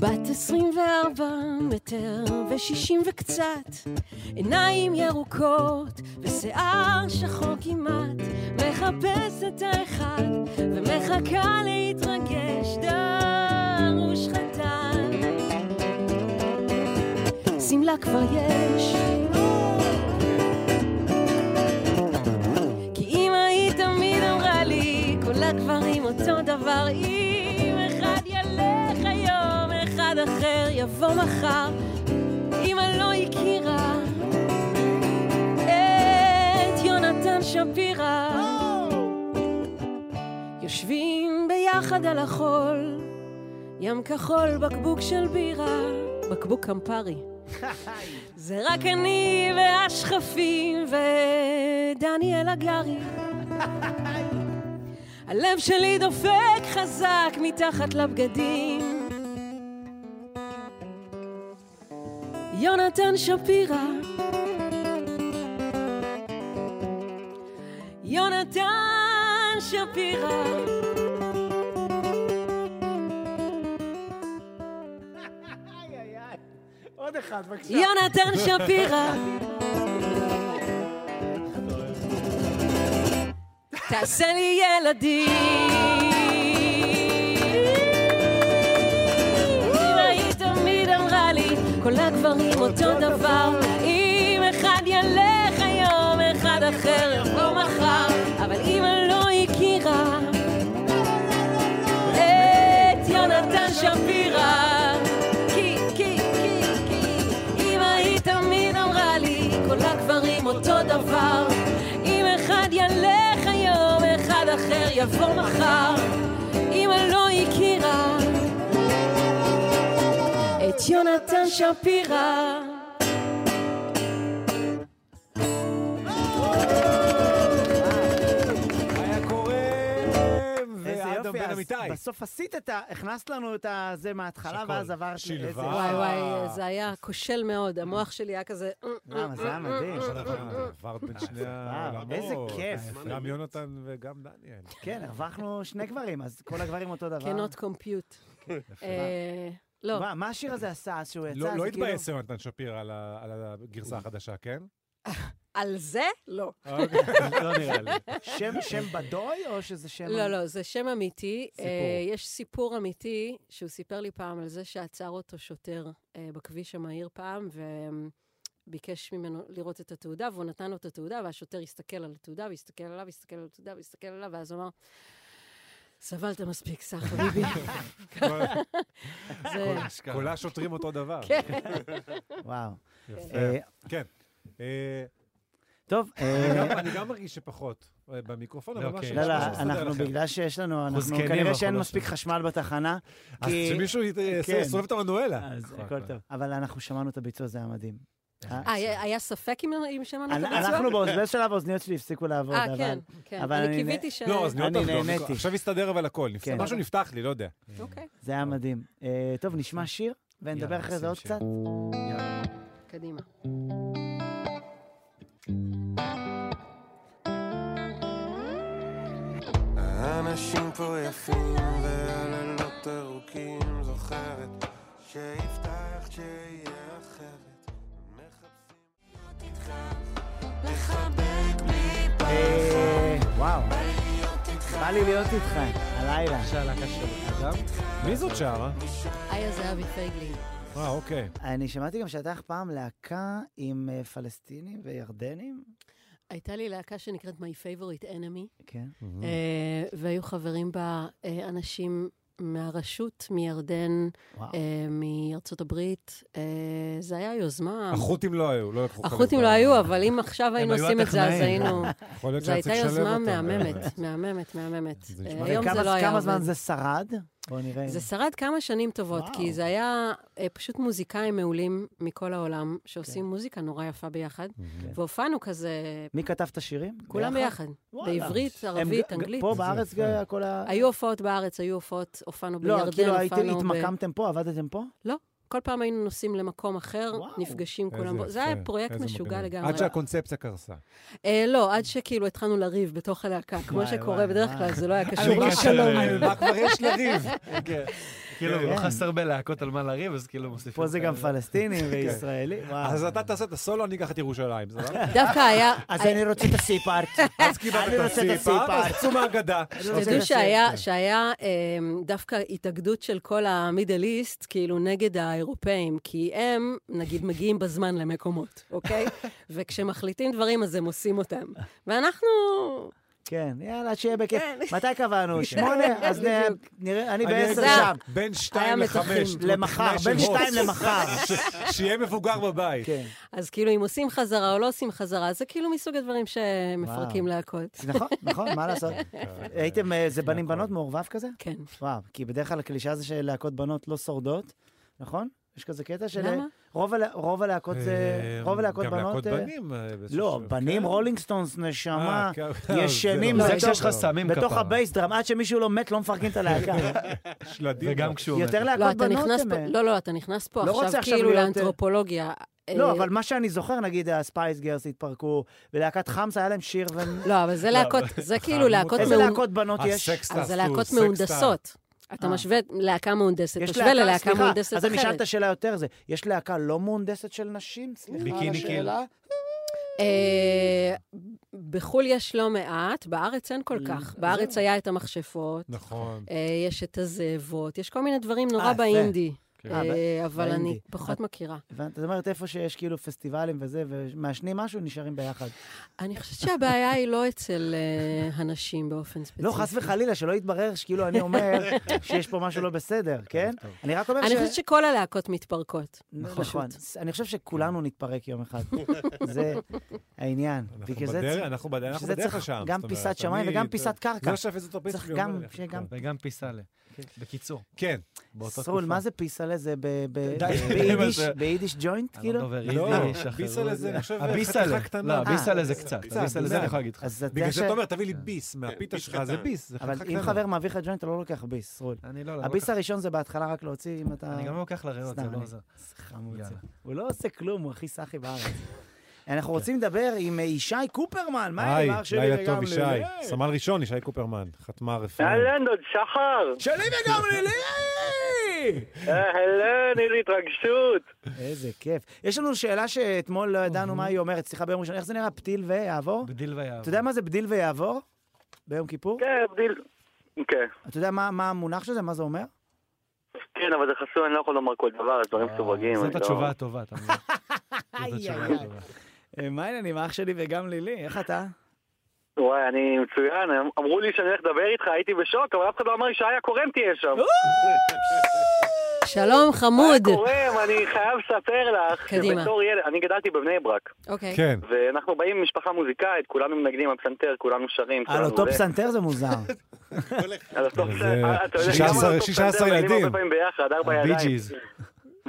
Speaker 12: בת 24 מטר ושישים וקצת, עיניים ירוקות ושיער שחור כמעט, מחפש את האחד ומחכה להתרגש, דרוש חתן. שמלה כבר יש. כי אמא היא תמיד אמרה לי, כל הגברים אותו דבר, אם אחד ילך היום, אחד אחר יבוא מחר, אמא לא הכירה את יונתן שפירא. יושבים ביחד על החול, ים כחול, בקבוק של בירה, בקבוק קמפרי. זה רק אני והשכפים ודניאל הגרי. הלב שלי דופק חזק מתחת לבגדים. יונתן שפירא. יונתן שפירא.
Speaker 1: עוד אחד, בבקשה.
Speaker 12: יונתן שפירא. תעשה לי ילדים. אמא היא תמיד אמרה לי, כל הגברים אותו דבר. אם אחד ילך היום, אחד אחר יבוא מחר. אבל אמא לא הכירה את יונתן שפירא. כי, כי, כי, כי, אמא היא תמיד אמרה לי, כל הגברים אותו דבר. אם אחד ילך היום, אחד אחר יבוא מחר. אמא לא הכירה את יונתן שפירא.
Speaker 1: איזה
Speaker 3: ואדם
Speaker 1: יופי,
Speaker 3: בן
Speaker 1: אז
Speaker 3: אמיתי.
Speaker 1: בסוף עשית את ה... הכנסת לנו את הזה מההתחלה,
Speaker 3: שהכל.
Speaker 1: ואז עברת...
Speaker 3: שלווה.
Speaker 1: לאיזה-
Speaker 9: וואי וואי, זה היה כושל מאוד, המוח שלי היה כזה... "אה,
Speaker 1: למה, זה היה מדהים.
Speaker 3: עברת בין שני העולמות.
Speaker 1: איזה כיף.
Speaker 3: גם יונתן וגם דניאל.
Speaker 1: כן, הרווחנו שני גברים, אז כל הגברים אותו דבר. כן,
Speaker 9: cannot compute. אה, לא.
Speaker 1: מה- מה השיר הזה עשה אז שהוא יצא?
Speaker 3: לא
Speaker 1: זה
Speaker 3: לא
Speaker 1: כאילו-
Speaker 3: התבאס יונתן שפיר על ה- על הגרסה החדשה, כן?
Speaker 9: על זה? לא.
Speaker 3: אוקיי, לא נראה לי.
Speaker 1: שם- שם בדוי או שזה שם...
Speaker 9: לא, לא, זה שם אמיתי.
Speaker 1: סיפור.
Speaker 9: אה, יש סיפור אמיתי שהוא סיפר לי פעם על זה שעצר אותו שוטר אה, בכביש המהיר פעם, וביקש ממנו לראות את התעודה, והוא נתן לו את התעודה, והשוטר הסתכל על התעודה, והסתכל עליו, והסתכל על התעודה, והסתכל עליו, ואז הוא אמר... סבלת מספיק, סע חביבי. זה-
Speaker 3: כל- כל השוטרים אותו דבר.
Speaker 9: כן.
Speaker 1: וואו.
Speaker 3: יפה.
Speaker 1: אה,
Speaker 3: כן. אה,
Speaker 1: טוב,
Speaker 3: אני
Speaker 1: אה,
Speaker 3: גם- לא, אני גם מרגיש שפחות אה, במיקרופון, אבל
Speaker 1: לא,
Speaker 3: משהו-
Speaker 1: לא,
Speaker 3: משהו
Speaker 1: לא,
Speaker 3: מסתדר
Speaker 1: אנחנו
Speaker 3: לכם.
Speaker 1: בגלל שיש לנו,
Speaker 3: אנחנו
Speaker 1: אנחנו
Speaker 3: זקנים,
Speaker 1: כנראה
Speaker 3: אנחנו
Speaker 1: שאין
Speaker 3: לא
Speaker 1: מספיק
Speaker 3: שם.
Speaker 1: חשמל בתחנה.
Speaker 3: אז
Speaker 1: כי-
Speaker 3: שמישהו ית- יעשה-
Speaker 1: כן.
Speaker 3: יסובב את המנואלה.
Speaker 1: אז
Speaker 3: נכון,
Speaker 1: הכל
Speaker 3: נכון.
Speaker 1: טוב. אבל אנחנו שמענו את הביצוע, זה היה מדהים.
Speaker 9: אה, היה היה ספק אם- אם שמענו את
Speaker 1: אנ-
Speaker 9: הביצוע?
Speaker 1: אנחנו באוז- בשלב האוזניות שלי הפסיקו לעבוד,
Speaker 9: אה,
Speaker 1: אבל...
Speaker 9: כן, כן.
Speaker 1: אבל
Speaker 9: אני
Speaker 1: נה-
Speaker 9: קיוויתי ש-
Speaker 3: לא, אז נראה
Speaker 1: אני
Speaker 3: טוב, לא,
Speaker 1: נהניתי.
Speaker 3: עכשיו הסתדר אבל הכל. נפתח-
Speaker 1: כן.
Speaker 3: משהו נפתח לי, לא יודע.
Speaker 9: אוקיי.
Speaker 1: זה היה מדהים. אה, טוב, נשמע שיר, ונדבר
Speaker 9: יאללה,
Speaker 1: אחרי
Speaker 9: נשים
Speaker 1: זה עוד
Speaker 9: שיר.
Speaker 1: קצת.
Speaker 9: קדימה.
Speaker 13: האנשים פה יפים
Speaker 10: לא
Speaker 13: והלילות ארוכים זוכרת שהבטחת שיהיה אחרת מחפשים אותי איתך לחבק בלי פחד
Speaker 1: אה, בא לי להיות איתך, הלילה.
Speaker 3: מי זאת שרה?
Speaker 9: איה זהבי פייגלין.
Speaker 3: אה, אוקיי.
Speaker 1: אני שמעתי גם שהייתה לך פעם להקה עם אה, פלסטינים וירדנים.
Speaker 9: הייתה לי להקה שנקראת My Favorite
Speaker 3: Mm.
Speaker 9: Enemy.
Speaker 1: כן.
Speaker 9: אה, והיו חברים בה אה, אנשים מהרשות, מירדן,
Speaker 3: וואו.
Speaker 9: אה, מארצות הברית. אה, זה היה יוזמה...
Speaker 3: החות'ים לא היו, לא לקחו חלק.
Speaker 9: החות'ים לא
Speaker 3: ב-
Speaker 9: היו, אבל אם עכשיו היינו
Speaker 3: היו
Speaker 9: עושים את זה, אז
Speaker 3: הטכנאים.
Speaker 9: היינו...
Speaker 3: יכול להיות
Speaker 9: זו
Speaker 3: שהיה
Speaker 9: הייתה
Speaker 3: צריך לשלב
Speaker 9: יוזמה
Speaker 3: אותם.
Speaker 9: מהממת, מהממת, מהממת. אה,
Speaker 1: נשמע לי-
Speaker 9: היום
Speaker 1: וכמה-
Speaker 9: זה לא היה
Speaker 1: כמה זמן
Speaker 9: עובד.
Speaker 1: זה שרד? בוא נראה.
Speaker 9: זה שרד כמה שנים טובות, כי זה היה אה, פשוט מוזיקאים מעולים מכל העולם, שעושים מוזיקה נורא יפה ביחד, והופענו כזה
Speaker 1: כן. מי כתב את השירים?
Speaker 9: כולם ביחד,
Speaker 1: וואלה.
Speaker 9: בעברית,
Speaker 1: הם
Speaker 9: ערבית,
Speaker 1: ג-
Speaker 9: אנגלית.
Speaker 1: פה בארץ
Speaker 3: כן.
Speaker 1: ג- כל ה...
Speaker 9: היו הופעות בארץ, היו הופעות, הופענו בירדן,
Speaker 1: לא,
Speaker 9: הופענו ב...
Speaker 1: כאילו הייתם, התמקמתם פה, עבדתם פה?
Speaker 9: לא, כל פעם היינו נוסעים למקום אחר, נפגשים
Speaker 3: איזה
Speaker 9: כולם. בו. זה
Speaker 3: יפה,
Speaker 9: היה פרויקט
Speaker 3: איזה
Speaker 9: משוגע
Speaker 3: מגניב.
Speaker 9: לגמרי.
Speaker 3: עד שהקונספציה קרסה.
Speaker 9: אה, לא, עד שכאילו התחלנו לריב בתוך הלהקה, כמו
Speaker 3: וואי,
Speaker 9: שקורה
Speaker 3: וואי,
Speaker 9: בדרך
Speaker 3: וואי.
Speaker 9: כלל, זה לא היה
Speaker 3: אני
Speaker 9: קשור
Speaker 3: גם
Speaker 9: לשלום.
Speaker 3: שלום. על אה, מה כבר יש לריב? כן.
Speaker 2: כאילו,
Speaker 3: כן.
Speaker 2: לא חסר בלהקות על מה לריב, אז כאילו מוסיפים...
Speaker 1: פה זה גם פלסטינים
Speaker 3: כן.
Speaker 1: וישראלים. וואו.
Speaker 3: אז אתה תעשה את הסולו, אני אקח את ירושלים, סבבה?
Speaker 9: דווקא היה...
Speaker 1: אז אני רוצה את הסיפארט.
Speaker 3: אז קיבלת את הסיפר, אז כן. תצאו מהגדה.
Speaker 1: לא,
Speaker 9: שתדעו
Speaker 1: כן.
Speaker 9: שהיה, שהיה אמ, דווקא התאגדות של כל המידל איסט, כאילו, נגד האירופאים, כי הם, נגיד, מגיעים בזמן למקומות, אוקיי? וכשמחליטים דברים, אז הם עושים אותם. ואנחנו... כן.
Speaker 1: כן, יאללה, שיהיה בכיף. מתי קבענו? שמונה? אז נ- נראה, אני בעשר
Speaker 3: הייתי
Speaker 1: שם.
Speaker 3: בין שתיים לחמש.
Speaker 1: למחר,
Speaker 3: טכנאי
Speaker 1: בין
Speaker 3: של הוט.
Speaker 1: שתיים למחר. כן.
Speaker 3: ש- שיהיה מבוגר בבית.
Speaker 9: אז כאילו, אם עושים חזרה או לא עושים חזרה, זה כאילו מסוג הדברים שמפרקים
Speaker 1: וואו.
Speaker 9: להקות.
Speaker 1: נכון, נכון, מה לעשות? הייתם, אה, זה
Speaker 3: נכון.
Speaker 1: בנים בנות מעורבב כזה?
Speaker 9: כן.
Speaker 1: וואו, כי בדרך כלל הקלישאה זה שלהקות בנות לא שורדות, נכון? יש כזה קטע של...
Speaker 9: למה?
Speaker 1: רוב הלהקות רוב הלהקות זה...
Speaker 3: אה,
Speaker 1: רוב הלהקות
Speaker 3: גם
Speaker 1: בנות...
Speaker 3: להקות
Speaker 1: אה,
Speaker 3: בנים, אה, באיזשהו
Speaker 1: לא,
Speaker 3: שלב,
Speaker 1: בנים,
Speaker 3: כן.
Speaker 1: רולינג סטונס, נשמה,
Speaker 3: אה, כן, זה
Speaker 1: ישנים.
Speaker 3: לא. זה
Speaker 1: בתוך-
Speaker 3: כשיש לך סמים
Speaker 1: בתוך
Speaker 3: כפרה. אה,
Speaker 1: הבייס דראם, עד שמישהו לא מת, לא מפרקים את הלהקה.
Speaker 3: שלדים.
Speaker 2: וגם כשהוא...
Speaker 1: יותר
Speaker 2: מת.
Speaker 1: להקות
Speaker 9: לא, אתה
Speaker 1: בנות
Speaker 9: נכנס
Speaker 1: הם,
Speaker 9: פה,
Speaker 1: אה,
Speaker 9: לא, לא, אתה נכנס פה
Speaker 1: לא רוצה
Speaker 9: עכשיו
Speaker 1: עכשיו
Speaker 9: כאילו
Speaker 1: להיות, אה,
Speaker 9: לאנתרופולוגיה.
Speaker 1: לא,
Speaker 9: אה,
Speaker 1: אבל מה שאני זוכר, נגיד, הספייס גרס התפרקו, ולהקת חמס היה להם שיר ו...
Speaker 9: לא, אבל זה להקות, זה כאילו להקות...
Speaker 1: איזה
Speaker 9: מאונ-
Speaker 1: להקות בנות
Speaker 3: אה,
Speaker 1: יש?
Speaker 9: אז זה להקות מהונדסות. אתה
Speaker 1: אה.
Speaker 9: משווה להקה מהונדסת,
Speaker 1: יש
Speaker 9: תשווה
Speaker 1: להקה,
Speaker 9: ללהקה
Speaker 1: סליחה,
Speaker 9: מהונדסת
Speaker 1: אז אני אשאל את
Speaker 9: אחרת.
Speaker 1: השאלה יותר זה, יש להקה לא מהונדסת של נשים? סליחה על
Speaker 2: ביקיני קיל.
Speaker 1: השאלה.
Speaker 9: אה, בחו"ל יש לא מעט, בארץ אין
Speaker 1: לא.
Speaker 9: כל כך. בארץ היה את המכשפות,
Speaker 3: נכון.
Speaker 9: אה, יש את הזאבות, יש כל מיני דברים
Speaker 1: אה,
Speaker 9: נורא
Speaker 1: יפה.
Speaker 9: באינדי.
Speaker 1: כן.
Speaker 9: אה,
Speaker 1: אה,
Speaker 9: אבל
Speaker 1: באינדי.
Speaker 9: אני פחות
Speaker 1: את-
Speaker 9: מכירה.
Speaker 1: הבנת? זאת אומרת, איפה שיש כאילו פסטיבלים וזה, ומעשנים משהו, נשארים ביחד.
Speaker 9: אני חושבת שהבעיה היא לא אצל אה, הנשים באופן ספציפי.
Speaker 1: לא, חס וחלילה, שלא יתברר שכאילו אני אומר שיש פה משהו לא בסדר, כן? אני רק אומר ש...
Speaker 9: אני חושבת שכל הלהקות מתפרקות.
Speaker 1: נכון. אני חושב
Speaker 3: כן.
Speaker 1: שכולנו נתפרק יום אחד. זה העניין. בגלל זה
Speaker 3: בדרך-
Speaker 1: צריך-
Speaker 3: אנחנו בדרך- אנחנו
Speaker 1: בשביל זה
Speaker 3: בדרך
Speaker 1: צריך
Speaker 3: לשם,
Speaker 1: גם
Speaker 3: זאת אומרת,
Speaker 1: פיסת שמיים
Speaker 3: אני- לא
Speaker 1: וגם פיסת קרקע.
Speaker 3: זה עכשיו איזוטרופיה
Speaker 1: צריך
Speaker 3: שלי
Speaker 1: גם-
Speaker 3: אומר לי,
Speaker 1: שיהיה גם-
Speaker 2: וגם פיסאלה. בקיצור.
Speaker 3: כן.
Speaker 1: סרול, מה זה פיסלה? זה ב- ב-
Speaker 2: די.
Speaker 1: ביידיש-
Speaker 2: זה-
Speaker 1: ביידיש גוינט,
Speaker 2: אני
Speaker 1: כאילו?
Speaker 2: לא דובר
Speaker 3: לא,
Speaker 2: יידיש, אחר,
Speaker 3: ביסלה
Speaker 2: לא
Speaker 3: זה,
Speaker 2: יודע.
Speaker 3: אני חושב,
Speaker 2: הביסלה,
Speaker 3: חתיכה קטנה.
Speaker 2: לא, הביסלה זה
Speaker 1: אה,
Speaker 2: קצת, הביסלה זה אני יכול להגיד לך. כן,
Speaker 1: אז אתה
Speaker 3: בגלל
Speaker 1: יודע
Speaker 3: זה
Speaker 1: ש-
Speaker 3: אתה אומר, תביא לי ביס מהפיתה שלך, זה ביס, זה
Speaker 1: אבל
Speaker 3: חתיכה
Speaker 1: אם
Speaker 3: קטנה.
Speaker 1: חבר מעביר לך ג'וינט, אתה לא לוקח ביס, סרול.
Speaker 2: אני לא, לא
Speaker 1: הביס
Speaker 2: לוקח.
Speaker 1: הראשון זה בהתחלה רק להוציא, אם אתה...
Speaker 2: אני גם לא לוקח לריאות,
Speaker 1: סתם,
Speaker 2: זה לא
Speaker 1: אני-
Speaker 2: עוזר.
Speaker 1: חמוד זה.
Speaker 2: יאללה.
Speaker 1: הוא לא עושה כלום, הוא הכי סאחי בארץ. אנחנו רוצים לדבר עם אה, ישי קופרמן, מה העניין? אח שלי אה,
Speaker 3: לילה טוב,
Speaker 1: וגם כן.
Speaker 3: ישי.
Speaker 1: לילי.
Speaker 3: סמל ראשון, ישי קופרמן. חתמה רפואה.
Speaker 8: אהלן, דוד שחר.
Speaker 1: שלי וגם לילי!
Speaker 8: אהלן, איזה התרגשות.
Speaker 1: איזה כיף. יש לנו שאלה שאתמול לא ידענו מה היא אומרת, סליחה, ביום ראשון, איך זה נראה? פתיל ויעבור?
Speaker 2: בדיל ויעבור.
Speaker 1: אתה יודע מה זה בדיל ויעבור? ביום כיפור?
Speaker 8: כן, בדיל. כן.
Speaker 1: אתה יודע מה מה המונח של זה? מה זה אומר?
Speaker 8: כן, אבל זה חסוי, אני לא יכול לומר כל דבר, הדברים מסווגים.
Speaker 2: זאת
Speaker 8: אני לא-
Speaker 2: התשובה הטובה, אתה מבין? זאת התשובה
Speaker 1: איי, איי.
Speaker 2: הטובה.
Speaker 1: אה, מה העניינים? אח שלי וגם לילי, איך אתה?
Speaker 8: וואי, אני מצוין. הם- אמרו לי שאני הולך לדבר איתך, הייתי בשוק, אבל אף אחד לא אמר לי שאיה קורם תהיה שם.
Speaker 9: שלום, חמוד.
Speaker 8: קורם, אני חייב לספר לך,
Speaker 9: קדימה.
Speaker 8: שבתור ילד, אני גדלתי בבני ברק.
Speaker 9: אוקיי.
Speaker 3: כן.
Speaker 8: ואנחנו באים ממשפחה מוזיקאית, כולנו מנגנים על פסנתר, כולנו שרים.
Speaker 1: על
Speaker 8: כולנו
Speaker 1: אותו
Speaker 8: זה.
Speaker 1: פסנתר זה מוזר.
Speaker 8: על אותו
Speaker 1: זה
Speaker 8: פסנתר, אה, אתה יודע,
Speaker 1: 16
Speaker 8: גם על אותו
Speaker 1: 16
Speaker 8: פסנתר, מנגנים
Speaker 1: ילדים.
Speaker 8: הרבה פעמים ביחד, ארבע ידיים.
Speaker 1: הבי-ג'יז.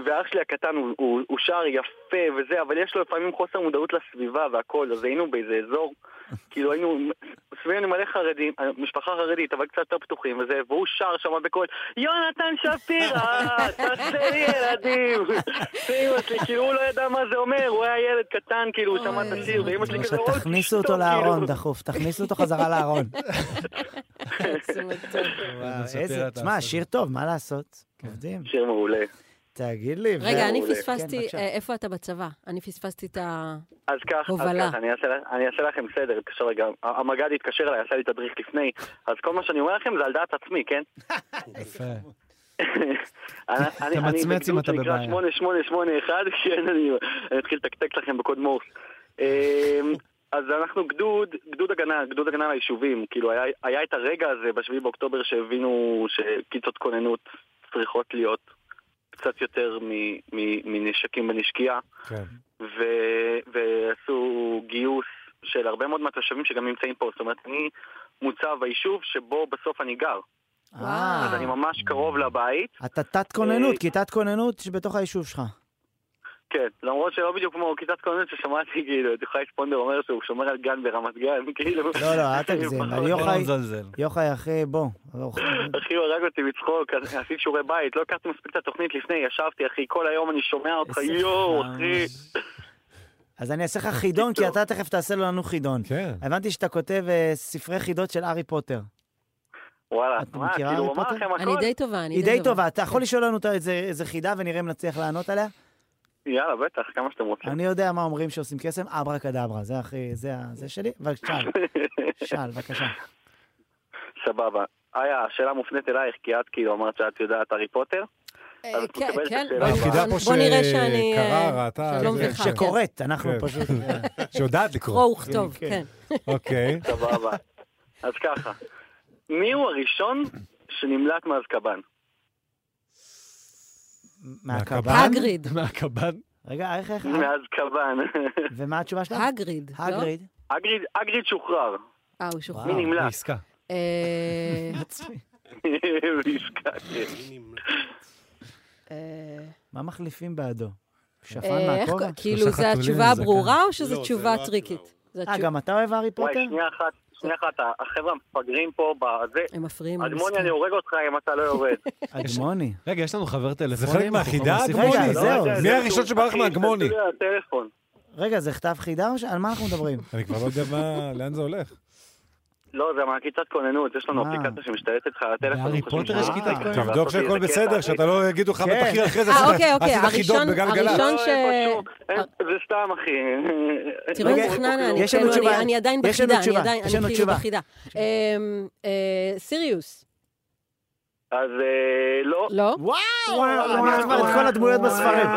Speaker 8: ואח שלי הקטן הוא- הוא הוא שר יפה וזה, אבל יש לו לפעמים חוסר מודעות לסביבה והכל, אז היינו באיזה אזור, כאילו היינו, סביבנו מלא חרדים, משפחה חרדית, אבל קצת יותר פתוחים וזה, והוא שר שם בקול, יונתן שפירא, תעשה לי ילדים. ואימא שלי, כאילו הוא לא ידע מה זה אומר, הוא היה ילד קטן, כאילו, הוא שמע את השיר, ואימא שלי כזה, "אוי,
Speaker 1: לא,
Speaker 8: כאילו."
Speaker 1: תכניסו אותו לארון דחוף, תכניסו אותו חזרה לארון. וואו,
Speaker 8: זה
Speaker 1: איזה,
Speaker 8: סאטירה,
Speaker 1: אה, תשמע, שיר טוב, מה לעשות? עובדים.
Speaker 8: שיר מעולה.
Speaker 1: תגיד לי.
Speaker 9: רגע, אני
Speaker 8: מעולה.
Speaker 9: פספסתי,
Speaker 8: כן, בבקשה.
Speaker 9: אה, איפה אתה בצבא? אני פספסתי את ה...
Speaker 8: אז כך, אז
Speaker 9: הובלה.
Speaker 8: כך, אני אעשה, אני אעשה לכם סדר, התקשר רגע, המג"ד התקשר אליי, עשה לי תדריך לפני, אז כל מה שאני אומר לכם זה על דעת עצמי, כן?
Speaker 4: אה,
Speaker 2: יפה.
Speaker 8: אני- אני- אני
Speaker 2: מצמץ אם
Speaker 8: בגדוד
Speaker 2: אתה
Speaker 8: שנקרא
Speaker 2: בבעיה.
Speaker 8: 8881, כן, אני אני אתחיל לתקתק לכם בקוד מורס. אמ, אז אנחנו גדוד, גדוד הגנה, גדוד הגנה ליישובים. כאילו, היה- היה את הרגע הזה ב-7 באוקטובר שהבינו שכיתות כוננות צריכות להיות קצת יותר מ- מ- מנשקים בנשקייה.
Speaker 3: כן.
Speaker 8: ו- ועשו גיוס של הרבה מאוד מהתושבים שגם נמצאים פה. זאת אומרת, אני מוצב ביישוב שבו בסוף אני גר. אז אני ממש קרוב לבית.
Speaker 1: אתה תת-כוננות,
Speaker 8: אה,
Speaker 1: כיתת כוננות שבתוך היישוב שלך.
Speaker 8: כן, למרות שלא בדיוק כמו כיתת כוננות ששמעתי, כאילו, את יוחאי ספונדר אומר שהוא שומר על גן ברמת גן, כאילו.
Speaker 1: לא, לא, אל תגזים.
Speaker 8: פחות-
Speaker 1: יוחאי, יוחאי, אחי, בוא. אוכל.
Speaker 8: אחי, הוא הרג אותי מצחוק, אז עשיתי שיעורי בית, לא הכרתי מספיק את התוכנית לפני, ישבתי, אחי, כל היום אני שומע אותך,
Speaker 1: איזה
Speaker 8: יואו,
Speaker 1: חמש.
Speaker 8: אחי.
Speaker 1: אז אני אעשה לך חידון, כי אתה תכף תעשה לנו חידון.
Speaker 3: כן.
Speaker 1: הבנתי שאתה כותב אה, ספרי חידות של הארי פוטר.
Speaker 8: וואלה,
Speaker 1: את
Speaker 8: מה,
Speaker 1: מכירה
Speaker 8: כאילו, הוא אמר
Speaker 1: הארי
Speaker 8: לכם
Speaker 1: פוטר?
Speaker 8: הכל?
Speaker 1: היא די טובה. אתה
Speaker 9: כן.
Speaker 1: יכול לשאול לנו את ה- איזה איזה חידה ונראה אם נצליח לענות עליה?
Speaker 8: יאללה, בטח, כמה שאתם רוצים.
Speaker 1: אני יודע מה אומרים שעושים קסם, אברה קדברה, זה הכי, זה ה- זה שלי, אבל שאל, שאל, בבקשה.
Speaker 8: סבבה. איה, השאלה מופנית אלייך, כי את כאילו אמרת שאת יודעת הארי פוטר. אז את מקבלת את
Speaker 9: כן,
Speaker 8: השאלה
Speaker 9: בוא-
Speaker 8: הבאה.
Speaker 9: בוא בוא נראה שאני... אה, שלא
Speaker 3: זה-
Speaker 9: מביכה, כן.
Speaker 1: שקוראת, אנחנו
Speaker 3: כן.
Speaker 1: פשוט...
Speaker 3: שיודעת לקרוא.
Speaker 9: קרוא וכתוב, כן.
Speaker 3: אוקיי.
Speaker 8: סבבה. אז ככה, מי הוא הראשון שנמלט מאזקבאן?
Speaker 1: מהקב"ן?
Speaker 9: הגריד.
Speaker 3: מהקב"ן?
Speaker 1: רגע, איך,
Speaker 9: אה.
Speaker 1: איך?
Speaker 8: מאזקבאן.
Speaker 1: ומה התשובה שלך?
Speaker 9: הגריד, לא?
Speaker 1: הגריד.
Speaker 8: הגריד- הגריד שוחרר.
Speaker 9: אה, הוא
Speaker 8: מי
Speaker 9: שוחרר.
Speaker 8: נמלט?
Speaker 9: אה,
Speaker 8: בעסקה, כן.
Speaker 9: אה,
Speaker 1: מה מחליפים בעדו? שפן
Speaker 9: אה, איך-
Speaker 1: מהכובע?
Speaker 9: כאילו, זו התשובה הברורה או שזו
Speaker 1: לא, זה
Speaker 9: תשובה
Speaker 1: לא
Speaker 9: טריקית? זו
Speaker 1: אה,
Speaker 9: התשוב-
Speaker 1: גם אתה אוהב הארי
Speaker 8: וואי,
Speaker 1: פוטר?
Speaker 8: שנייה אחת, שנייה אחת, החבר'ה המפגרים פה בזה.
Speaker 9: הם מפריעים.
Speaker 8: אדמוני,
Speaker 2: מסכן.
Speaker 8: אני הורג אותך אם אתה לא יורד.
Speaker 1: אדמוני.
Speaker 2: רגע, יש לנו חבר טלפונים?
Speaker 3: חלק מהחידה,
Speaker 2: אנחנו
Speaker 3: אדמוני?
Speaker 2: מוסיפים-
Speaker 3: רגע, זהו. מי הראשון שברח
Speaker 1: אוקיי,
Speaker 3: מהאדמוני?
Speaker 8: הטלפון.
Speaker 1: רגע, זה כתב חידה או ש... על מה אנחנו מדברים?
Speaker 3: אני כבר לא יודע מה, לאן זה הולך.
Speaker 8: לא, זה מהכיתת כוננות, יש
Speaker 1: אה.
Speaker 8: לנו אפליקציה שמשתלטת לך על הטלפון.
Speaker 3: בהארי
Speaker 8: חושבים
Speaker 3: פוטר יש
Speaker 8: שאתה-
Speaker 3: כיתת כוננות? תבדוק
Speaker 8: לעשות לי
Speaker 3: שהכל
Speaker 8: איזה קטע,
Speaker 3: בסדר,
Speaker 8: אחי.
Speaker 3: שאתה לא יגידו לך,
Speaker 1: כן.
Speaker 3: "בטח, אחי, אחרי זה
Speaker 9: אה,
Speaker 3: עשית-
Speaker 9: אוקיי, אוקיי,
Speaker 3: עשית חידות
Speaker 9: הראשון-
Speaker 3: בגלגלצ".
Speaker 8: לא,
Speaker 9: הראשון ש... אה.
Speaker 8: אין, זה סתם, אחי.
Speaker 9: תראו
Speaker 1: אוקיי.
Speaker 9: איזה חננה, אני- כאילו, אני- אני עדיין
Speaker 1: יש לנו
Speaker 9: בחידה, אני
Speaker 1: תשובה,
Speaker 9: עדיין,
Speaker 1: יש לנו
Speaker 9: אני כאילו
Speaker 1: תשובה.
Speaker 9: בחידה. אמ, אה, סיריוס.
Speaker 8: אז אה, לא. אה,
Speaker 9: לא?
Speaker 1: וואו, אמרת כבר את כל הדמויות בספרים.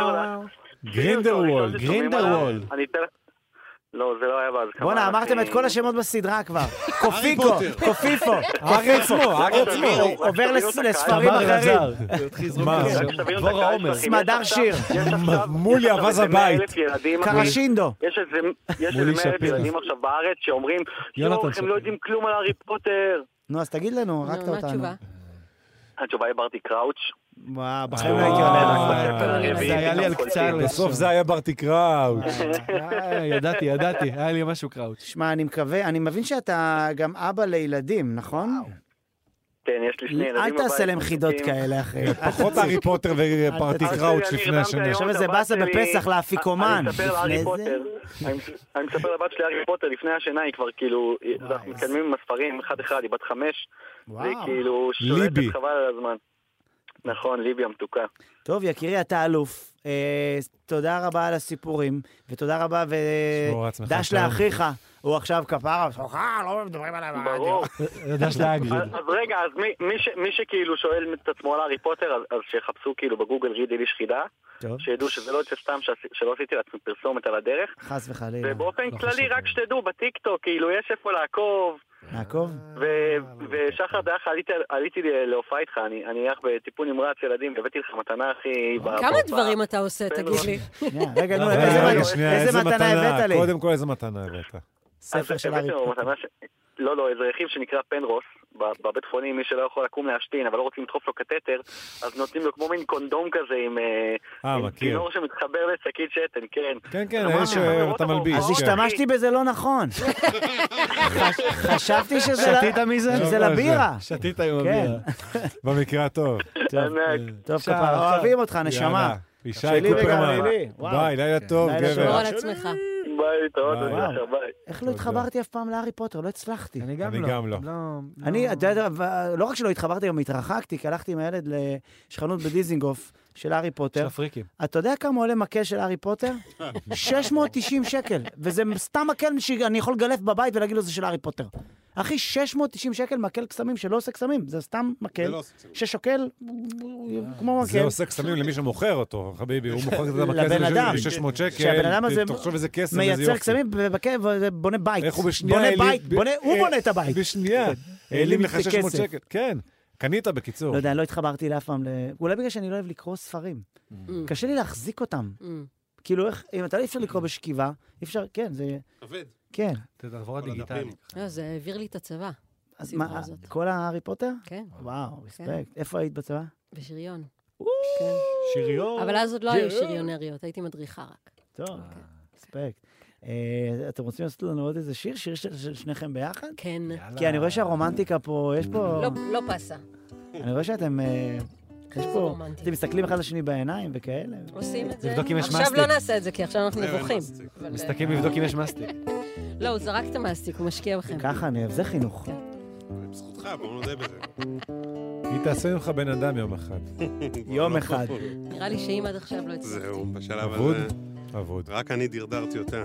Speaker 2: גרינדרוולד, גרינדרוולד.
Speaker 8: אני אתן לך... לא, זה לא היה בהזכמה.
Speaker 1: בואנה,
Speaker 8: אחי.
Speaker 1: אמרתם את כל השמות בסדרה כבר. קופיקו,
Speaker 8: פוטר.
Speaker 1: קופיפו.
Speaker 3: הארי עצמו, הארי עצמו.
Speaker 1: הוא עובר לס-
Speaker 3: תבינו את
Speaker 1: לספרים
Speaker 3: הקהל.
Speaker 1: אחרים.
Speaker 3: מה?
Speaker 1: סמדר שיר.
Speaker 3: מול יאבז
Speaker 8: איזה מאה
Speaker 3: הבית.
Speaker 8: אלף ילדים, אחי.
Speaker 1: קרשינדו.
Speaker 8: יש איזה יש
Speaker 3: מולי
Speaker 8: איזה מאה אלף
Speaker 3: שפירא.
Speaker 8: ילדים עכשיו בארץ שאומרים,
Speaker 1: יונתן
Speaker 8: "לא, הם
Speaker 1: שפירא.
Speaker 8: לא יודעים כלום על הארי פוטר.
Speaker 1: נו, אז תגיד לנו, הרגת
Speaker 8: נו, מה
Speaker 1: אותנו.
Speaker 8: התשובה? התשובה היא ברטי קראוץ'.
Speaker 1: וואו, בחיים לא הייתי עולה לך.
Speaker 2: אה, זה היה לי על קצר.
Speaker 1: בסוף
Speaker 3: זה היה ברטי קראוץ'.
Speaker 1: אה,
Speaker 2: ידעתי, ידעתי, היה לי משהו קראוץ'.
Speaker 1: שמע, אני מקווה, אני מבין שאתה גם אבא לילדים, נכון?
Speaker 8: כן, יש לי שני ילדים
Speaker 1: אל תעשה
Speaker 8: בבית,
Speaker 1: להם חידות
Speaker 8: מתוקים.
Speaker 1: כאלה, אחי. אל
Speaker 3: פחות
Speaker 1: תמציא.
Speaker 3: הארי פוטר וברטי
Speaker 1: אל
Speaker 3: קראוץ'
Speaker 1: תעשה לי,
Speaker 3: לפני השני.
Speaker 1: עכשיו איזה
Speaker 8: הבת
Speaker 1: באסה
Speaker 8: שלי-
Speaker 1: בפסח לאפיקומן.
Speaker 8: אני מספר
Speaker 1: לפני
Speaker 8: להארי
Speaker 1: זה?
Speaker 8: פוטר, אני- אני מספר לבת שלי הארי פוטר לפני השינה, היא כבר כאילו, אנחנו מתקדמים עם הספרים אחד-אחד, היא בת חמש, והיא כאילו
Speaker 1: ליבי.
Speaker 8: שולטת חבל על הזמן. נכון, ליבי המתוקה.
Speaker 1: טוב, יקירי, אתה אלוף. אה, תודה רבה על הסיפורים, ותודה רבה,
Speaker 3: שמור על עצמך,
Speaker 1: ודש
Speaker 3: שלום.
Speaker 1: לאחיך, הוא עכשיו כפרה, סוחה, לא מדברים עליי ברדיו.
Speaker 3: אה,
Speaker 2: דש לאגריד.
Speaker 8: אז אז רגע, אז מי- מי ש- מי שכאילו שואל את עצמו על הארי פוטר, אז- אז שיחפשו כאילו בגוגל ריד איליש חידה,
Speaker 1: טוב.
Speaker 8: שידעו שזה לא יוצא סתם שעשי- שלא עשיתי לעצמי פרסומת על הדרך.
Speaker 1: חס וחלילה.
Speaker 8: ובאופן כללי, רק שתדעו, בטיקטוק, כאילו, יש איפה לעקוב,
Speaker 1: נעקוב?
Speaker 8: כן,
Speaker 1: לא,
Speaker 8: ו- ושחר דרך, עליתי- עליתי ל- להופעה איתך, אני אני אח בטיפול נמרץ ילדים, והבאתי לך מתנה הכי...
Speaker 1: אה,
Speaker 9: כמה דברים אתה עושה, תגיד לי?
Speaker 1: רגע,
Speaker 9: אוקיי.
Speaker 1: נו,
Speaker 3: רגע,
Speaker 1: איזה
Speaker 3: רגע,
Speaker 1: מת-
Speaker 3: שנייה,
Speaker 1: איזה מתנה הבאת לי?
Speaker 3: קודם כל איזה מתנה הבאת.
Speaker 1: ספר של הארי פוטר.
Speaker 8: לא, לא, איזה רכיב שנקרא פנרוס, ב- בבית חולים, מי שלא יכול לקום להשתין, אבל לא רוצים לדחוף לו קטטר, אז נותנים לו כמו מין קונדום כזה עם אה,
Speaker 3: אה,
Speaker 8: עם
Speaker 3: מכיר.
Speaker 8: צינור שמתחבר לשקית שתן, כן.
Speaker 3: כן, כן,
Speaker 8: אמרתי
Speaker 3: אלה
Speaker 8: לך, החברות
Speaker 3: שאתה מלביש.
Speaker 1: אז השתמשתי בזה לא נכון. חש- חשבתי שזה... ל-
Speaker 2: שתית מזה?
Speaker 1: שזה
Speaker 3: לא,
Speaker 1: לבירה.
Speaker 2: שתית עם
Speaker 1: כן.
Speaker 2: הבירה.
Speaker 3: במקרה הטוב.
Speaker 1: אה, טוב,
Speaker 2: עכשיו,
Speaker 1: כפרה,
Speaker 2: עכשיו.
Speaker 1: אוהבים אותך, נשמה.
Speaker 3: יאללה, ישי
Speaker 1: שלי וגם
Speaker 3: קופרמן.
Speaker 1: שלי, וואו. כן.
Speaker 3: ביי, לילה טוב,
Speaker 1: לילה
Speaker 3: גבר.
Speaker 9: שמור על עצמך.
Speaker 8: ביי,
Speaker 14: ביי, להתראות,
Speaker 1: וואו.
Speaker 14: אני הולך הביי.
Speaker 1: איך לא התחברתי אף פעם להארי פוטר? לא הצלחתי. אני
Speaker 2: גם
Speaker 3: אני לא. גם לא.
Speaker 1: אני, אתה יודע, ו- לא רק שלא התחברתי, גם התרחקתי, כי הלכתי עם הילד ל- יש חנות בדיזינגוף של הארי פוטר.
Speaker 3: של הפריקים.
Speaker 1: אתה יודע כמה עולה מקל של הארי פוטר? 690 שקל. וזה סתם מקל שאני יכול לגלף בבית ולהגיד לו זה של הארי פוטר. אחי, 690 שקל מקל קסמים שלא עושה קסמים, זה סתם מקל ששוקל כמו
Speaker 9: אוקיי.
Speaker 1: מקל.
Speaker 3: זה עושה קסמים למי שמוכר אותו, חביבי, הוא מוכר את המקל
Speaker 1: לבן אדם.
Speaker 3: הזה ב-600
Speaker 1: שהבן
Speaker 3: שקל,
Speaker 1: אדם הזה
Speaker 3: תחשוב איזה קסם, איזה יופי.
Speaker 1: מייצר קסמים ובק- ובונה בית.
Speaker 3: איך הוא בשנייה...
Speaker 1: בונה
Speaker 3: העלים-
Speaker 1: בית,
Speaker 3: ב-
Speaker 1: בונה- הוא
Speaker 3: אה,
Speaker 1: בונה את הבית. כן.
Speaker 3: בשנייה. העלים לך
Speaker 1: את זה
Speaker 3: 600
Speaker 1: כסף.
Speaker 3: שקל. כן, קנית בקיצור.
Speaker 1: לא יודע, לא התחברתי לאף פעם ל... אולי בגלל שאני לא אוהב לקרוא ספרים.
Speaker 9: Mm.
Speaker 1: קשה לי להחזיק אותם. כאילו, איך, אם אתה לא
Speaker 9: Mm.
Speaker 1: אפשר לקרוא בשכיבה, אי אפשר, כן, זה...
Speaker 10: כבד.
Speaker 1: כן.
Speaker 2: תעבור הדיגיטלי.
Speaker 9: לא, זה העביר לי את הצבא.
Speaker 1: אז
Speaker 9: הסדרה
Speaker 1: מה,
Speaker 9: הזאת.
Speaker 1: כל ההארי פוטר?
Speaker 9: כן.
Speaker 1: וואו,
Speaker 9: כן.
Speaker 1: רספקט. איפה היית בצבא?
Speaker 9: בשריון.
Speaker 1: כן.
Speaker 11: שריון.
Speaker 9: אבל אז עוד לא היו שריונריות, הייתי מדריכה רק. אוקיי.
Speaker 1: טוב, רספקט. אה, אתם רוצים לעשות לנו עוד איזה שיר? שיר של של שניכם ביחד?
Speaker 9: כן.
Speaker 1: כי אני רואה שהרומנטיקה פה, יש פה...
Speaker 9: לא- לא פסה.
Speaker 1: אני רואה שאתם... אה, יש פה...
Speaker 9: רומנטי.
Speaker 1: אתם מסתכלים אחד לשני בעיניים וכאלה.
Speaker 9: עושים את זה.
Speaker 2: לבדוק אם יש
Speaker 9: עכשיו
Speaker 2: מסטיק.
Speaker 9: לא נעשה את זה, כי עכשיו אנחנו נבוכים. אבל, אה,
Speaker 2: מסתכלים לבדוק אם יש מסטיק.
Speaker 9: לא, הוא זרק את המאסטיק, הוא משקיע בכם.
Speaker 1: ככה, אני אוהב, זה חינוך.
Speaker 9: כן.
Speaker 10: בזכותך,
Speaker 3: אה,
Speaker 10: בואו נודה בזה.
Speaker 3: היא תעשה ממך בן אדם יום אחד. לא,
Speaker 1: יום אחד.
Speaker 9: נראה לי שאם עד עכשיו לא הצלחתי.
Speaker 10: זהו, בשלב
Speaker 3: אבוד?
Speaker 10: הזה.
Speaker 3: אבוד.
Speaker 10: רק אני דרדרתי אותה.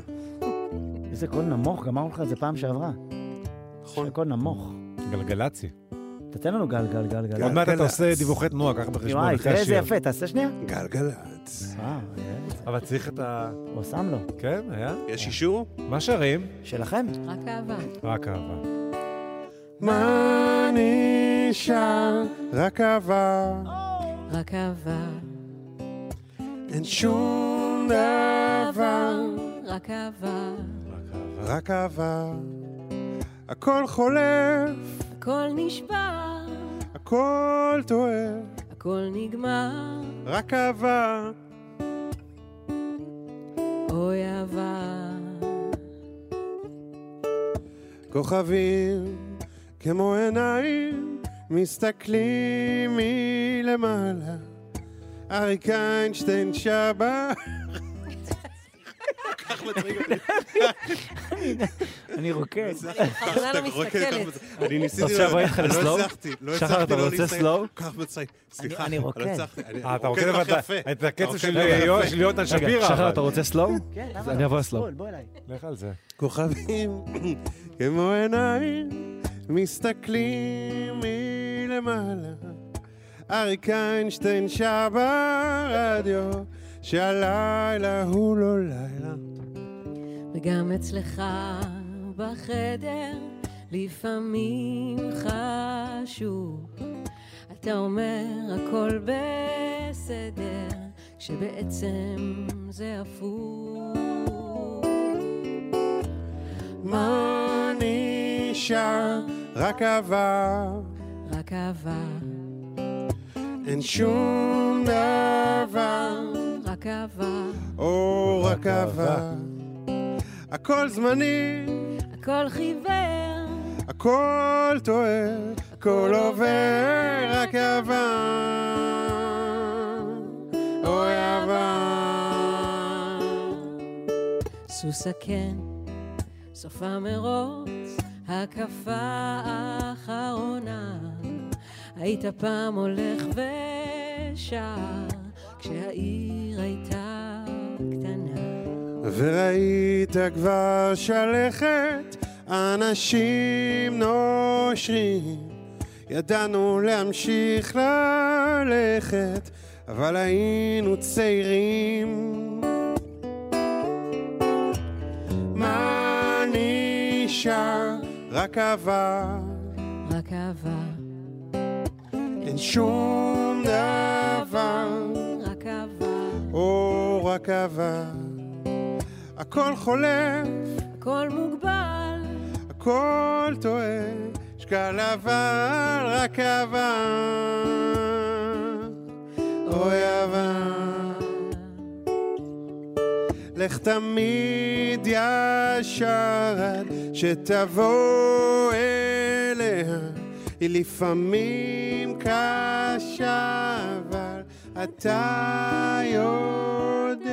Speaker 1: איזה קול נמוך, גמרנו לך את זה פעם שעברה. נכון. קול נמוך.
Speaker 3: גלגלצי.
Speaker 1: תתן לנו גל, גל, גל, גל.
Speaker 3: עוד מעט אתה עושה דיווחי תנועה, קח בחשבון.
Speaker 1: וואי,
Speaker 3: אחרי
Speaker 1: תראה איזה
Speaker 3: השיר.
Speaker 1: יפה, תעשה שנייה.
Speaker 10: גלגלצ.
Speaker 2: אה,
Speaker 3: אבל צריך את ה...
Speaker 1: הוא שם לו.
Speaker 3: כן, היה?
Speaker 10: יש אישור?
Speaker 3: מה שרים?
Speaker 1: שלכם.
Speaker 9: רק אהבה.
Speaker 3: רק אהבה.
Speaker 10: מה נשאר? רק אהבה.
Speaker 9: רק אהבה.
Speaker 10: אין שום דבר.
Speaker 9: רק אהבה.
Speaker 10: רק אהבה. הכל חולף,
Speaker 9: הכל נשבר,
Speaker 10: הכל טועה.
Speaker 9: הכל נגמר.
Speaker 10: רק אהבה.
Speaker 9: אוי אהבה.
Speaker 10: כוכבים כמו עיניים מסתכלים מלמעלה. אריק איינשטיין שבת.
Speaker 1: אני רוקד.
Speaker 9: בכוונה לא מסתכלת.
Speaker 10: אני ניסיתי...
Speaker 2: עכשיו ראיתי לך
Speaker 10: אני לא
Speaker 2: לסלואו?
Speaker 10: הצלחתי, לא
Speaker 2: שחר,
Speaker 10: הצלחתי
Speaker 2: אתה
Speaker 10: לא
Speaker 2: רוצה
Speaker 10: להסתיים.
Speaker 2: סלואו?
Speaker 10: כך מצחיק. סליחה,
Speaker 2: אני רוקד.
Speaker 10: לא הצלחתי. אני
Speaker 2: אה, אתה
Speaker 10: רוקד
Speaker 2: רוקד, אבל
Speaker 10: לך
Speaker 2: אתה-
Speaker 10: יפה.
Speaker 2: את הקצב
Speaker 10: אתה
Speaker 2: של
Speaker 10: רוקד לך
Speaker 2: יו-
Speaker 10: יפה.
Speaker 2: של יונתן
Speaker 10: רגע,
Speaker 2: שפירא,
Speaker 10: שחר,
Speaker 2: אבל. אתה רוצה סלואו?
Speaker 1: כן,
Speaker 2: אז
Speaker 3: לא?
Speaker 2: אני אבוא לסלואו.
Speaker 1: בוא אליי.
Speaker 3: לך על זה.
Speaker 10: כוכבים כמו עיניים מסתכלים מלמעלה. אריק איינשטיין שר ברדיו שהלילה הוא לא לילה.
Speaker 9: וגם אצלך בחדר לפעמים חשוב. אתה אומר הכל בסדר, כשבעצם זה הפוך.
Speaker 10: מה נשאר? רק אהבה.
Speaker 9: רק אהבה,
Speaker 10: אין שום דבר.
Speaker 9: רק אהבה,
Speaker 10: או רק אהבה. הכל זמני,
Speaker 9: הכל חיוור,
Speaker 10: הכל טועה, הכל עובר, רק אהבה. אוי אהבה.
Speaker 9: סוס הקן, סוף המרוץ, הקפה האחרונה. היית פעם הולך ושר, כשהעיר הייתה קטנה.
Speaker 10: וראית כבר שלכת אנשים נושרים. ידענו להמשיך ללכת, אבל היינו צעירים. מה נשאר? רק אהבה.
Speaker 9: רק אהבה,
Speaker 10: אין שום דבר,
Speaker 9: רק אהבה,
Speaker 10: או רק אהבה. הכל חולף,
Speaker 9: הכל מוגבל,
Speaker 10: הכל טועה, שקל אבל רק אהבה. אוי אהבה. לך תמיד ישר עד שתבוא אליה, היא לפעמים קשה, אבל אתה יודע.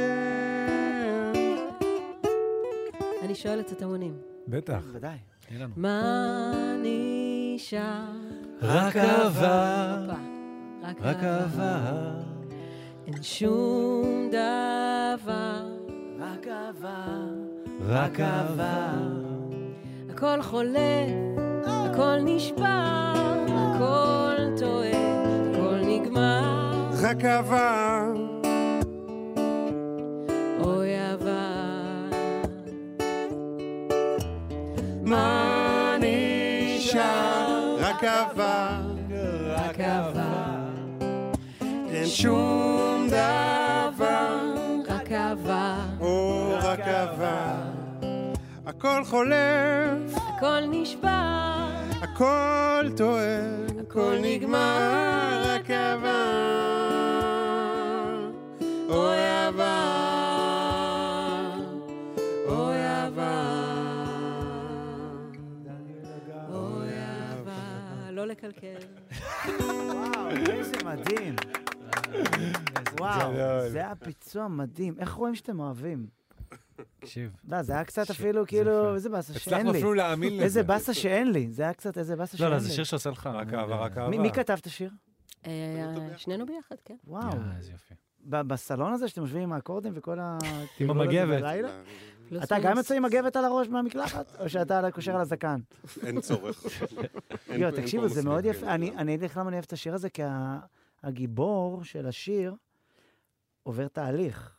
Speaker 9: אני שואלת את המונים.
Speaker 3: בטח.
Speaker 1: בוודאי.
Speaker 9: מה נשאר?
Speaker 12: רק אהבה.
Speaker 9: הופה. רק
Speaker 12: רק
Speaker 9: אהבה. אין שום דבר.
Speaker 1: רק אהבה.
Speaker 12: רק אהבה.
Speaker 9: הכל חולף, הכל נשבר, הכל טועה, הכל נגמר.
Speaker 13: רק אהבה.
Speaker 9: אוי אהבה.
Speaker 13: מה נשאר? רק אהבה.
Speaker 12: רק אהבה.
Speaker 13: אין שום דבר.
Speaker 9: רק אהבה.
Speaker 13: או רק אהבה. הכל חולף,
Speaker 9: הכל נשבר,
Speaker 13: הכל טועה, הכל נגמר, רק אהבה. אוי אהבה. אוי אהבה.
Speaker 9: אה, לא לקלקל.
Speaker 1: וואו, איזה מדהים. וואו,
Speaker 2: גדול.
Speaker 1: זה היה פיצוע מדהים. איך רואים שאתם אוהבים?
Speaker 2: תקשיב.
Speaker 1: לא, זה היה קצת אפילו, כאילו, איזה באסה
Speaker 2: הצלחנו
Speaker 1: שאין לי.
Speaker 2: אפילו להאמין לזה.
Speaker 1: איזה באסה שאין לי. זה היה קצת איזה באסה שאין
Speaker 2: לא,
Speaker 1: לי.
Speaker 2: לא, זה שיר שעושה לך. רק אהבה, רק
Speaker 1: מי- מי כתב את השיר?
Speaker 9: אה, שנינו ביחד, כן.
Speaker 1: וואו.
Speaker 2: אה, איזה יופי.
Speaker 1: ב- בסלון הזה שאתם יושבים עם האקורדים וכל ה...
Speaker 2: עם
Speaker 1: הטרלול הזה
Speaker 2: המגבת.
Speaker 1: בלילה?
Speaker 9: פלוס
Speaker 1: אתה גם
Speaker 9: מינוס.
Speaker 1: יוצא עם מגבת על הראש מהמקלחת, או שאתה על- קושר על הזקן?
Speaker 10: אין צורך. אין-
Speaker 1: יואו,
Speaker 10: אין
Speaker 1: תקשיבו,
Speaker 10: פה
Speaker 1: זה
Speaker 10: מספיק,
Speaker 1: מאוד
Speaker 10: כן,
Speaker 1: יפה. אני אני אגיד לך למה אני אוהב את השיר הזה, כי ה- הגיבור של השיר עובר תהליך.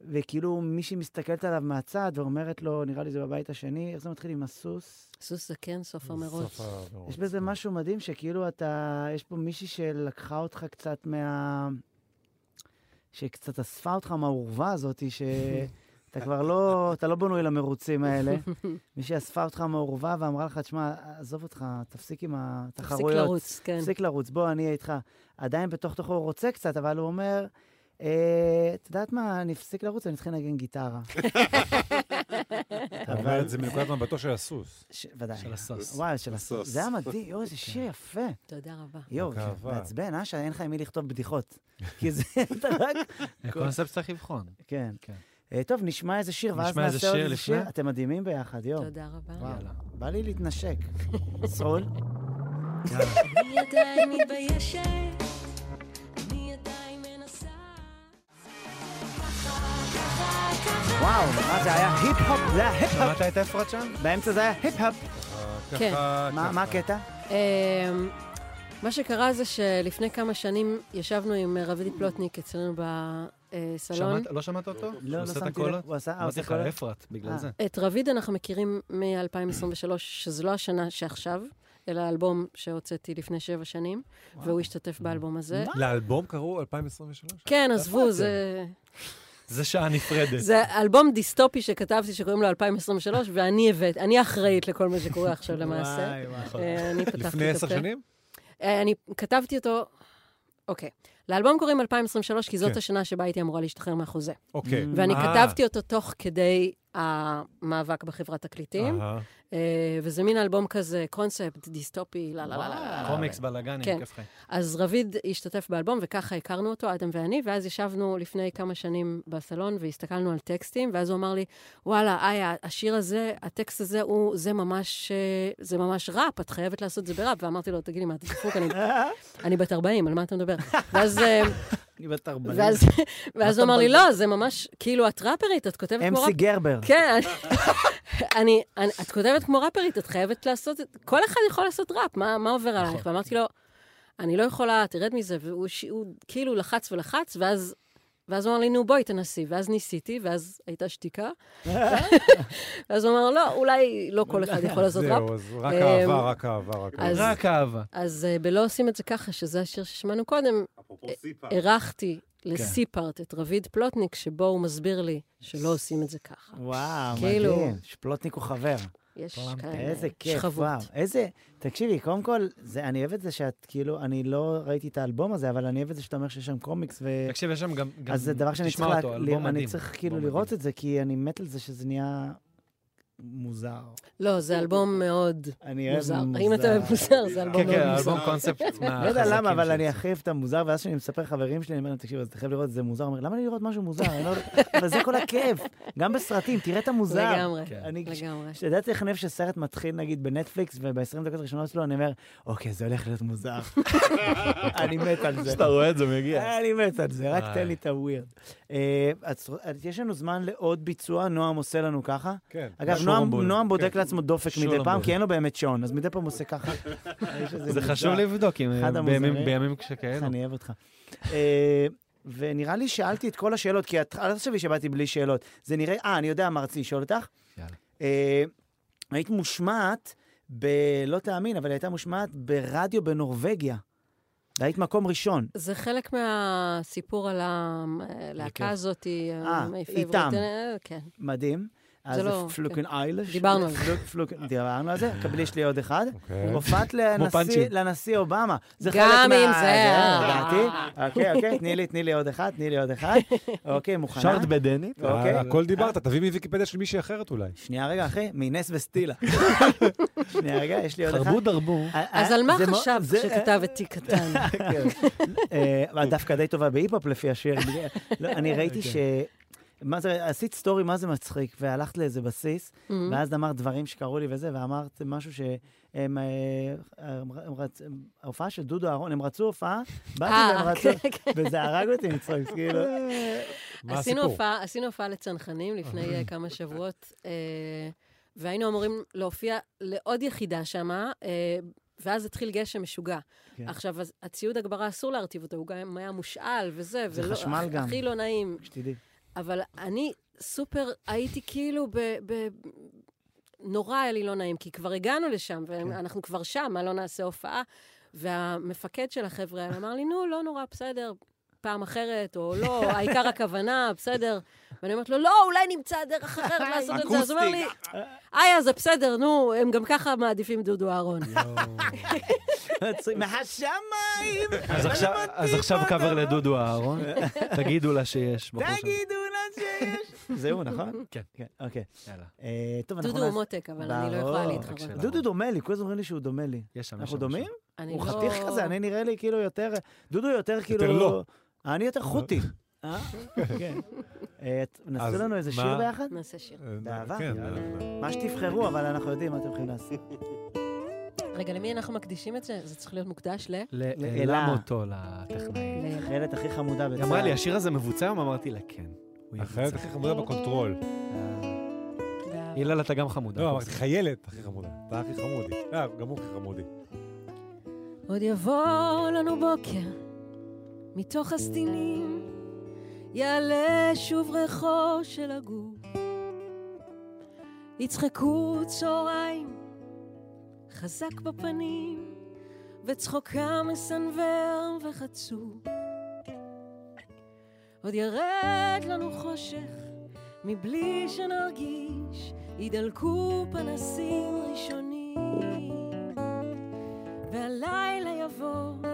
Speaker 1: וכאילו מישהי מסתכלת עליו מהצד ואומרת לו, נראה לי זה בבית השני, איך זה מתחיל עם הסוס?
Speaker 9: סוס זקן, סוף המרוץ.
Speaker 1: יש
Speaker 10: כן.
Speaker 1: בזה משהו מדהים, שכאילו אתה, יש פה מישהי שלקחה אותך קצת מה... שקצת אספה אותך מהאורווה הזאת, שאתה כבר לא, אתה לא בנוי למרוצים האלה. מישהי אספה אותך מהאורווה ואמרה לך, תשמע, עזוב אותך, תפסיק עם התחרויות.
Speaker 9: לרוץ, כן.
Speaker 1: תפסיק לרוץ, בוא, אני אהיה איתך. עדיין בתוך תוכו הוא רוצה קצת, אבל הוא אומר, "אה, את יודעת מה, אני אפסיק לרוץ, אני אתחיל לנגן גיטרה.
Speaker 3: אתה אומר את זה מנקודת מבטו של הסוס.
Speaker 1: ש- ודאי.
Speaker 3: של הסוס. כן.
Speaker 1: וואי, של הסוס. זה היה מדהים, יואו, איזה שיר יפה.
Speaker 9: תודה רבה.
Speaker 1: יואו,
Speaker 2: רק אהבה.
Speaker 1: מעצבן, אה, שאין לך עם מי לכתוב בדיחות. כי זה, אתה רק...
Speaker 2: קונספט צריך לבחון.
Speaker 1: כן. אה, טוב, נשמע איזה שיר, ואז
Speaker 2: נשמע איזה
Speaker 1: נעשה עוד
Speaker 2: שיר
Speaker 1: איזה
Speaker 2: לפני?
Speaker 1: שיר. אתם מדהימים ביחד, יואו.
Speaker 9: תודה רבה.
Speaker 1: וואלה. בא לי להתנשק. סרול?
Speaker 12: אני עדיין מתביישת, אני עדיין מנסה.
Speaker 1: וואו, מה זה היה היפ-הופ? זה היה היפ-הופ.
Speaker 2: שמעת את אפרת שם? אה,
Speaker 1: באמצע זה היה היפ-הופ.
Speaker 9: כן.
Speaker 1: מה מה הקטע?
Speaker 9: אמ, מה שקרה זה שלפני כמה שנים ישבנו עם רביד פלוטניק אצלנו אה, בסלון.
Speaker 2: שמעת- לא שמעת אותו?
Speaker 1: לא, לא
Speaker 2: עושה את
Speaker 1: שמתי
Speaker 2: הקולות?
Speaker 1: לב. הוא עשה- אה,
Speaker 2: אמרתי
Speaker 1: עושה
Speaker 2: לך,
Speaker 1: קולות?
Speaker 2: אפרת, בגלל
Speaker 1: אה.
Speaker 2: זה.
Speaker 9: את רביד אנחנו מכירים מ-2023, שזו לא השנה שעכשיו, אלא האלבום שהוצאתי לפני שבע שנים, והוא השתתף באלבום הזה.
Speaker 3: לאלבום קראו 2023?
Speaker 9: כן,
Speaker 3: Mm. איפה
Speaker 9: עזבו, זה...
Speaker 2: זה שעה נפרדת.
Speaker 9: זה אלבום דיסטופי שכתבתי שקוראים לו 2023, ואני הבאת, אני אחראית לכל מה שקורה עכשיו למעשה.
Speaker 12: וואי, וואי.
Speaker 9: אה, אני פתחתי את
Speaker 3: לפני עשר
Speaker 9: הפה.
Speaker 3: שנים?
Speaker 9: אה, אני כתבתי אותו, אוקיי. לאלבום קוראים 2023, כי זאת
Speaker 3: כן.
Speaker 9: השנה שבה הייתי אמורה להשתחרר מהחוזה.
Speaker 3: אוקיי.
Speaker 12: Mm.
Speaker 9: ואני
Speaker 3: אה.
Speaker 9: כתבתי אותו תוך כדי המאבק בחברת תקליטים,
Speaker 2: אהה.
Speaker 9: אה, וזה מין אלבום כזה, קונספט דיסטופי, לה לה לה לה. לה.
Speaker 2: קומיקס, בלאגנים,
Speaker 9: כן.
Speaker 2: כיף חיים.
Speaker 9: אז רביד השתתף באלבום, וככה הכרנו אותו, אדם ואני, ואז ישבנו לפני כמה שנים בסלון והסתכלנו על טקסטים, ואז הוא אמר לי, וואלה, איה, השיר הזה, הטקסט הזה, הוא, זה ממש, אה, זה ממש ראפ, את חייבת לעשות את זה בראפ. ואמרתי לו, תגיד לי, מה, אתה דפוק? אני, אני בת 40, על מה אתה מדבר? ואז... אה,
Speaker 1: אני בת 40.
Speaker 9: ואז, ואז הוא אמר לי, לא, זה ממש, כאילו, את ראפרית, את כותבת כמו
Speaker 1: MC
Speaker 9: ראפ...
Speaker 1: גרבר.
Speaker 9: כן, אני, אני, את כותבת כמו ראפרית, את חייבת לעשות, את- כל אחד יכול לעשות ראפ, מה, מה עובר עלייך? ואמרתי לו, אני לא יכולה, תרד מזה, והוא ש... הוא, כאילו לחץ ולחץ, ואז... ואז הוא אמר לי, נו, בואי, תנסי. ואז ניסיתי, ואז הייתה שתיקה. ואז הוא אמר, לא, אולי לא כל אחד יכול לעשות ראפ.
Speaker 3: זהו, אז רק
Speaker 9: אמ,
Speaker 3: אהבה, רק אהבה, רק
Speaker 9: אז-
Speaker 3: אהבה.
Speaker 9: רק
Speaker 2: אהבה.
Speaker 9: אז אה, בלא עושים את זה ככה, שזה השיר ששמענו קודם, אה, אירחתי
Speaker 1: כן.
Speaker 9: לסיפארט את רביד פלוטניק, שבו הוא מסביר לי שלא עושים את זה ככה.
Speaker 1: וואו,
Speaker 9: כאילו-
Speaker 1: מדהים. שפלוטניק הוא חבר.
Speaker 9: יש כאלה
Speaker 1: איזה כיף,
Speaker 9: שכבות.
Speaker 1: וואו. איזה... תקשיבי, קודם כל, זה- אני אוהב את זה שאת, כאילו, אני לא ראיתי את האלבום הזה, אבל אני אוהב את זה שאתה אומר שיש שם קומיקס ו...
Speaker 2: תקשיב, יש שם גם... גם-
Speaker 1: אז זה דבר שאני
Speaker 2: תשמע
Speaker 1: צריך, לה-
Speaker 2: אותו,
Speaker 1: ל-
Speaker 2: אלבום
Speaker 1: אני
Speaker 2: מדהים,
Speaker 1: צריך כאילו
Speaker 2: אלבום
Speaker 1: לראות את זה, כי אני מת על זה שזה נהיה מוזר.
Speaker 9: לא, זה אלבום מאוד
Speaker 1: אני אוהב
Speaker 9: מוזר.
Speaker 1: מוזר.
Speaker 9: אם אתה אוהב מוזר, זה אלבום
Speaker 2: כן, כן,
Speaker 9: מאוד מוזר.
Speaker 2: אלבום קונספט
Speaker 1: לא יודע למה, אבל
Speaker 2: מהחזקים
Speaker 1: אני הכי אוהב את המוזר, ואז כשאני מספר לחברים שלי, אני אומר להם, תקשיב, אז אתה חייב לראות את זה מוזר. הוא אומר, למה לי לראות משהו מוזר? אני לא- אבל זה כל הכיף. גם בסרטים, תראה את המוזר.
Speaker 9: לגמרי,
Speaker 1: אני-
Speaker 9: לגמרי.
Speaker 1: כשאתה יודע, צריך לב שסרט מתחיל, נגיד, בנטפליקס, וב-20 דקות הראשונות שלו, אני אומר, אוקיי, זה הולך להיות מוזר. אני מת על זה.
Speaker 11: כשאתה רואה את זה מגיע.
Speaker 1: אני מת על זה, רק תן לי
Speaker 11: איי.
Speaker 1: את הווירד. אה, אז- אז יש לנו זמן לעוד ביצוע, נועם עושה לנו ככה.
Speaker 3: כן.
Speaker 1: אגב,
Speaker 11: שולם
Speaker 1: נועם-
Speaker 11: בול.
Speaker 1: נועם בודק
Speaker 11: כן.
Speaker 1: לעצמו דופק מדי
Speaker 2: שולם
Speaker 1: פעם,
Speaker 2: בול.
Speaker 1: כי אין לו באמת שעון, אז מדי פעם הוא עושה ככה. האיש הזה
Speaker 2: זה
Speaker 1: מוזר.
Speaker 2: חשוב לבדוק, אם-
Speaker 1: אחד
Speaker 2: בימים-
Speaker 1: המוזרים.
Speaker 2: בימים כשכאלו.
Speaker 1: איך אני אוהב אותך. אה, ונראה לי שאלתי את כל השאלות, כי את- אל תחשבי שבאתי בלי שאלות. זה נראה, אה, אני יודע מה רציתי לשאול אותך. אה, היית מושמעת ב... לא תאמין, אבל היא הייתה מושמעת ברדיו בנורבגיה. והיית מקום ראשון.
Speaker 9: זה חלק מהסיפור על
Speaker 1: בכיף.
Speaker 9: הלהקה הזאת,
Speaker 1: כן. אה,
Speaker 9: my favorite,
Speaker 1: איתם.
Speaker 9: אה, כן.
Speaker 1: מדהים. אז
Speaker 9: זה לא-
Speaker 1: פלוקן
Speaker 9: כן.
Speaker 1: איילש.
Speaker 9: דיברנו על זה.
Speaker 1: פלוק- פלוק- דיברנו על זה, קבלי יש לי עוד אחד.
Speaker 9: אוקיי.
Speaker 1: הופעת
Speaker 9: כמו
Speaker 1: לנשיא-
Speaker 9: פאנצ'ים.
Speaker 1: לנשיא אובמה. זה
Speaker 9: גם
Speaker 1: חלק
Speaker 9: אם
Speaker 1: מה-
Speaker 9: זה-
Speaker 1: לדעתי. אוקיי, אוקיי, תני לי, תני לי עוד אחד, תני לי עוד אחד. אוקיי, מוכנה?
Speaker 3: שרת בדנית?
Speaker 1: אוקיי.
Speaker 3: אה, הכל דיברת, תביא מוויקיפדיה של מישהי אחרת אולי.
Speaker 1: שנייה רגע, אחי, מנס וסטילה. שנייה רגע, יש לי עוד אחד.
Speaker 3: חרבו
Speaker 2: דרבו.
Speaker 9: אז על מה
Speaker 1: אה, זה מאוד-
Speaker 9: חשבת
Speaker 1: זה-
Speaker 9: כשכתב את תיק קטן?
Speaker 1: אה, את דווקא די טובה בהיפ-הופ לפי השיר. לא, אני ראיתי
Speaker 9: אוקיי.
Speaker 1: ש... מה זה, עשית סטורי, מה זה מצחיק, והלכת לאיזה בסיס,
Speaker 9: Mhm.
Speaker 1: ואז אמרת דברים שקרו לי וזה, ואמרת משהו שהם... אה, הם ר- הם רצ- הם- ההופעה של דודו אהרון, הם רצו הופעה, באתי
Speaker 9: אה,
Speaker 1: והם רצו,
Speaker 9: כן, כן.
Speaker 1: וזה הרג אותי מצחוק, כאילו...
Speaker 9: עשינו הופעה, עשינו הופעה לצנחנים לפני אה, כמה שבועות, אה, והיינו אמורים להופיע לעוד יחידה שמה, אה, ואז התחיל גשם משוגע.
Speaker 1: כן.
Speaker 9: עכשיו, אז הציוד הגברה אסור להרטיב אותו, הוא גם היה מושאל וזה,
Speaker 1: זה
Speaker 9: ולא-
Speaker 1: חשמל
Speaker 9: הכ-
Speaker 1: גם.
Speaker 9: הכי לא נעים.
Speaker 1: שתדעי.
Speaker 9: אבל אני סופר, הייתי כאילו ב... ב... נורא היה לי לא נעים, כי כבר הגענו לשם, ואנחנו כבר שם, מה לא נעשה הופעה? והמפקד של החבר'ה האלה אמר לי, נו, לא נורא, בסדר, פעם אחרת, או לא, העיקר הכוונה, בסדר. ואני אומרת לו, לא, אולי נמצא דרך אחרת לעשות את זה. אז הוא אומר לי, איה, זה בסדר, נו, הם גם ככה מעדיפים דודו אהרון.
Speaker 1: מהשמיים!
Speaker 2: אז עכשיו- אז עכשיו קאבר לדודו אהרון, תגידו לה שיש בחור שם.
Speaker 1: תגידו לה שיש. זהו, נכון?
Speaker 2: כן.
Speaker 1: אוקיי.
Speaker 2: יאללה.
Speaker 1: אה, טוב,
Speaker 9: דודו
Speaker 1: אנחנו
Speaker 9: הוא
Speaker 1: נעשה-
Speaker 9: מותק, אבל אני לא יכולה
Speaker 1: ברור.
Speaker 9: להתחרות. רק שלנו.
Speaker 1: דודו דומה לי, כל הזמן אומרים לי שהוא דומה לי.
Speaker 2: יש שם, יש
Speaker 1: אנחנו
Speaker 2: שם,
Speaker 1: דומים?
Speaker 9: אני
Speaker 1: הוא
Speaker 9: לא-
Speaker 1: חתיך כזה, אני נראה לי כאילו יותר... דודו יותר כאילו...
Speaker 3: לא.
Speaker 1: אני יותר חותי. אה? כן. אה, את-
Speaker 3: אז
Speaker 1: נעשו לנו איזה
Speaker 3: מה-
Speaker 1: שיר ביחד?
Speaker 9: נעשה שיר.
Speaker 2: אה,
Speaker 1: באהבה?
Speaker 3: כן,
Speaker 1: יאללה.
Speaker 3: אנחנו-
Speaker 1: מה שתבחרו, אבל אנחנו יודעים מה אתם יכולים לעשות.
Speaker 2: אה,
Speaker 9: רגע, למי אנחנו מקדישים את זה? זה צריך להיות מוקדש ל...
Speaker 2: לאלה מותו, לטכנאי.
Speaker 1: החיילת הכי חמודה בצה"ל.
Speaker 2: היא אמרה לי, השיר הזה מבוצע? היום?" אמרתי לה, כן. הוא
Speaker 3: החיילת
Speaker 2: יבוצע."
Speaker 3: הכי חמודה בקונטרול.
Speaker 2: הלל, אתה גם חמודה.
Speaker 3: לא, אמרתי חיילת הכי חמודה. אתה הכי חמודי. אה, גם הוא הכי חמודי.
Speaker 12: עוד יבוא לנו בוקר מתוך הסדינים, יעלה שוב ריחו של הגוף. יצחקו צהריים חזק בפנים, וצחוקם מסנוור וחצוף. עוד ירד לנו חושך מבלי שנרגיש, ידלקו פנסים ראשונים. והלילה יבוא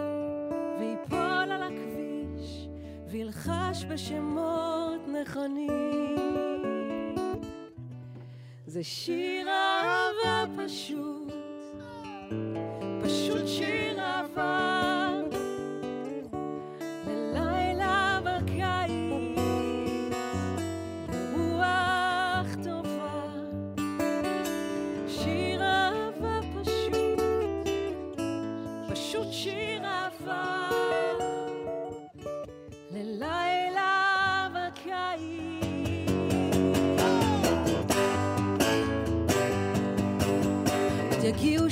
Speaker 12: ויפול על הכביש וילחש בשמות נכונים. זה שיר אהבה פשוט, פשוט שיר אהבה ללילה בקיץ, ברוח טובה. שיר אהבה פשוט, פשוט שיר אהבה ללילה בקיץ. עוד יגיעו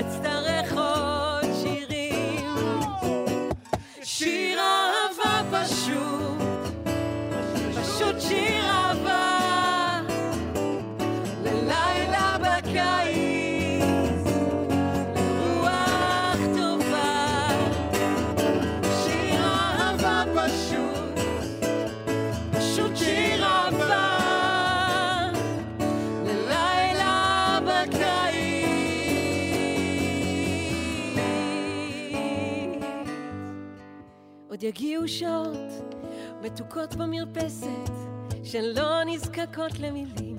Speaker 12: אצטרך עוד שירים. שיר אהבה פשוט, פשוט שיר אהבה, ללילה בקיץ, לרוח עוד יגיעו שעות מתוקות במרפסת, שלא נזקקות למילים.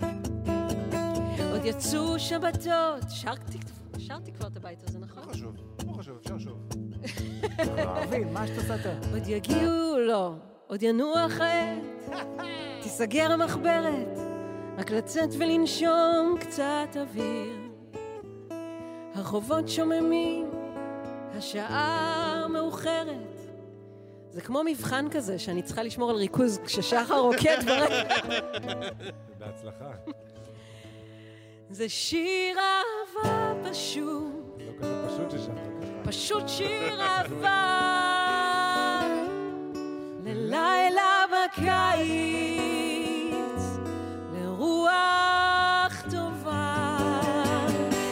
Speaker 12: עוד יצאו שבתות, שרתי, שרתי כבר את הבית הזה, נכון?
Speaker 3: לא חשוב, לא חשוב, אפשר שוב.
Speaker 1: מבין, מה שאת עושה טוב.
Speaker 12: עוד יגיעו, לא, עוד ינוח העט, תיסגר המחברת, רק לצאת ולנשום קצת אוויר. הרחובות שוממים, השעה מאוחרת. זה כמו מבחן כזה, שאני צריכה לשמור על ריכוז כששחר
Speaker 2: כן,
Speaker 12: רוקד ברקע.
Speaker 3: בהצלחה.
Speaker 12: זה שיר אהבה פשוט,
Speaker 3: לא כזה פשוט ששם.
Speaker 12: פשוט שיר אהבה ללילה בקיץ, לרוח טובה.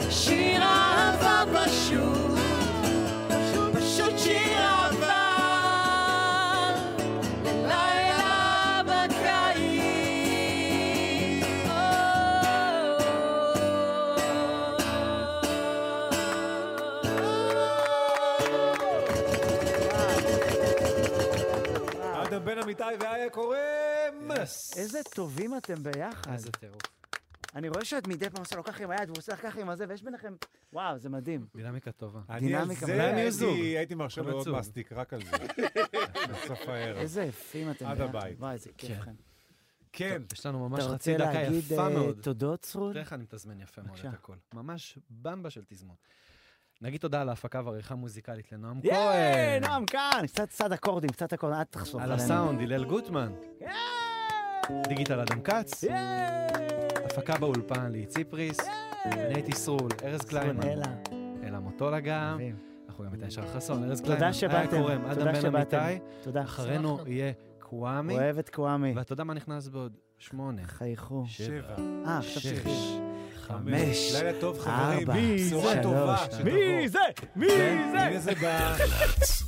Speaker 12: שיר אהבה פשוט, פשוט שיר אהבה ללילה בקיץ.
Speaker 4: Oh.
Speaker 3: אדם בן אמיתי ואיה קורם!
Speaker 1: איזה טובים אתם ביחד. איזה טירוף. אני רואה שאת מדי פעם עושה לו ככה עם היד, והוא עושה לך ככה עם הזה, ויש ביניכם... וואו, זה מדהים.
Speaker 2: דינמיקה טובה.
Speaker 3: אני על
Speaker 1: דינמיקה
Speaker 3: זה
Speaker 1: מדהימה.
Speaker 3: הייתי, הייתי מרשה לו
Speaker 1: אבל
Speaker 3: עוד
Speaker 1: עצוב.
Speaker 3: מסטיק, רק על זה. בסוף הערב.
Speaker 1: איזה יפים אתם.
Speaker 3: עד
Speaker 1: ביחד.
Speaker 3: הבית.
Speaker 1: וואי, איזה כיף
Speaker 2: כן.
Speaker 1: לכם.
Speaker 3: כן.
Speaker 2: טוב, יש לנו ממש
Speaker 1: אתה
Speaker 2: חצי
Speaker 1: רוצה
Speaker 2: דקה
Speaker 1: להגיד,
Speaker 2: יפה
Speaker 1: אה,
Speaker 2: מאוד.
Speaker 1: תודות, צרול?
Speaker 2: תראה איך אני מתזמן יפה מאוד
Speaker 1: בבקשה.
Speaker 2: את הכל. ממש במבה של תזמון. נגיד תודה על ההפקה והעריכה המוזיקלית לנועם
Speaker 1: ייי,
Speaker 2: כהן.
Speaker 1: נועם כאן! קצת קצת אקורדים, קצת אקורדים, אל תחשוב
Speaker 2: על
Speaker 1: עלינו.
Speaker 2: הסאונד, הלל גוטמן. דיגיטל אדם כץ. הפקה באולפן, ליהי ציפריס. אני הייתי סרול, ארז קליינמן.
Speaker 1: אלה.
Speaker 2: אלה מוטולה גם. אנחנו גם את הישר חסון, ארז
Speaker 1: תודה
Speaker 2: קליינמן. איה
Speaker 1: שבאתם,
Speaker 2: קורם,
Speaker 1: תודה
Speaker 2: אדם בן
Speaker 1: שבאתם.
Speaker 2: אמיתי.
Speaker 1: תודה.
Speaker 2: אחרינו
Speaker 1: שמחנו.
Speaker 2: יהיה קוואמי.
Speaker 1: אוהב את קוואמי.
Speaker 2: ואתה יודע מה נכנס בעוד? שמונה.
Speaker 1: חייכו.
Speaker 2: שבע.
Speaker 1: אה, עכשיו
Speaker 2: שש.
Speaker 1: שש.
Speaker 2: חמש.
Speaker 3: לילה טוב, חברים.
Speaker 2: ארבע.
Speaker 3: מי זה?
Speaker 2: שלוש. כן?
Speaker 3: בשורה טובה.
Speaker 2: מי
Speaker 3: שתבוא.
Speaker 2: זה?
Speaker 3: מי זה? הנה זה בא.